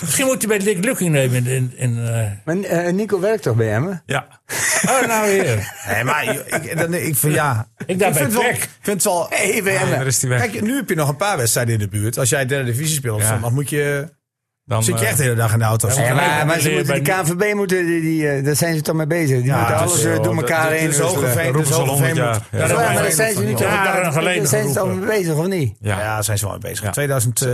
Speaker 1: Misschien moet hij bij Dick Lukking nemen. In, in, in, eh,
Speaker 5: Maar eh, Nico werkt toch bij hem?
Speaker 3: Ja.
Speaker 1: Oh, nou weer.
Speaker 4: Nee, maar je- ik, dan, ik vind ja.
Speaker 1: Ik daarbij
Speaker 4: vind het wel.
Speaker 1: Peck.
Speaker 4: vind het wel
Speaker 5: Hé, bij
Speaker 3: Daar
Speaker 5: hem.
Speaker 3: is hij weg.
Speaker 4: Kijk, nu heb je nog een paar wedstrijden in de buurt. Als jij derde divisie speelt, of
Speaker 3: Ja.
Speaker 4: zo, dan moet je,
Speaker 3: Dan,
Speaker 4: zit je
Speaker 3: eh,
Speaker 4: echt de hele dag in de auto.
Speaker 1: Ja,
Speaker 5: Ja, maar, maar ze
Speaker 1: Bij-
Speaker 5: moeten, die
Speaker 1: bij-
Speaker 5: KNVB moeten, die, die, eh, daar zijn ze toch mee bezig. Die moeten
Speaker 4: dat
Speaker 5: alles
Speaker 4: is,
Speaker 5: eh,
Speaker 3: joh,
Speaker 5: door
Speaker 3: dat-
Speaker 5: elkaar
Speaker 3: dat-
Speaker 5: heen. eh,
Speaker 4: Dus Hogeveen,
Speaker 3: roepen
Speaker 4: dus
Speaker 3: ze al
Speaker 4: Hogeveen
Speaker 3: 100 jaar.
Speaker 4: moet-
Speaker 3: Ja,
Speaker 1: dat
Speaker 5: Ja,
Speaker 1: Hogeveen
Speaker 5: maar daar
Speaker 1: heeft
Speaker 5: zijn ze nu toch
Speaker 1: jaren
Speaker 5: daar-
Speaker 1: geleden
Speaker 5: daar zijn ze toch mee
Speaker 1: geroepen.
Speaker 5: bezig, of niet?
Speaker 3: Ja,
Speaker 4: Ja, zijn ze wel mee bezig.
Speaker 3: Ja.
Speaker 4: 2000... eh,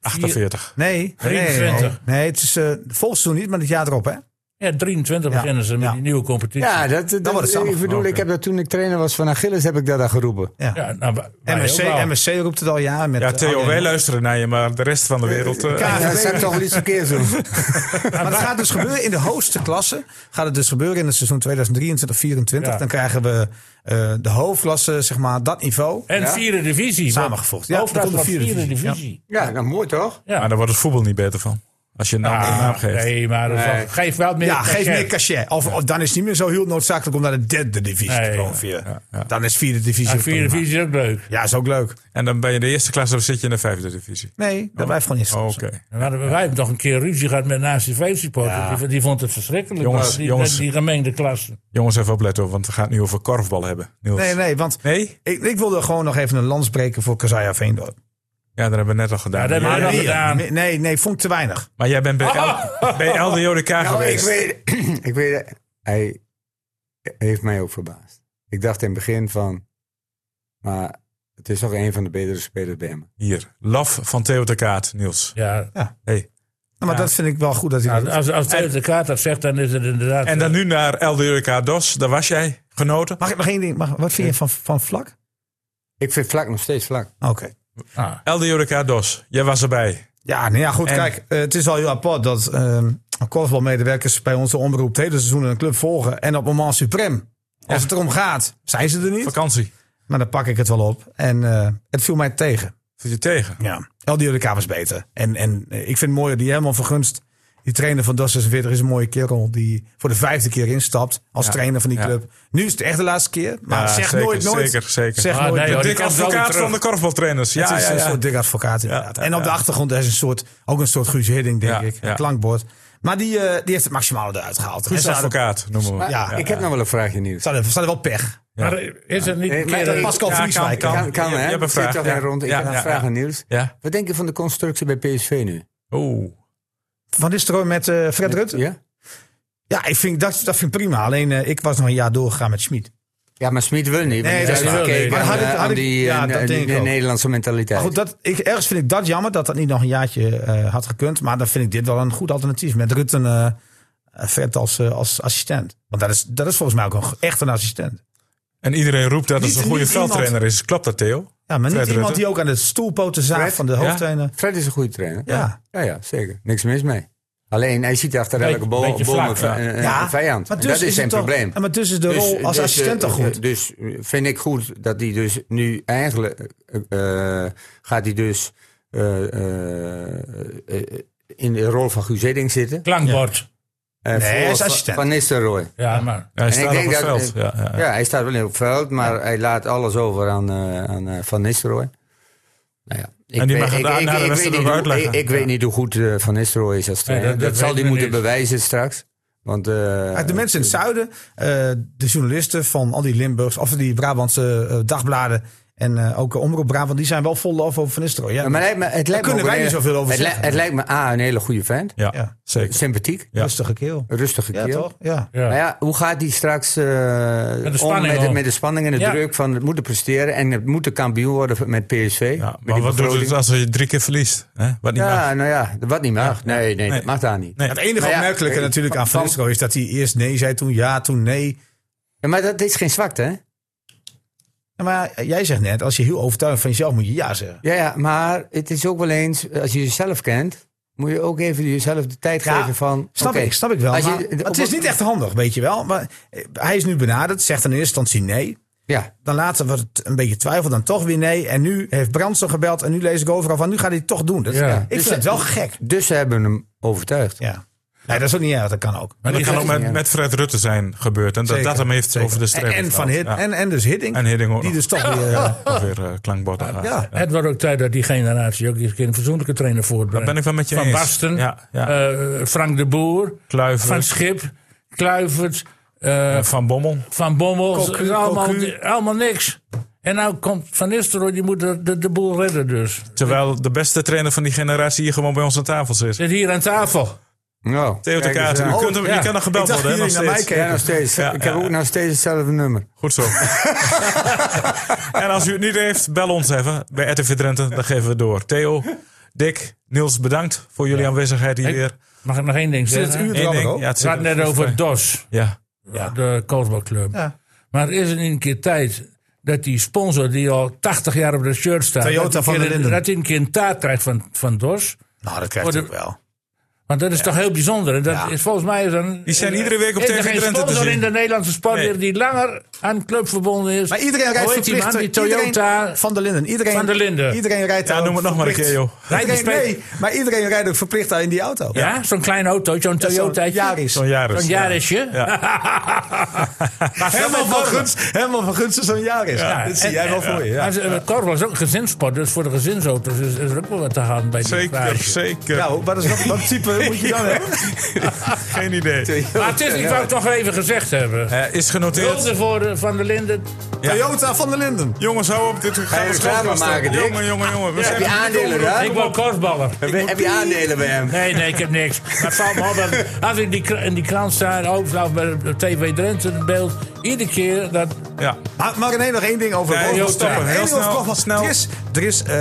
Speaker 3: 48.
Speaker 4: nee, nee, nee,
Speaker 1: 23.
Speaker 4: nee, het is eh volgend seizoen niet, maar dit jaar erop, hè?
Speaker 1: Ja, 23
Speaker 4: Ja,
Speaker 1: beginnen ze met
Speaker 4: ja.
Speaker 1: die nieuwe competitie.
Speaker 5: Ja,
Speaker 1: Ja,
Speaker 5: dat, dat,
Speaker 4: wordt het
Speaker 5: ik
Speaker 4: samen.
Speaker 5: bedoel, ik heb dat toen ik trainer was van Achilles, heb ik dat al geroepen.
Speaker 1: nou, wij- wij
Speaker 4: MSC,
Speaker 1: ook wel.
Speaker 4: MSC roept het al jaren. Met
Speaker 3: Ja,
Speaker 4: eh,
Speaker 3: Theo,
Speaker 4: Arjen.
Speaker 3: wij luisteren naar je, maar de rest van de wereld... eh,
Speaker 4: Ja,
Speaker 5: Ja, dat zou ik toch wel iets verkeerd doen.
Speaker 4: Maar het gaat dus gebeuren in de hoogste klasse. Gaat het dus gebeuren in het seizoen 2023, 2024.
Speaker 1: Ja.
Speaker 4: Dan krijgen we eh, de hoofdklasse, zeg maar, dat niveau.
Speaker 1: En
Speaker 5: Ja.
Speaker 1: vierde divisie.
Speaker 4: Samengevoegd.
Speaker 1: Ja,
Speaker 4: Ja, dan
Speaker 1: Hoofdklasse
Speaker 4: komt de
Speaker 1: van
Speaker 4: vierde
Speaker 1: vierde,
Speaker 4: divisie.
Speaker 1: divisie.
Speaker 5: Ja, nou mooi toch?
Speaker 1: Ja.
Speaker 3: Maar daar wordt het voetbal niet beter van. Als je een andere naam
Speaker 1: Ah,
Speaker 3: geeft.
Speaker 1: nee, maar dat is wel- geef wel meer
Speaker 4: Ja, geef
Speaker 1: cachet.
Speaker 4: meer cachet. Of, of dan is het niet meer zo heel noodzakelijk om naar de derde divisie
Speaker 1: Nee,
Speaker 4: te komen.
Speaker 1: ja,
Speaker 4: via. Dan is vierde divisie.
Speaker 1: Ja,
Speaker 4: ook
Speaker 1: vierde
Speaker 4: prima.
Speaker 1: divisie is ook leuk.
Speaker 4: Ja, is ook leuk.
Speaker 3: En dan ben je in de eerste klas, dan zit je in de vijfde divisie.
Speaker 4: Nee, dat blijft gewoon
Speaker 3: Oké.
Speaker 4: niet.
Speaker 1: Dan hadden we- wij hebben nog een keer ruzie gehad met naast die supporters
Speaker 4: Ja.
Speaker 1: Die, die vond het verschrikkelijk.
Speaker 3: Jongens,
Speaker 1: die,
Speaker 3: jongens.
Speaker 1: die gemengde klassen.
Speaker 3: Jongens, even opletten, hoor, want we gaan het nu over korfbal hebben. Niels.
Speaker 4: Nee, nee, want
Speaker 3: Nee?
Speaker 4: ik, ik wilde gewoon nog even een lans breken voor Kazaja Veendorp.
Speaker 3: Ja, dat hebben we net al gedaan.
Speaker 1: Ja, dat hebben we
Speaker 3: Maar-
Speaker 1: nog
Speaker 4: Nee,
Speaker 1: gedaan. Ah!
Speaker 4: Nee, nee, vond ik te weinig.
Speaker 3: Maar jij bent bij, L- bij LDODK
Speaker 5: Nou, ik
Speaker 3: geweest.
Speaker 5: weet, ik weet, hij heeft mij ook verbaasd. Ik dacht in het begin van, maar het is toch een van de betere spelers bij hem.
Speaker 3: Hier, laf van Theo de Kaat, Niels.
Speaker 1: Ja.
Speaker 3: Hey.
Speaker 4: Nou, maar dat vind ik wel goed dat hij dat
Speaker 1: Nou,
Speaker 4: doet.
Speaker 1: als als Theo de kaart dat eh, zegt, dan is het inderdaad...
Speaker 3: En dan nu naar LDODK DOS, daar was jij, genoten.
Speaker 4: Mag ik nog één ding? Mag, wat vind je van, van Vlak?
Speaker 5: Ik vind Vlak nog steeds Vlak.
Speaker 4: Oké.
Speaker 1: Ah,
Speaker 3: LDODK DOS, jij was erbij.
Speaker 4: Ja, nou ja, goed.
Speaker 3: En-
Speaker 4: Kijk, eh, het is wel heel apart dat ehm korfbalmedewerkers bij onze omroep het hele seizoen een club volgen. En op moment suprem, als het erom gaat, zijn ze er niet.
Speaker 3: Vakantie.
Speaker 4: Maar dan pak ik het wel op. En eh, het viel mij tegen.
Speaker 3: Viel je tegen?
Speaker 4: Ja. LDODK was beter. En, en eh, ik vind het mooier die helemaal vergunst. Die trainer van DAS 46 is een mooie kerel die voor de vijfde keer instapt als
Speaker 3: Ja,
Speaker 4: trainer van die
Speaker 3: ja.
Speaker 4: club. Nu is het echt de laatste keer, maar
Speaker 3: Ja,
Speaker 4: zeg
Speaker 3: zeker,
Speaker 4: nooit nooit.
Speaker 3: Zeker, zeker.
Speaker 4: Zeg
Speaker 1: Ah,
Speaker 4: nooit
Speaker 1: nee,
Speaker 4: nooit.
Speaker 1: hoor, die
Speaker 3: Dik
Speaker 1: kan zo weer
Speaker 3: advocaat
Speaker 1: terug.
Speaker 3: van de korfbaltrainers. Dus Ja,
Speaker 4: Het is
Speaker 3: ja,
Speaker 4: een
Speaker 3: ja.
Speaker 4: soort dik advocaat inderdaad.
Speaker 3: Ja,
Speaker 4: en op de
Speaker 3: ja.
Speaker 4: achtergrond is een soort, ook een soort Guus Hidding, denk
Speaker 3: Ja,
Speaker 4: ik. Een
Speaker 3: ja.
Speaker 4: klankbord. Maar die, eh, die heeft het maximale eruit gehaald.
Speaker 3: Goed
Speaker 4: En ze hadden-
Speaker 3: advocaat, noemen we.
Speaker 4: Ja,
Speaker 5: ik heb nog wel een vraagje nieuws.
Speaker 4: Ze hadden, ze hadden wel pech.
Speaker 1: Maar
Speaker 3: eh,
Speaker 1: is het niet
Speaker 5: Nee,
Speaker 1: een
Speaker 5: maar eh,
Speaker 1: keer
Speaker 5: dat
Speaker 1: een-
Speaker 4: Pascal
Speaker 3: Ja,
Speaker 4: Vrieswijk.
Speaker 3: kan,
Speaker 5: Kan, kan
Speaker 3: Je- je
Speaker 5: hè?
Speaker 3: hebt een
Speaker 5: Ik zit
Speaker 3: vraag.
Speaker 5: toch
Speaker 3: Ja.
Speaker 5: weer rond. Ik
Speaker 3: Ja,
Speaker 5: heb een
Speaker 3: ja,
Speaker 5: vraag
Speaker 3: ja.
Speaker 5: aan Niels.
Speaker 3: Ja?
Speaker 5: Wat denk je van de constructie bij PSV nu?
Speaker 3: Oeh.
Speaker 4: Van Nistelrooy met eh, Fred Rutte. Ja,
Speaker 5: Ja?
Speaker 4: ik vind, dat, dat vind ik prima. Alleen eh, ik was nog een jaar doorgegaan met Schmid.
Speaker 5: Ja, maar Smit wil niet.
Speaker 4: Nee,
Speaker 5: want
Speaker 4: dat
Speaker 5: hij
Speaker 1: wil
Speaker 5: gekeken
Speaker 1: niet. Maar
Speaker 5: aan,
Speaker 4: had ik-
Speaker 5: eh,
Speaker 4: had
Speaker 5: aan
Speaker 4: ik-
Speaker 5: die,
Speaker 4: ja,
Speaker 5: eh,
Speaker 4: dat
Speaker 5: die-
Speaker 4: denk ik
Speaker 5: die
Speaker 4: ook.
Speaker 5: Nederlandse mentaliteit.
Speaker 4: Maar goed, dat, ik, ergens vind ik dat jammer dat dat niet nog een jaartje eh, had gekund. Maar dan vind ik dit wel een goed alternatief. Met Rutte eh Fred als, eh, als assistent. Want dat is, dat is volgens mij ook een, echt een assistent.
Speaker 3: En iedereen roept dat
Speaker 4: Niet-
Speaker 3: het een goede
Speaker 4: niet iemand-
Speaker 3: veldtrainer is. Klopt dat, Theo?
Speaker 4: Ja, maar niet
Speaker 5: Fred
Speaker 4: iemand
Speaker 5: Rutte.
Speaker 4: die ook aan de stoelpoten zaagt
Speaker 5: Fred?
Speaker 4: van de
Speaker 5: Ja.
Speaker 4: hoofdtrainer.
Speaker 5: Fred is een goede trainer.
Speaker 4: Ja.
Speaker 5: ja, ja, zeker. Niks mis mee. Alleen hij ziet achter
Speaker 4: Beetje-
Speaker 5: elke boom,
Speaker 4: beetje
Speaker 5: boom
Speaker 4: vlak,
Speaker 5: een,
Speaker 4: ja.
Speaker 5: een- een
Speaker 4: Ja,
Speaker 5: vijand.
Speaker 4: maar
Speaker 5: En
Speaker 4: dus
Speaker 5: dat
Speaker 4: is
Speaker 5: is
Speaker 4: het
Speaker 5: zijn
Speaker 4: toch-
Speaker 5: probleem.
Speaker 4: en maar dus is de rol als
Speaker 5: eh,
Speaker 4: assistent toch goed?
Speaker 5: Dus vind ik goed dat hij dus nu eigenlijk eh, eh, gaat hij dus eh, eh, eh, in de rol van Guus Hiddink zitten.
Speaker 1: Klankbord.
Speaker 5: Eh,
Speaker 1: Nee,
Speaker 5: voor
Speaker 1: hij is
Speaker 5: Van-
Speaker 1: assistent.
Speaker 5: Van Nistelrooy.
Speaker 1: Ja, maar...
Speaker 5: En
Speaker 3: Hij
Speaker 5: ik
Speaker 3: staat op
Speaker 5: denk
Speaker 3: het
Speaker 5: dat-
Speaker 3: veld. Ja, ja, ja.
Speaker 5: Ja, hij staat wel in het veld, maar hij laat alles over aan, eh, aan eh, Van Nistelrooy. Nou ja, ik
Speaker 3: En die
Speaker 5: weet-
Speaker 3: mag het
Speaker 5: ik-
Speaker 3: na-
Speaker 5: ik-
Speaker 3: na de
Speaker 5: ik
Speaker 3: wedstrijd
Speaker 5: weet
Speaker 3: ook
Speaker 5: niet hoe-
Speaker 3: uitleggen.
Speaker 5: Ik, ik weet niet hoe goed eh, Van Nistelrooy is als trainer.
Speaker 1: dat
Speaker 5: dat, zal
Speaker 1: weten
Speaker 5: hij
Speaker 1: we
Speaker 5: moeten
Speaker 1: niet.
Speaker 5: bewijzen straks. Want, eh,
Speaker 4: Kijk, de mensen in het zuiden, eh, de journalisten van al die Limburgs of die Brabantse eh, dagbladen en eh, ook Omroep Brabant, die zijn wel vol lof over Van Nistelrooy. Ja,
Speaker 5: maar lijkt me, het
Speaker 4: daar
Speaker 5: lijkt me
Speaker 4: kunnen
Speaker 5: ook
Speaker 4: wij
Speaker 5: een
Speaker 4: niet
Speaker 5: hele-
Speaker 4: zoveel over
Speaker 5: het,
Speaker 4: zeggen.
Speaker 5: lij- het lijkt me A, een hele goede vent.
Speaker 3: Ja,
Speaker 4: Ja.
Speaker 3: zeker.
Speaker 5: Sympathiek,
Speaker 3: Ja.
Speaker 4: Rustige keel.
Speaker 5: rustige
Speaker 4: Ja,
Speaker 5: kerel.
Speaker 4: toch? Ja.
Speaker 1: Ja.
Speaker 5: Maar ja, hoe gaat hij straks eh, om
Speaker 1: spanning
Speaker 5: met de,
Speaker 1: om.
Speaker 5: met de spanning en de
Speaker 1: Ja.
Speaker 5: druk van het moeten presteren en het moeten kampioen worden met PSV?
Speaker 3: Ja,
Speaker 5: met
Speaker 3: maar wat
Speaker 5: die
Speaker 3: doet
Speaker 5: begroting?
Speaker 3: het als je drie keer verliest? Hè? Wat niet
Speaker 5: Ja,
Speaker 3: mag.
Speaker 5: nou ja, wat niet mag. Nee, nee,
Speaker 3: Nee.
Speaker 5: dat mag daar niet.
Speaker 3: Nee.
Speaker 4: Het enige
Speaker 5: Maar ja,
Speaker 4: opmerkelijke
Speaker 5: eh,
Speaker 4: natuurlijk aan Van
Speaker 5: van-
Speaker 4: Nistelrooy is dat hij eerst nee zei, toen ja, toen nee.
Speaker 5: Ja, maar dat is geen zwakte, hè?
Speaker 4: Ja, maar jij zegt net, als je heel overtuigd van jezelf moet je ja zeggen.
Speaker 5: Ja, ja, maar het is ook wel eens, als je jezelf kent, moet je ook even jezelf de tijd
Speaker 4: Ja,
Speaker 5: geven van.
Speaker 4: Snap
Speaker 5: oké,
Speaker 4: ik, snap ik wel.
Speaker 5: als je-
Speaker 4: maar, maar het is niet echt handig, weet je wel. Maar eh, hij is nu benaderd, zegt in eerste instantie nee.
Speaker 5: Ja,
Speaker 4: Dan later wordt het een beetje twijfel, dan toch weer nee. En nu heeft Brandsen gebeld en nu lees ik overal van... nu gaat hij het toch doen. Dat is-
Speaker 1: Ja.
Speaker 4: Ik vind het wel gek.
Speaker 5: dus ze hebben hem overtuigd.
Speaker 4: Ja. Nee, dat is ook niet erg, dat kan ook.
Speaker 3: Maar dat
Speaker 1: die
Speaker 3: kan
Speaker 1: gaat-
Speaker 3: ook met, met Fred Rutte zijn gebeurd. En dat
Speaker 4: Zeker,
Speaker 3: dat hem heeft
Speaker 4: zeker.
Speaker 3: over de streep.
Speaker 4: en, en, van Hid,
Speaker 3: gehaald. Ja.
Speaker 4: en, en dus Hidding,
Speaker 3: En Hidding ook
Speaker 4: die
Speaker 3: nog.
Speaker 4: dus toch weer... eh,
Speaker 3: Ook weer eh, klankbord aan gaat.
Speaker 4: ja.
Speaker 1: Het wordt ook tijd dat die generatie ook eens een keer een fatsoenlijke trainer voortbrengt.
Speaker 3: Ben ik wel met je
Speaker 1: van
Speaker 3: eens.
Speaker 1: Basten,
Speaker 3: Ja, ja.
Speaker 1: eh, Frank de Boer,
Speaker 3: Kluivert.
Speaker 1: Van Schip, Kluivert, eh,
Speaker 3: van Bommel.
Speaker 1: Van Bommel.
Speaker 4: Cocu,
Speaker 1: Het is allemaal,
Speaker 4: Cocu.
Speaker 1: allemaal niks. En nou komt Van Nistelrooy, die moet de, de, de boel redden dus.
Speaker 3: Terwijl de beste trainer van die generatie hier gewoon bij ons aan tafel zit.
Speaker 1: Zit hier aan tafel. Oh,
Speaker 5: Nou,
Speaker 3: Theo de
Speaker 5: kijk eens
Speaker 3: Kaart,
Speaker 5: aan. Oh,
Speaker 3: u kunt hem- je
Speaker 1: ja.
Speaker 3: kan nog gebeld
Speaker 4: Ik dacht
Speaker 3: worden. hè, nog
Speaker 4: jullie naar
Speaker 3: steeds.
Speaker 5: Ja, nog steeds.
Speaker 3: Ja,
Speaker 5: ik
Speaker 3: ja.
Speaker 5: heb ook nog steeds hetzelfde nummer.
Speaker 3: Goed zo. en als u het niet heeft, bel ons even bij RTV Drenthe. Dan geven we door. Theo, Dick, Niels, bedankt voor jullie aanwezigheid hier
Speaker 1: Ik-
Speaker 3: weer.
Speaker 1: Mag ik nog één ding
Speaker 4: het
Speaker 1: zeggen?
Speaker 4: uur-
Speaker 1: We
Speaker 3: Eén
Speaker 4: er
Speaker 3: ding.
Speaker 4: ook?
Speaker 3: Ja, het zit
Speaker 1: hadden
Speaker 3: er
Speaker 1: net
Speaker 3: goed
Speaker 1: over
Speaker 3: bij.
Speaker 1: DOS,
Speaker 3: Ja,
Speaker 1: de Koosbalclub.
Speaker 4: Ja.
Speaker 1: Maar is er niet een keer tijd dat die sponsor die al 80 jaar op de shirt staat...
Speaker 4: Toyota
Speaker 1: dat die
Speaker 4: van
Speaker 1: keer
Speaker 4: der
Speaker 1: een-
Speaker 4: Linden.
Speaker 1: Dat hij een keer een taart krijgt van, van DOS?
Speaker 4: nou, dat krijgt
Speaker 1: Voor
Speaker 4: hij
Speaker 1: de-
Speaker 4: ook wel.
Speaker 1: Want dat is toch heel bijzonder. En dat
Speaker 4: Ja.
Speaker 1: is volgens mij is een,
Speaker 3: Die zijn iedere week op
Speaker 1: is er
Speaker 3: TV
Speaker 1: geen
Speaker 3: Drenthe te
Speaker 1: sponsor
Speaker 3: zien.
Speaker 1: in de Nederlandse sport
Speaker 3: Nee.
Speaker 1: die langer aan een club verbonden is.
Speaker 4: Maar iedereen rijdt
Speaker 1: Hoe heet die
Speaker 4: verplicht...
Speaker 1: man, die
Speaker 4: iedereen-
Speaker 1: Toyota...
Speaker 4: van der Linden. Iedereen,
Speaker 1: Van der Linden.
Speaker 4: Iedereen rijdt
Speaker 3: ja
Speaker 4: daar
Speaker 3: noem het nog maar een keer,
Speaker 4: verplicht-
Speaker 3: joh.
Speaker 1: Rijdt die
Speaker 4: Iedereen-
Speaker 1: spe-
Speaker 4: nee, maar iedereen rijdt ook verplicht daar in die auto.
Speaker 1: ja, zo'n klein auto, zo'n Toyota.
Speaker 4: Jaris.
Speaker 3: Zo'n jaar is.
Speaker 1: Zo'n jarisje. maar
Speaker 4: Herman van Guns, Herman van Guns is zo'n jaar is.
Speaker 1: Ja,
Speaker 4: dat zie
Speaker 1: en-
Speaker 4: jij wel
Speaker 1: en-
Speaker 4: voor je. Ja.
Speaker 1: Maar ze- korfbal is ook een gezinssport, dus voor de gezinsauto's is, is er ook wel wat te gaan bij die
Speaker 3: Zeker,
Speaker 1: garage.
Speaker 3: zeker.
Speaker 4: Nou, wat, is dat, wat type moet je dan hebben?
Speaker 3: Geen idee.
Speaker 1: Maar het is niet wat ik toch even gezegd hebben.
Speaker 3: Eh, is genoteerd.
Speaker 1: Hulde voor eh, Van der Linden.
Speaker 4: Toyota van der Linden.
Speaker 3: Jongens, hou op. Dit gaan we
Speaker 5: reclame
Speaker 3: scoren.
Speaker 5: maken, Dick.
Speaker 3: Jongen, jongen, jongen. We
Speaker 5: Heb
Speaker 3: zijn
Speaker 5: je
Speaker 3: er niet
Speaker 5: aandelen
Speaker 3: over.
Speaker 5: daar?
Speaker 1: Ik word korfballer.
Speaker 5: Heb je- Heb je aandelen bij hem?
Speaker 1: Nee, nee, ik heb niks. Maar het valt me op dat als ik die, kra- in die krant sta, overal bij de TV Drenthe in beeld, iedere keer dat...
Speaker 3: Ja.
Speaker 5: Ah,
Speaker 4: Maar, maar René, nog één ding over
Speaker 3: Nee, joh,
Speaker 4: Korfbal.
Speaker 3: stoppen.
Speaker 4: Eén
Speaker 3: Heel
Speaker 4: ding over
Speaker 3: snel,
Speaker 4: Korfbal.
Speaker 3: snel.
Speaker 4: Er is, er is eh,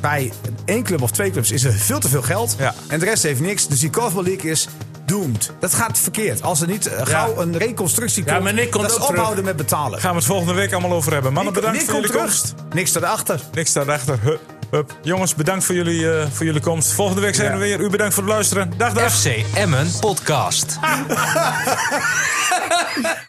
Speaker 4: bij één club of twee clubs is er veel te veel geld.
Speaker 3: Ja.
Speaker 4: En de rest heeft niks. Dus die Korfbal League is doomed. Dat gaat verkeerd. Als er niet eh, gauw een reconstructie
Speaker 1: Ja,
Speaker 4: komt,
Speaker 1: maar Nick komt
Speaker 4: dat is
Speaker 1: ook terug.
Speaker 4: ophouden met betalen.
Speaker 3: Gaan we het volgende week allemaal over hebben. Mannen,
Speaker 4: Nick-
Speaker 3: bedankt
Speaker 4: Nick
Speaker 3: voor
Speaker 4: komt
Speaker 3: jullie
Speaker 4: terug.
Speaker 3: komst.
Speaker 4: Niks daarachter.
Speaker 3: Niks daarachter. Hup, hup. Jongens, bedankt voor jullie, eh, voor jullie komst. Volgende week zijn we weer. U bedankt voor het luisteren. Dag, dag.
Speaker 2: FC Emmen Podcast.